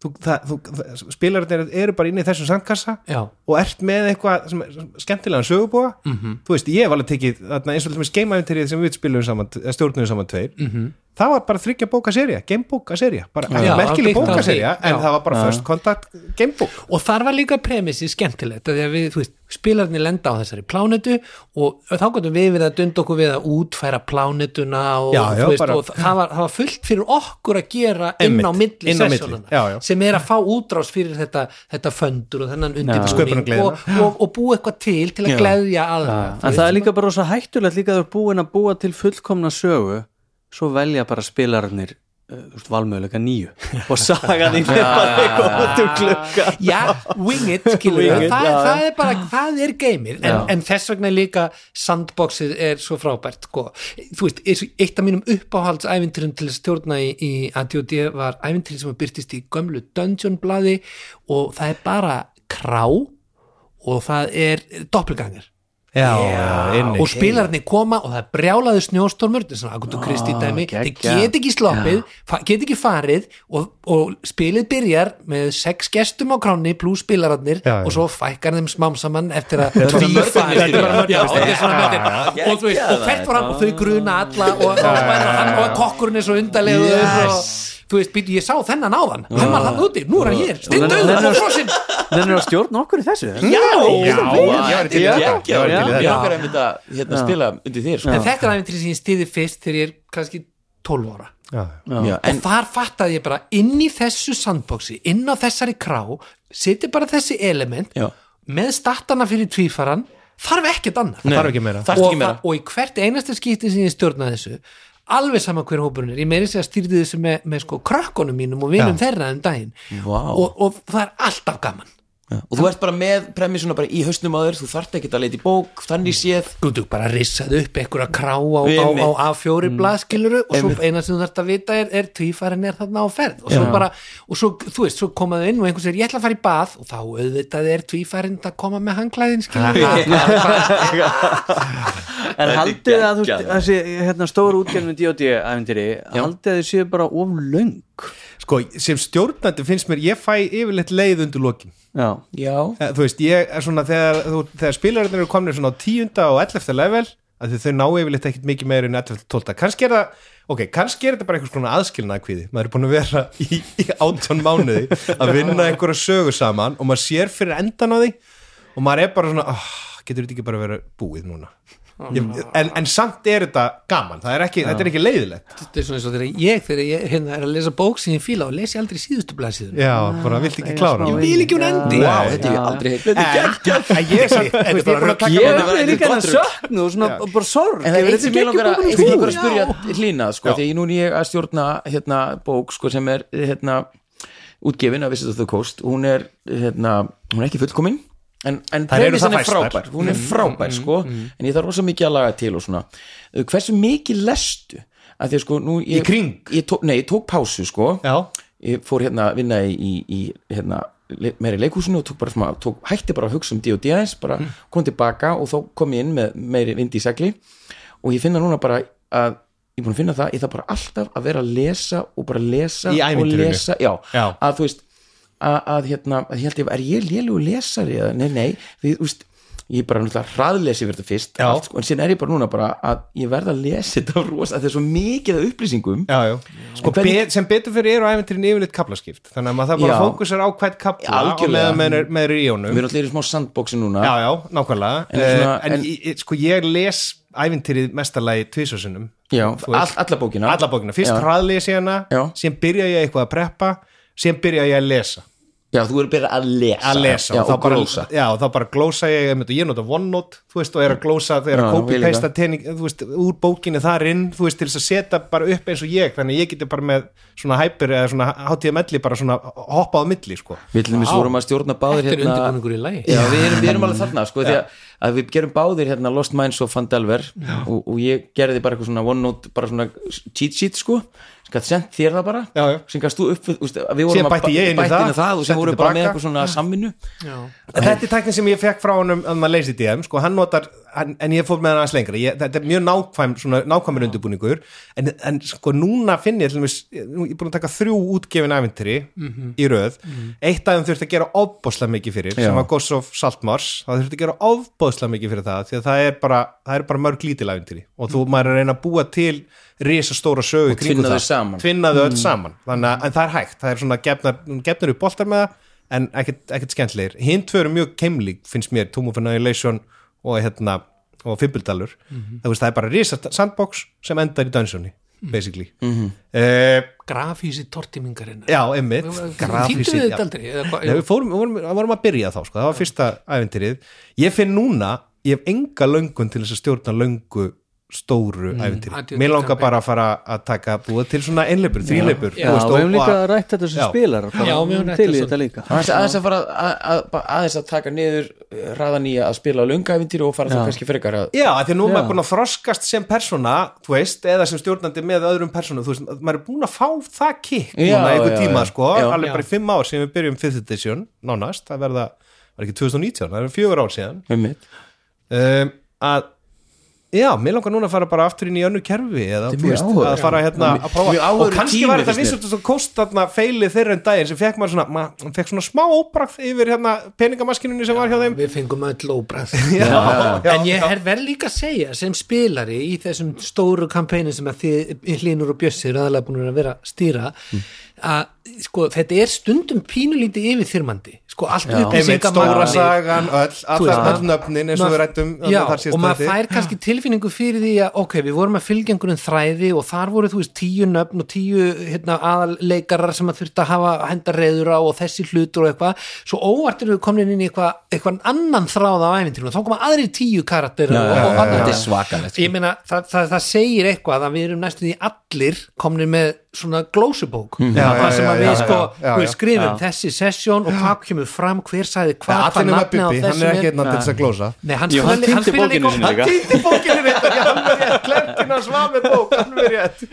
[SPEAKER 2] þú, það, þú, það, spilararnir eru bara inn í þessum sandkassa
[SPEAKER 5] Já.
[SPEAKER 2] og ert með eitthvað sem er skemmtilegan sögubúa,
[SPEAKER 5] Mhm.
[SPEAKER 2] -hmm. þú veist, ég hef alveg tekið, þarna, eins og til dæmis geimæfintirið sem við spilum saman, eða stjórnum saman tveir, -hmm. það var bara þryggja bókaserja, gamebókaserja, bara
[SPEAKER 5] Mhm. Já,
[SPEAKER 2] merkileg
[SPEAKER 5] byggt á því.
[SPEAKER 2] bókaserja, en
[SPEAKER 5] Já.
[SPEAKER 2] það var bara first contact gamebók.
[SPEAKER 5] og þar var líka premissi skemmtilegt af því að við, þú veist, spilarnir lenda á þessari plánetu og þá gotum við verið að dunda okkur við að útfæra plánetuna og,
[SPEAKER 2] Já, já,
[SPEAKER 5] þú veist,
[SPEAKER 2] bara-
[SPEAKER 5] og það, var, það var fullt fyrir okkur að gera inn á
[SPEAKER 2] Einmitt,
[SPEAKER 5] milli
[SPEAKER 2] inn á milli, já, já.
[SPEAKER 5] sessjónana sem er að fá útrás fyrir þetta, þetta föndur og þennan undirbúning
[SPEAKER 2] Sköpunargleðina.
[SPEAKER 5] og, og, og búa eitthvað til til að gleðja aðra þú
[SPEAKER 3] En
[SPEAKER 5] veist.
[SPEAKER 3] það er líka bara svo hættulegt líka að þú er búin að búa til fullkomna sögu svo velja bara spilararnir uh, valmöðuleika nýju og sagan þín er bara eitthvað út um klukka
[SPEAKER 5] já, wing it, skilur
[SPEAKER 3] Wing
[SPEAKER 5] við
[SPEAKER 3] it,
[SPEAKER 5] það,
[SPEAKER 3] já,
[SPEAKER 5] það er bara, það er geimir en,
[SPEAKER 3] Já.
[SPEAKER 5] en þess vegna líka sandboxið er svo frábært sko. þú veist, eins og eitt af mínum uppáhalds ævinturum til að stjórna í, í ADOD var ævinturum sem byrtist í gömlu dungeon blaði og það er bara krá og það er doppelganger
[SPEAKER 2] já, inni
[SPEAKER 5] og spilarnir koma og það er brjálaði snjóstormur þetta er svona Agutu Kristi dæmi þeir
[SPEAKER 3] geggjað.
[SPEAKER 5] get ekki sloppið, fa- get ekki farið og, og spilið byrjar með sex gestum á kráni pluss spilararnir
[SPEAKER 2] Já, já.
[SPEAKER 5] og svo fækkar þeim smám saman eftir að
[SPEAKER 1] svona
[SPEAKER 5] tvír
[SPEAKER 1] mörgætlisti.
[SPEAKER 5] farið.
[SPEAKER 1] Þetta er bara
[SPEAKER 5] Já, þetta er svona
[SPEAKER 1] Já,
[SPEAKER 5] mörgætlisti. og þú veist,
[SPEAKER 1] geggjað
[SPEAKER 5] og hvert var hann
[SPEAKER 3] þetta.
[SPEAKER 5] og þau gruna alla og þá spæra hann og kokkurinn er svo undarlegur og þú veist, býtu, ég sá þennan áðan hann var hann úti, nú er hann hér,
[SPEAKER 3] Þannig
[SPEAKER 5] stindauður
[SPEAKER 3] að-
[SPEAKER 5] og frosinn
[SPEAKER 3] Þannig að stjórna okkur í þessu
[SPEAKER 1] Já, já,
[SPEAKER 2] ég væri til í
[SPEAKER 1] þetta
[SPEAKER 2] þetta. Ég
[SPEAKER 1] er
[SPEAKER 2] væri til í
[SPEAKER 1] geggjað
[SPEAKER 2] þetta.
[SPEAKER 1] Ég okkar einmitt að hérna, spila undir þér sko.
[SPEAKER 5] en þetta er aðeins sem ég stiði fyrst þegar ég er kannski 12 ára
[SPEAKER 2] Já.
[SPEAKER 1] Já, En
[SPEAKER 5] og þar fattaði ég bara inn í þessu sandboxi, inn á þessari krá seti bara þessi element
[SPEAKER 1] Já.
[SPEAKER 5] með startana fyrir tvífaran þarf ekkert annað
[SPEAKER 2] þarf ekki meira.
[SPEAKER 1] Þarf
[SPEAKER 5] og,
[SPEAKER 1] ekki meira
[SPEAKER 5] og í hvert einasta skipti sem ég stjórnaði þessu alveg sama hver hópurinn er, ég meiri sér að stýrði þessu með, með sko krökkunum mínum og vinum
[SPEAKER 2] Já.
[SPEAKER 5] þeirra um daginn
[SPEAKER 1] Vá.
[SPEAKER 5] og, og það er alltaf gaman
[SPEAKER 1] Já, og þú ert bara með premissuna bara í hausnum á þér þú þarft ekki að leita í bók, þannig séð
[SPEAKER 5] Guð, þú bara rissaði upp einhverja krá á, á, á,
[SPEAKER 1] Einmitt. Mm.
[SPEAKER 5] á A4 blað skiluru og svo eina sem þú þarft að vita er, er tvífærin er þarna á ferð og svo bara, og svo, þú veist, svo komaðu inn og einhvers er ég ætla að fara í bað og þá auðvitað er tvífærin að koma með hangklæðin skiluru
[SPEAKER 3] En
[SPEAKER 1] er
[SPEAKER 3] haldið að þú
[SPEAKER 1] geggjað.
[SPEAKER 3] þessi hérna, stóru útgjörnum D.O.D. æfintýri haldið að þið séu bara of löng
[SPEAKER 2] sko, sem stjórnandi finnst mér ég fæ yfirleitt leið undir lokin
[SPEAKER 3] Já,
[SPEAKER 1] já,
[SPEAKER 2] Eh, þú veist, ég er svona þegar, þú, þegar spilararnir eru komnir svona á tíunda og 11. level að þau ná yfirleitt ekkit mikið meira en 11. 12. kannski er það, ok, kannski er þetta bara einhvers konar aðskilnaðkvíði, maður er búin að vera í, í átján mánuði að vinna einhverja sögu saman og maður sér fyrir endan á því og maður er bara svona oh, getur þetta ekki bara verið búið núna ég, en, en samt er þetta gaman það er ekki, þetta er ekki leiðilegt
[SPEAKER 5] þetta er svona eins og þegar ég þegar ég hérna, er að lesa bók sem ég fíla og lesi aldrei síðustu blaðsíðun
[SPEAKER 2] já, bara vilt ekki klára
[SPEAKER 3] smá
[SPEAKER 5] ég vil ekki hún endi
[SPEAKER 2] Nei.
[SPEAKER 1] wow, þetta er ég aldrei heilt þetta er
[SPEAKER 2] en, en ég er samt, þú veist, ég er búin að taka
[SPEAKER 3] Ég
[SPEAKER 1] Þetta
[SPEAKER 3] öfnir
[SPEAKER 1] verður
[SPEAKER 3] líka
[SPEAKER 1] gott
[SPEAKER 3] hann
[SPEAKER 1] rugl.
[SPEAKER 3] söknu og svona og bara sorg
[SPEAKER 1] En það er
[SPEAKER 3] yfir
[SPEAKER 1] eitt sem ég
[SPEAKER 3] þessu
[SPEAKER 1] langar að, Sko,
[SPEAKER 3] geggjubókun
[SPEAKER 1] ég
[SPEAKER 3] og búið.
[SPEAKER 1] langar að spyrja hlýna, sko,
[SPEAKER 2] Já.
[SPEAKER 1] því að núna ég að stjórna hérna bók, sko, sem er hérna útgefin af Visit of the Coast hún er, hérna, hún er ekki fullkomin en, en
[SPEAKER 2] Þær eru
[SPEAKER 1] premissan
[SPEAKER 2] það
[SPEAKER 1] er
[SPEAKER 2] fæstar. Mm,
[SPEAKER 1] frábær hún er frábær, sko, en ég þarf rosa mikið að laga til og svona, hversu mikið lestu, að því að sko, nú ég,
[SPEAKER 2] Í kring?
[SPEAKER 1] ég tók, nei, ég tók pásu, sko
[SPEAKER 2] Já.
[SPEAKER 1] ég fór hérna að vinna í, í, í hérna, le- meira í leikhúsinu og tók bara smá, tók, hætti bara að hugsa um D.O.D. aðeins bara
[SPEAKER 2] Mm.
[SPEAKER 1] kom tilbaka og þá kom ég inn með meiri vind í segli og ég finna núna bara að ég er búin að finna það, ég þarf bara alltaf að vera að lesa og bara lesa
[SPEAKER 2] Í
[SPEAKER 1] og
[SPEAKER 2] ævintýrinu.
[SPEAKER 1] lesa já,
[SPEAKER 2] Já.
[SPEAKER 1] að þú veist að, að hérna, að ég held ég, er ég lélugu lesari eða, nei, nei, því, þú veist ég er bara náttúrulega hraðlesi verið þetta fyrst
[SPEAKER 2] Já.
[SPEAKER 1] allt, sko, en síðan er ég bara núna bara að ég verð að lesa þetta rosa, það er svo mikið af upplýsingum
[SPEAKER 2] já, já. Sko,
[SPEAKER 1] En hvernig-
[SPEAKER 2] be, sem betur fyrir eru æventurinn yfirleitt kaplaskipt þannig að maður það bara
[SPEAKER 1] Já.
[SPEAKER 2] fókusar á hvert kapla og
[SPEAKER 1] Algjörlega.
[SPEAKER 2] meðan með, með er í honum
[SPEAKER 1] við erum allir í smá sandboxi núna
[SPEAKER 2] já, já, nákvæmlega
[SPEAKER 1] En
[SPEAKER 2] en,
[SPEAKER 1] svona-
[SPEAKER 2] en,
[SPEAKER 1] en-
[SPEAKER 2] en ég, sko, ég les æventurinn mestalagi tvísasunum
[SPEAKER 1] Já,
[SPEAKER 2] Þú
[SPEAKER 1] all,
[SPEAKER 2] veist.
[SPEAKER 1] alla bókina
[SPEAKER 2] alla bókina, fyrst
[SPEAKER 1] já.
[SPEAKER 2] hraðlýs ég hana
[SPEAKER 1] Já.
[SPEAKER 2] síðan byrja ég eitthvað að preppa síðan byrja ég að lesa
[SPEAKER 1] Já, þú eru bara að lesa
[SPEAKER 2] að lesa
[SPEAKER 1] já,
[SPEAKER 2] og, þá
[SPEAKER 1] og
[SPEAKER 2] bara,
[SPEAKER 1] grósa
[SPEAKER 2] já, og þá bara glósa ég einmitt, og ég nota OneNote, þú veist, og er að glósa þegar
[SPEAKER 1] Já,
[SPEAKER 2] að
[SPEAKER 1] ég líka.
[SPEAKER 2] copy-pasta tening, þú veist, úr bókinni þar inn, þú veist, til þess að setja bara upp eins og ég, þannig að ég geti bara með svona hæpur eða svona hátíða melli bara svona hoppað á milli, sko
[SPEAKER 1] Við til dæmis vorum að stjórna báðir
[SPEAKER 5] þetta er
[SPEAKER 1] hérna
[SPEAKER 5] undirbúningur í lagi
[SPEAKER 1] Já, við erum, við erum alveg þarna sko, því að, að við gerum báðir hérna Lost Minds og Fandelver og, og ég gerði bara eitthvað svona OneNote bara svona cheat sheet sko skatt sent þér það bara
[SPEAKER 2] Já, já.
[SPEAKER 1] sem gast þú upp við, úst, við
[SPEAKER 2] Síðan
[SPEAKER 1] vorum að
[SPEAKER 2] bætti ég inn í
[SPEAKER 1] bætti
[SPEAKER 2] það,
[SPEAKER 1] inn í það og
[SPEAKER 2] setti
[SPEAKER 1] sem vorum bara
[SPEAKER 2] tilbaka.
[SPEAKER 1] með eitthvað svona samvinnu
[SPEAKER 2] En þetta er tæknin sem ég fekk frá honum að maður leysi DM, sko, hann notar hann, en ég fór með hann aðeins lengra, ég, þetta er mjög nákvæm svona nákvæmur undirbúningur en, en sko núna finn ég, til dæmis, nú, ég er búin að taka þrjú útgefin ævintri í röð, eitt af þeim þurfti að gera ofbóðslega mikið fyrir,
[SPEAKER 1] Já.
[SPEAKER 2] sem var Ghost of Saltmars, það þurfti að gera ofbóðslega mikið fyrir það, því að það er bara, það er bara mörg lítil ævintri og þú maður er að reyna að búa til risastóra sögu í kringum
[SPEAKER 1] tvinna
[SPEAKER 2] það.
[SPEAKER 1] þau saman.
[SPEAKER 2] tvinnaðu öll saman þannig að en það er hægt, það er svona gefnar, gefnar upp boltar með það en ekkert, ekkert skemmtlegir hinn tvö eru mjög keimlík finnst mér Tomb of Annihilation og hérna og Fimbildalur, það, veist, það er bara risa sandbox sem endar í dungeoni basically Eh,
[SPEAKER 5] grafísi tortimingarinn
[SPEAKER 2] já, emmitt
[SPEAKER 5] Týndu við þetta aldrei? Eða hvað-
[SPEAKER 2] Nei, við fórum, við vorum, við vorum að byrja þá sko. það var fyrsta æventýrið ég finn núna, ég hef enga löngun til þess að stjórna löngu stóru mm,
[SPEAKER 5] Adjö-
[SPEAKER 2] æventýri, mér langar bara að fara að taka búa til svona einleipur, þríleipur
[SPEAKER 3] Já, við höfum líka rætt þetta sem
[SPEAKER 2] Já.
[SPEAKER 3] spilar og
[SPEAKER 5] Já, við höfum
[SPEAKER 3] komum
[SPEAKER 5] rætt
[SPEAKER 3] til í
[SPEAKER 5] þetta
[SPEAKER 3] þetta líka
[SPEAKER 1] aðeins, aðeins að fara að, að, bara aðeins að taka niður eh, raðan í að spila löngæfintir og fara þá kannski frekar að
[SPEAKER 2] Já, af því að nú er maður búin að þroskast sem persóna, þú veist, eða sem stjórnandi með öðrum persónum, þú veist, maður er búin að fá það kikk
[SPEAKER 1] Já,
[SPEAKER 2] núna einhver
[SPEAKER 1] já,
[SPEAKER 2] tíma,
[SPEAKER 1] já.
[SPEAKER 2] sko,
[SPEAKER 1] Já.
[SPEAKER 2] alveg bara í fimm ár sem við byrjum 5th edition, nánast, það verða, var ekki 2019, það verða fjögur ár síðan
[SPEAKER 1] um mitt
[SPEAKER 2] um, að já, mér langar núna að fara bara aftur inn í önnu kerfi eða
[SPEAKER 1] Þetta er
[SPEAKER 2] þú
[SPEAKER 1] mjög
[SPEAKER 2] veist,
[SPEAKER 1] áhugavert.
[SPEAKER 2] að fara hérna
[SPEAKER 1] Mjög-
[SPEAKER 2] að prófa
[SPEAKER 1] mjög áhugaverður
[SPEAKER 2] og kannski
[SPEAKER 1] tími
[SPEAKER 2] var þetta
[SPEAKER 1] finnst mér.
[SPEAKER 2] vissum þess að kost þarna feilið þeirra en daginn sem fekk maður svona, maður fekk svona smá óbrakt yfir hérna peningamaskinunni sem var hjá þeim
[SPEAKER 5] við fengum öll óbræð
[SPEAKER 2] já,
[SPEAKER 5] en ég er vel líka að segja sem spilari í þessum stóru kampænin sem að þið hlinur og bjössi eru aðalega búin að vera að stýra að sko þetta er stundum pínulítið yfirþyrmandi sko allt
[SPEAKER 2] einmitt stóra
[SPEAKER 5] upplýsingamanni
[SPEAKER 2] sagan öll, allar
[SPEAKER 5] veist,
[SPEAKER 2] öll nöfnin eins og við
[SPEAKER 5] Maður-
[SPEAKER 2] rættum
[SPEAKER 5] já,
[SPEAKER 2] þarna þar síðast
[SPEAKER 5] og maður
[SPEAKER 2] þætti.
[SPEAKER 5] fær kannski tilfinningu fyrir því að ok, við vorum að fylgja einhverjum þræði og þar voru þú veist tíu nöfn og tíu hérna, aðalleikarar sem að þurfti að hafa að henda reyður á og þessi hlutur og eitthvað svo óvart eru við komin inn í eitthvað eitthvað annan þráð á æfintirinu og þá koma aðrir tíu karakterir og, og
[SPEAKER 1] þetta
[SPEAKER 5] annað
[SPEAKER 1] er svakalegt
[SPEAKER 5] ég meina, það, það, það segir eitthvað að við erum næstu því allir komnir með svona glósubók mm
[SPEAKER 2] Já, já,
[SPEAKER 5] sem
[SPEAKER 2] já,
[SPEAKER 5] að
[SPEAKER 2] já,
[SPEAKER 5] við
[SPEAKER 2] já,
[SPEAKER 5] sko
[SPEAKER 2] já, já.
[SPEAKER 5] við skrifum þessi sessjón og hvað kemur fram hver sagði
[SPEAKER 2] Já,
[SPEAKER 5] hvað,
[SPEAKER 2] allir
[SPEAKER 5] hvað
[SPEAKER 2] nema
[SPEAKER 5] nafni á
[SPEAKER 2] Bubbi, hann
[SPEAKER 5] þessum
[SPEAKER 2] er ekki hérna einnig til þess að glósa
[SPEAKER 5] Nei, hann,
[SPEAKER 3] Jú, hann
[SPEAKER 5] spilaði-
[SPEAKER 3] týndi
[SPEAKER 5] spilaði ekki-
[SPEAKER 3] bókinni sinni líka
[SPEAKER 2] týndi bókinni þetta, já, hann verið rétt klerkina svað með bók, hann verið rétt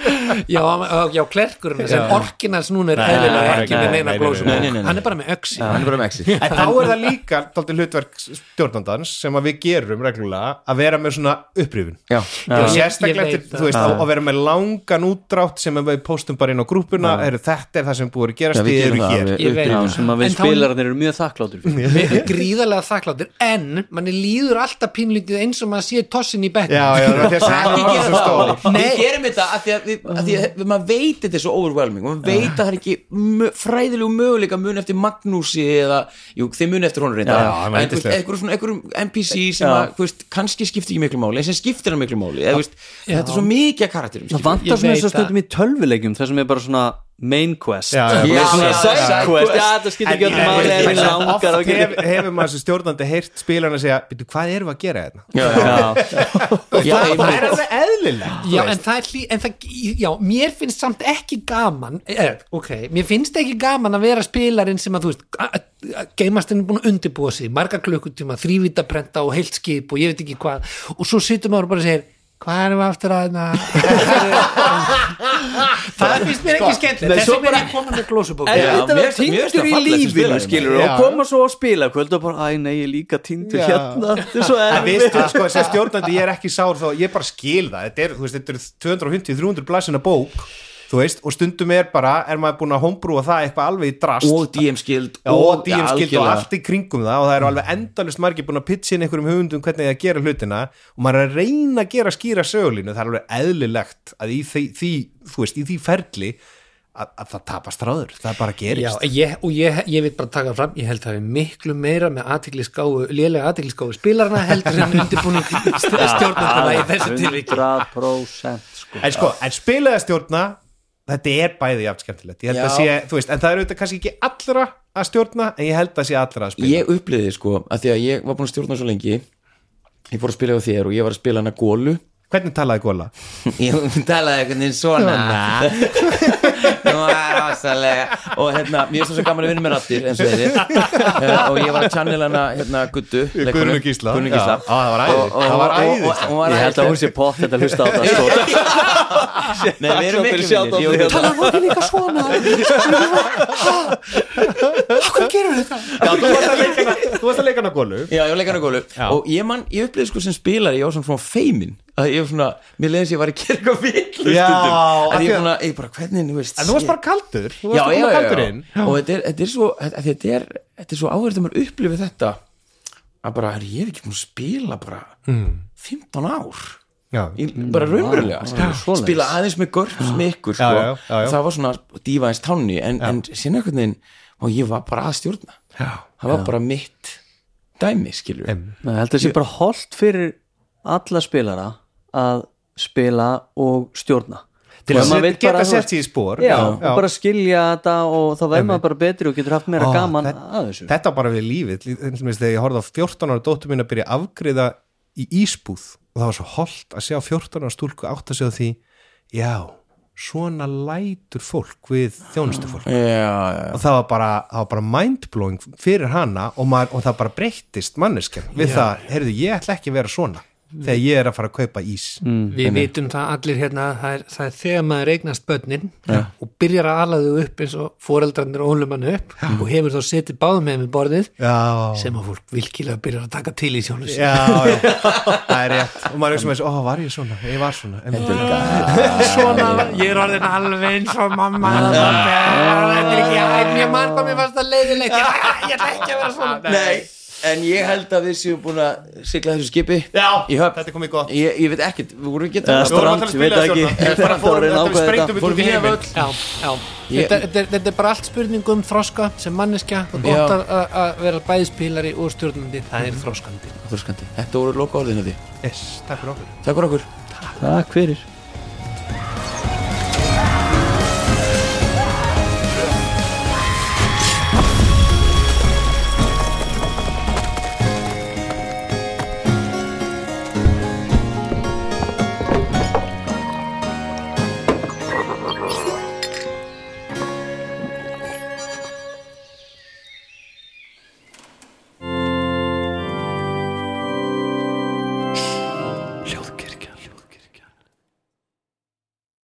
[SPEAKER 5] Já, hann- já klerkurinn sem orkinans núna er eðlilega
[SPEAKER 3] nei,
[SPEAKER 5] ekki
[SPEAKER 3] nei,
[SPEAKER 5] með neina
[SPEAKER 3] nei,
[SPEAKER 5] glósum
[SPEAKER 1] nei, nei, nei, nei.
[SPEAKER 5] hann er bara með öksi
[SPEAKER 1] hann er bara með exit
[SPEAKER 2] En þá er það líka tóldi hlutverk stjórnandans sem að við gerum reglulega að vera með svona upprýfun
[SPEAKER 1] já,
[SPEAKER 2] og
[SPEAKER 5] Ég-
[SPEAKER 2] sérstaklega
[SPEAKER 5] ég
[SPEAKER 2] til,
[SPEAKER 5] veit það.
[SPEAKER 2] þú veist, að að vera með langan útdrátt sem við postum bara inn á grúpuna er, þetta er það sem búið að
[SPEAKER 1] Já,
[SPEAKER 2] gerast,
[SPEAKER 1] við
[SPEAKER 2] þið
[SPEAKER 1] gerum
[SPEAKER 2] eru
[SPEAKER 1] það
[SPEAKER 2] hér
[SPEAKER 1] við
[SPEAKER 5] Ég veit.
[SPEAKER 1] upplifum
[SPEAKER 3] sem
[SPEAKER 5] En
[SPEAKER 3] að við
[SPEAKER 5] þá-
[SPEAKER 3] spilarnir eru mjög þakklátur fyrir
[SPEAKER 5] við erum gríðarlega þakkláttir en manni líður alltaf pínlítið eins og maður sé tossin í bekk
[SPEAKER 2] Já, já, það er þess að
[SPEAKER 1] Ekki
[SPEAKER 2] það
[SPEAKER 1] gera
[SPEAKER 2] er svo
[SPEAKER 1] það.
[SPEAKER 2] stór
[SPEAKER 5] Nei.
[SPEAKER 1] Við gerum þetta af því að, við, af því
[SPEAKER 2] Ah.
[SPEAKER 1] að maður veit þetta er svo overwhelming og maður veit að það er ekki mö- fræðilegu möguleika mun eftir Magnúsi eða, jú, þeir mun eftir honum reynda
[SPEAKER 2] Já, já, hann
[SPEAKER 1] en
[SPEAKER 2] var
[SPEAKER 1] þú veist,
[SPEAKER 2] yndislegur.
[SPEAKER 1] einhverjum svona, einhverjum NPC sem að, þú veist, kannski skiptir ekki miklu máli en sem skiptir hann miklu máli, eða, þú veist þetta er svo mikið að karakterum,
[SPEAKER 3] það
[SPEAKER 1] skilur
[SPEAKER 5] Ég
[SPEAKER 3] vantar svona eins
[SPEAKER 5] veit
[SPEAKER 3] og stundum í tölvuleikjum þessum er bara svona main quest
[SPEAKER 2] Já, já,
[SPEAKER 3] Þú veist,
[SPEAKER 1] já,
[SPEAKER 3] svona
[SPEAKER 1] já,
[SPEAKER 3] side
[SPEAKER 1] já,
[SPEAKER 3] quest,
[SPEAKER 1] já.
[SPEAKER 3] já það skiptir
[SPEAKER 2] En
[SPEAKER 3] ekki öllu
[SPEAKER 2] ég-
[SPEAKER 3] máli en
[SPEAKER 2] ég-
[SPEAKER 3] mig langar
[SPEAKER 2] oft
[SPEAKER 3] að gera-
[SPEAKER 2] hef- hefur maður sem stjórnandi heyrt spilarinn að segja, "Bíddu, hvað erum við að gera þetta?
[SPEAKER 1] Já,
[SPEAKER 3] Já,
[SPEAKER 1] já, já,
[SPEAKER 2] Það
[SPEAKER 1] einmitt.
[SPEAKER 2] er alveg eðlilegt
[SPEAKER 5] Já, en það er hlý, en það, já, mér finnst samt ekki gaman, eh, ok, mér finnst ekki gaman að vera spilarinn sem að, þú veist, a- a- a- geimastinn er búin að undirbúa sig, marga klukkutíma, þrývítaprenta og heilt skip og ég veit ekki hvað, og svo sittum maður bara og segir, hvað erum við aftur að, na, það finnst mér ekki skemmtilegt,
[SPEAKER 3] Sko, Nei,
[SPEAKER 5] þess
[SPEAKER 3] svo
[SPEAKER 5] vegna er ég komin með glósubók.
[SPEAKER 3] en
[SPEAKER 1] Já,
[SPEAKER 3] þetta
[SPEAKER 1] mér-
[SPEAKER 3] var
[SPEAKER 1] mér finnst það
[SPEAKER 3] tindur í
[SPEAKER 1] fallegt sem
[SPEAKER 3] lífinu
[SPEAKER 1] spilarinn.
[SPEAKER 3] skilur
[SPEAKER 2] Já.
[SPEAKER 3] og koma svo að spila kvöld og bara, æ nei, ég er líka tindur
[SPEAKER 2] Já.
[SPEAKER 3] hérna þetta er svo
[SPEAKER 2] En við
[SPEAKER 3] erfitt
[SPEAKER 2] stjórn, sko, sem stjórnandi, ég er ekki sár þá ég bara skil það, þetta er, þú veist, þetta er 250-300 blæsina bók, þú veist og stundum er bara, er maður búin að hombrúa það eitthvað alveg í drast
[SPEAKER 1] og DM skild
[SPEAKER 2] Já, og DM skilt og
[SPEAKER 1] algjörlega. Mm.
[SPEAKER 2] allt í kringum það og það eru alveg endalust margir búin að pitcha inn einhverjum hugundum hvernig það gera hlutina og maður er að reyna að gera skýra sögulínu það er alveg eðlilegt að í því, því þú veist, í því ferli að, að það tapast ráður, það bara
[SPEAKER 5] Já,
[SPEAKER 2] gerist
[SPEAKER 5] ég, og ég, ég vil bara taka fram ég held að það er miklu meira með aðtikliskáu lélega aðtikliskáu spilarna heldur en undirbúning stjórnandana í þessu tilvíki
[SPEAKER 3] 100% sko
[SPEAKER 2] en sko, en spilaði að stjórna þetta er bæði jafn skemmtilegt ég held að sé, þú veist, en það eru þetta kannski ekki allra að stjórna, en ég held að sé allra að spila
[SPEAKER 1] ég upplýði sko, að því að ég var búin að stjórna svo lengi ég fór að spila á þér og ég var að spila hana gólu
[SPEAKER 2] hvernig talaði Góla?
[SPEAKER 1] ég talaði einhvern veginn svona Nú, ásalega og hérna, mér er svo gaman að vinna með rattir eins og þeir og ég var að channel hana hérna Guttu
[SPEAKER 2] Guðrun og Gísla,
[SPEAKER 1] Guðrun
[SPEAKER 2] Já.
[SPEAKER 1] Gísla.
[SPEAKER 2] Á, það var æði,
[SPEAKER 1] Og- og-
[SPEAKER 2] það var
[SPEAKER 1] og-
[SPEAKER 2] æði
[SPEAKER 1] og- og- og hún var
[SPEAKER 3] ég held að hún sé pott þetta hlusta á það sko
[SPEAKER 1] Nei, við erum
[SPEAKER 3] Þakkláttur
[SPEAKER 1] miklu
[SPEAKER 3] sjátt á
[SPEAKER 1] vinir,
[SPEAKER 3] þig.
[SPEAKER 1] ég
[SPEAKER 2] hérna.
[SPEAKER 1] og Guddu.
[SPEAKER 5] Það var líka svona Hvað gerur þetta?
[SPEAKER 2] Já, þú varst að leika hana- þú varst að leika hana Gólu
[SPEAKER 1] Já, ég var leikarinn á gólu og ég man, ég upplýði sko sem spilari ég var svona svona feimin að ég var svona, mér leiðis ég var að gera eitthvað villu
[SPEAKER 2] Já,
[SPEAKER 1] stundum
[SPEAKER 2] af
[SPEAKER 1] að
[SPEAKER 2] því
[SPEAKER 1] ég
[SPEAKER 2] að-
[SPEAKER 1] svona, ég bara hvernig, þú veist
[SPEAKER 2] En þú varst
[SPEAKER 1] ég-
[SPEAKER 2] bara kaldur, þú
[SPEAKER 1] já,
[SPEAKER 2] varst bara
[SPEAKER 1] já, já,
[SPEAKER 2] kaldur
[SPEAKER 1] já.
[SPEAKER 2] inn
[SPEAKER 1] og þetta er, þetta er svo að- að þetta er, þetta er svo áverð að maður upplifi þetta að bara, herri, ég er ekki búin að spila bara
[SPEAKER 2] Mm.
[SPEAKER 1] 15 ár
[SPEAKER 2] Já,
[SPEAKER 1] ég, bara raunverulega sko.
[SPEAKER 3] svoleiðis.
[SPEAKER 1] spila aðeins með görps með ykkur sko.
[SPEAKER 2] já, já, já.
[SPEAKER 1] það var svona dífa eins tánni en, en sinna einhvern veginn og ég var bara að stjórna
[SPEAKER 2] já
[SPEAKER 1] það var bara mitt dæmi skilur
[SPEAKER 2] Em.
[SPEAKER 3] Nei, ég held að það sé bara holdt fyrir alla spilara að spila og stjórna
[SPEAKER 2] til að
[SPEAKER 3] Og ef maður
[SPEAKER 2] set,
[SPEAKER 3] vill
[SPEAKER 2] geta
[SPEAKER 3] bara, þú
[SPEAKER 2] sett
[SPEAKER 3] veist,
[SPEAKER 2] sér í spór
[SPEAKER 3] já, og bara skilja þetta og þá verður maður bara betri og getur haft meira
[SPEAKER 2] Ó,
[SPEAKER 3] gaman
[SPEAKER 2] þetta-
[SPEAKER 3] að þessu
[SPEAKER 2] þetta bara við lífið til dæmis þegar ég horfði á 14 ára dóttur mín að byrja að afgriða í ísbúð og það var svo holdt að sjá 14 ára stúlku átt að sjá því já, svona lætur fólk við þjónustufólk
[SPEAKER 1] já, já, já.
[SPEAKER 2] og það var bara, það var bara mindblowing fyrir hana og, maður, og það bara breyttist manneskjan við það, heyrðu, ég ætla ekki að vera svona þegar ég er að fara að kaupa ís
[SPEAKER 1] Mm. Mhm.
[SPEAKER 5] Við vitum það allir hérna það er, það er þegar maður eignast börnin og byrjar að ala þau upp eins og foreldrarnir ólum hann upp og hefur þá setið báðum með með borðið
[SPEAKER 2] Já,
[SPEAKER 5] sem að fólk vilkilega byrjar að taka til í sjónu
[SPEAKER 2] já, já það er rétt og maður er sem þess, ó, var ég svona, ég var svona en,
[SPEAKER 5] Svona, ég er orðin alveg eins og mamma eða pabbi. Þetta er ekki hægt mér mann hvað mér fannst það leiðilegt Ég ég ætla ekki að vera svona
[SPEAKER 1] Nei, en ég held að við séum búin að sigla þessu skipi
[SPEAKER 2] Já,
[SPEAKER 1] í höfn
[SPEAKER 2] þetta er komið gott
[SPEAKER 1] Ég, ég veit ekkert, við vorum ekki
[SPEAKER 3] Eða
[SPEAKER 1] að tala um-
[SPEAKER 2] vorum að tala um
[SPEAKER 3] strand, ég veit það ekki
[SPEAKER 2] spilastjórna. Þetta er bara
[SPEAKER 3] Þetta
[SPEAKER 2] fórum-
[SPEAKER 3] var
[SPEAKER 2] þetta er
[SPEAKER 3] einn ákveð
[SPEAKER 2] sprengdum
[SPEAKER 3] þetta
[SPEAKER 2] við-
[SPEAKER 5] Fórum við
[SPEAKER 2] heiminn.
[SPEAKER 5] öll já, já.
[SPEAKER 1] Ég-
[SPEAKER 5] Þetta, þetta, er, þetta er bara allt spurning um þroska sem manneskja og
[SPEAKER 1] Já. Mhm.
[SPEAKER 5] gott að- að að vera bæði spilari og stjórnandi það er þroskandi
[SPEAKER 1] Þorskandi. Þetta voru loka orðinu því
[SPEAKER 2] Yes, takk fyrir okkur
[SPEAKER 1] Takk fyrir okkur
[SPEAKER 3] Takk fyrir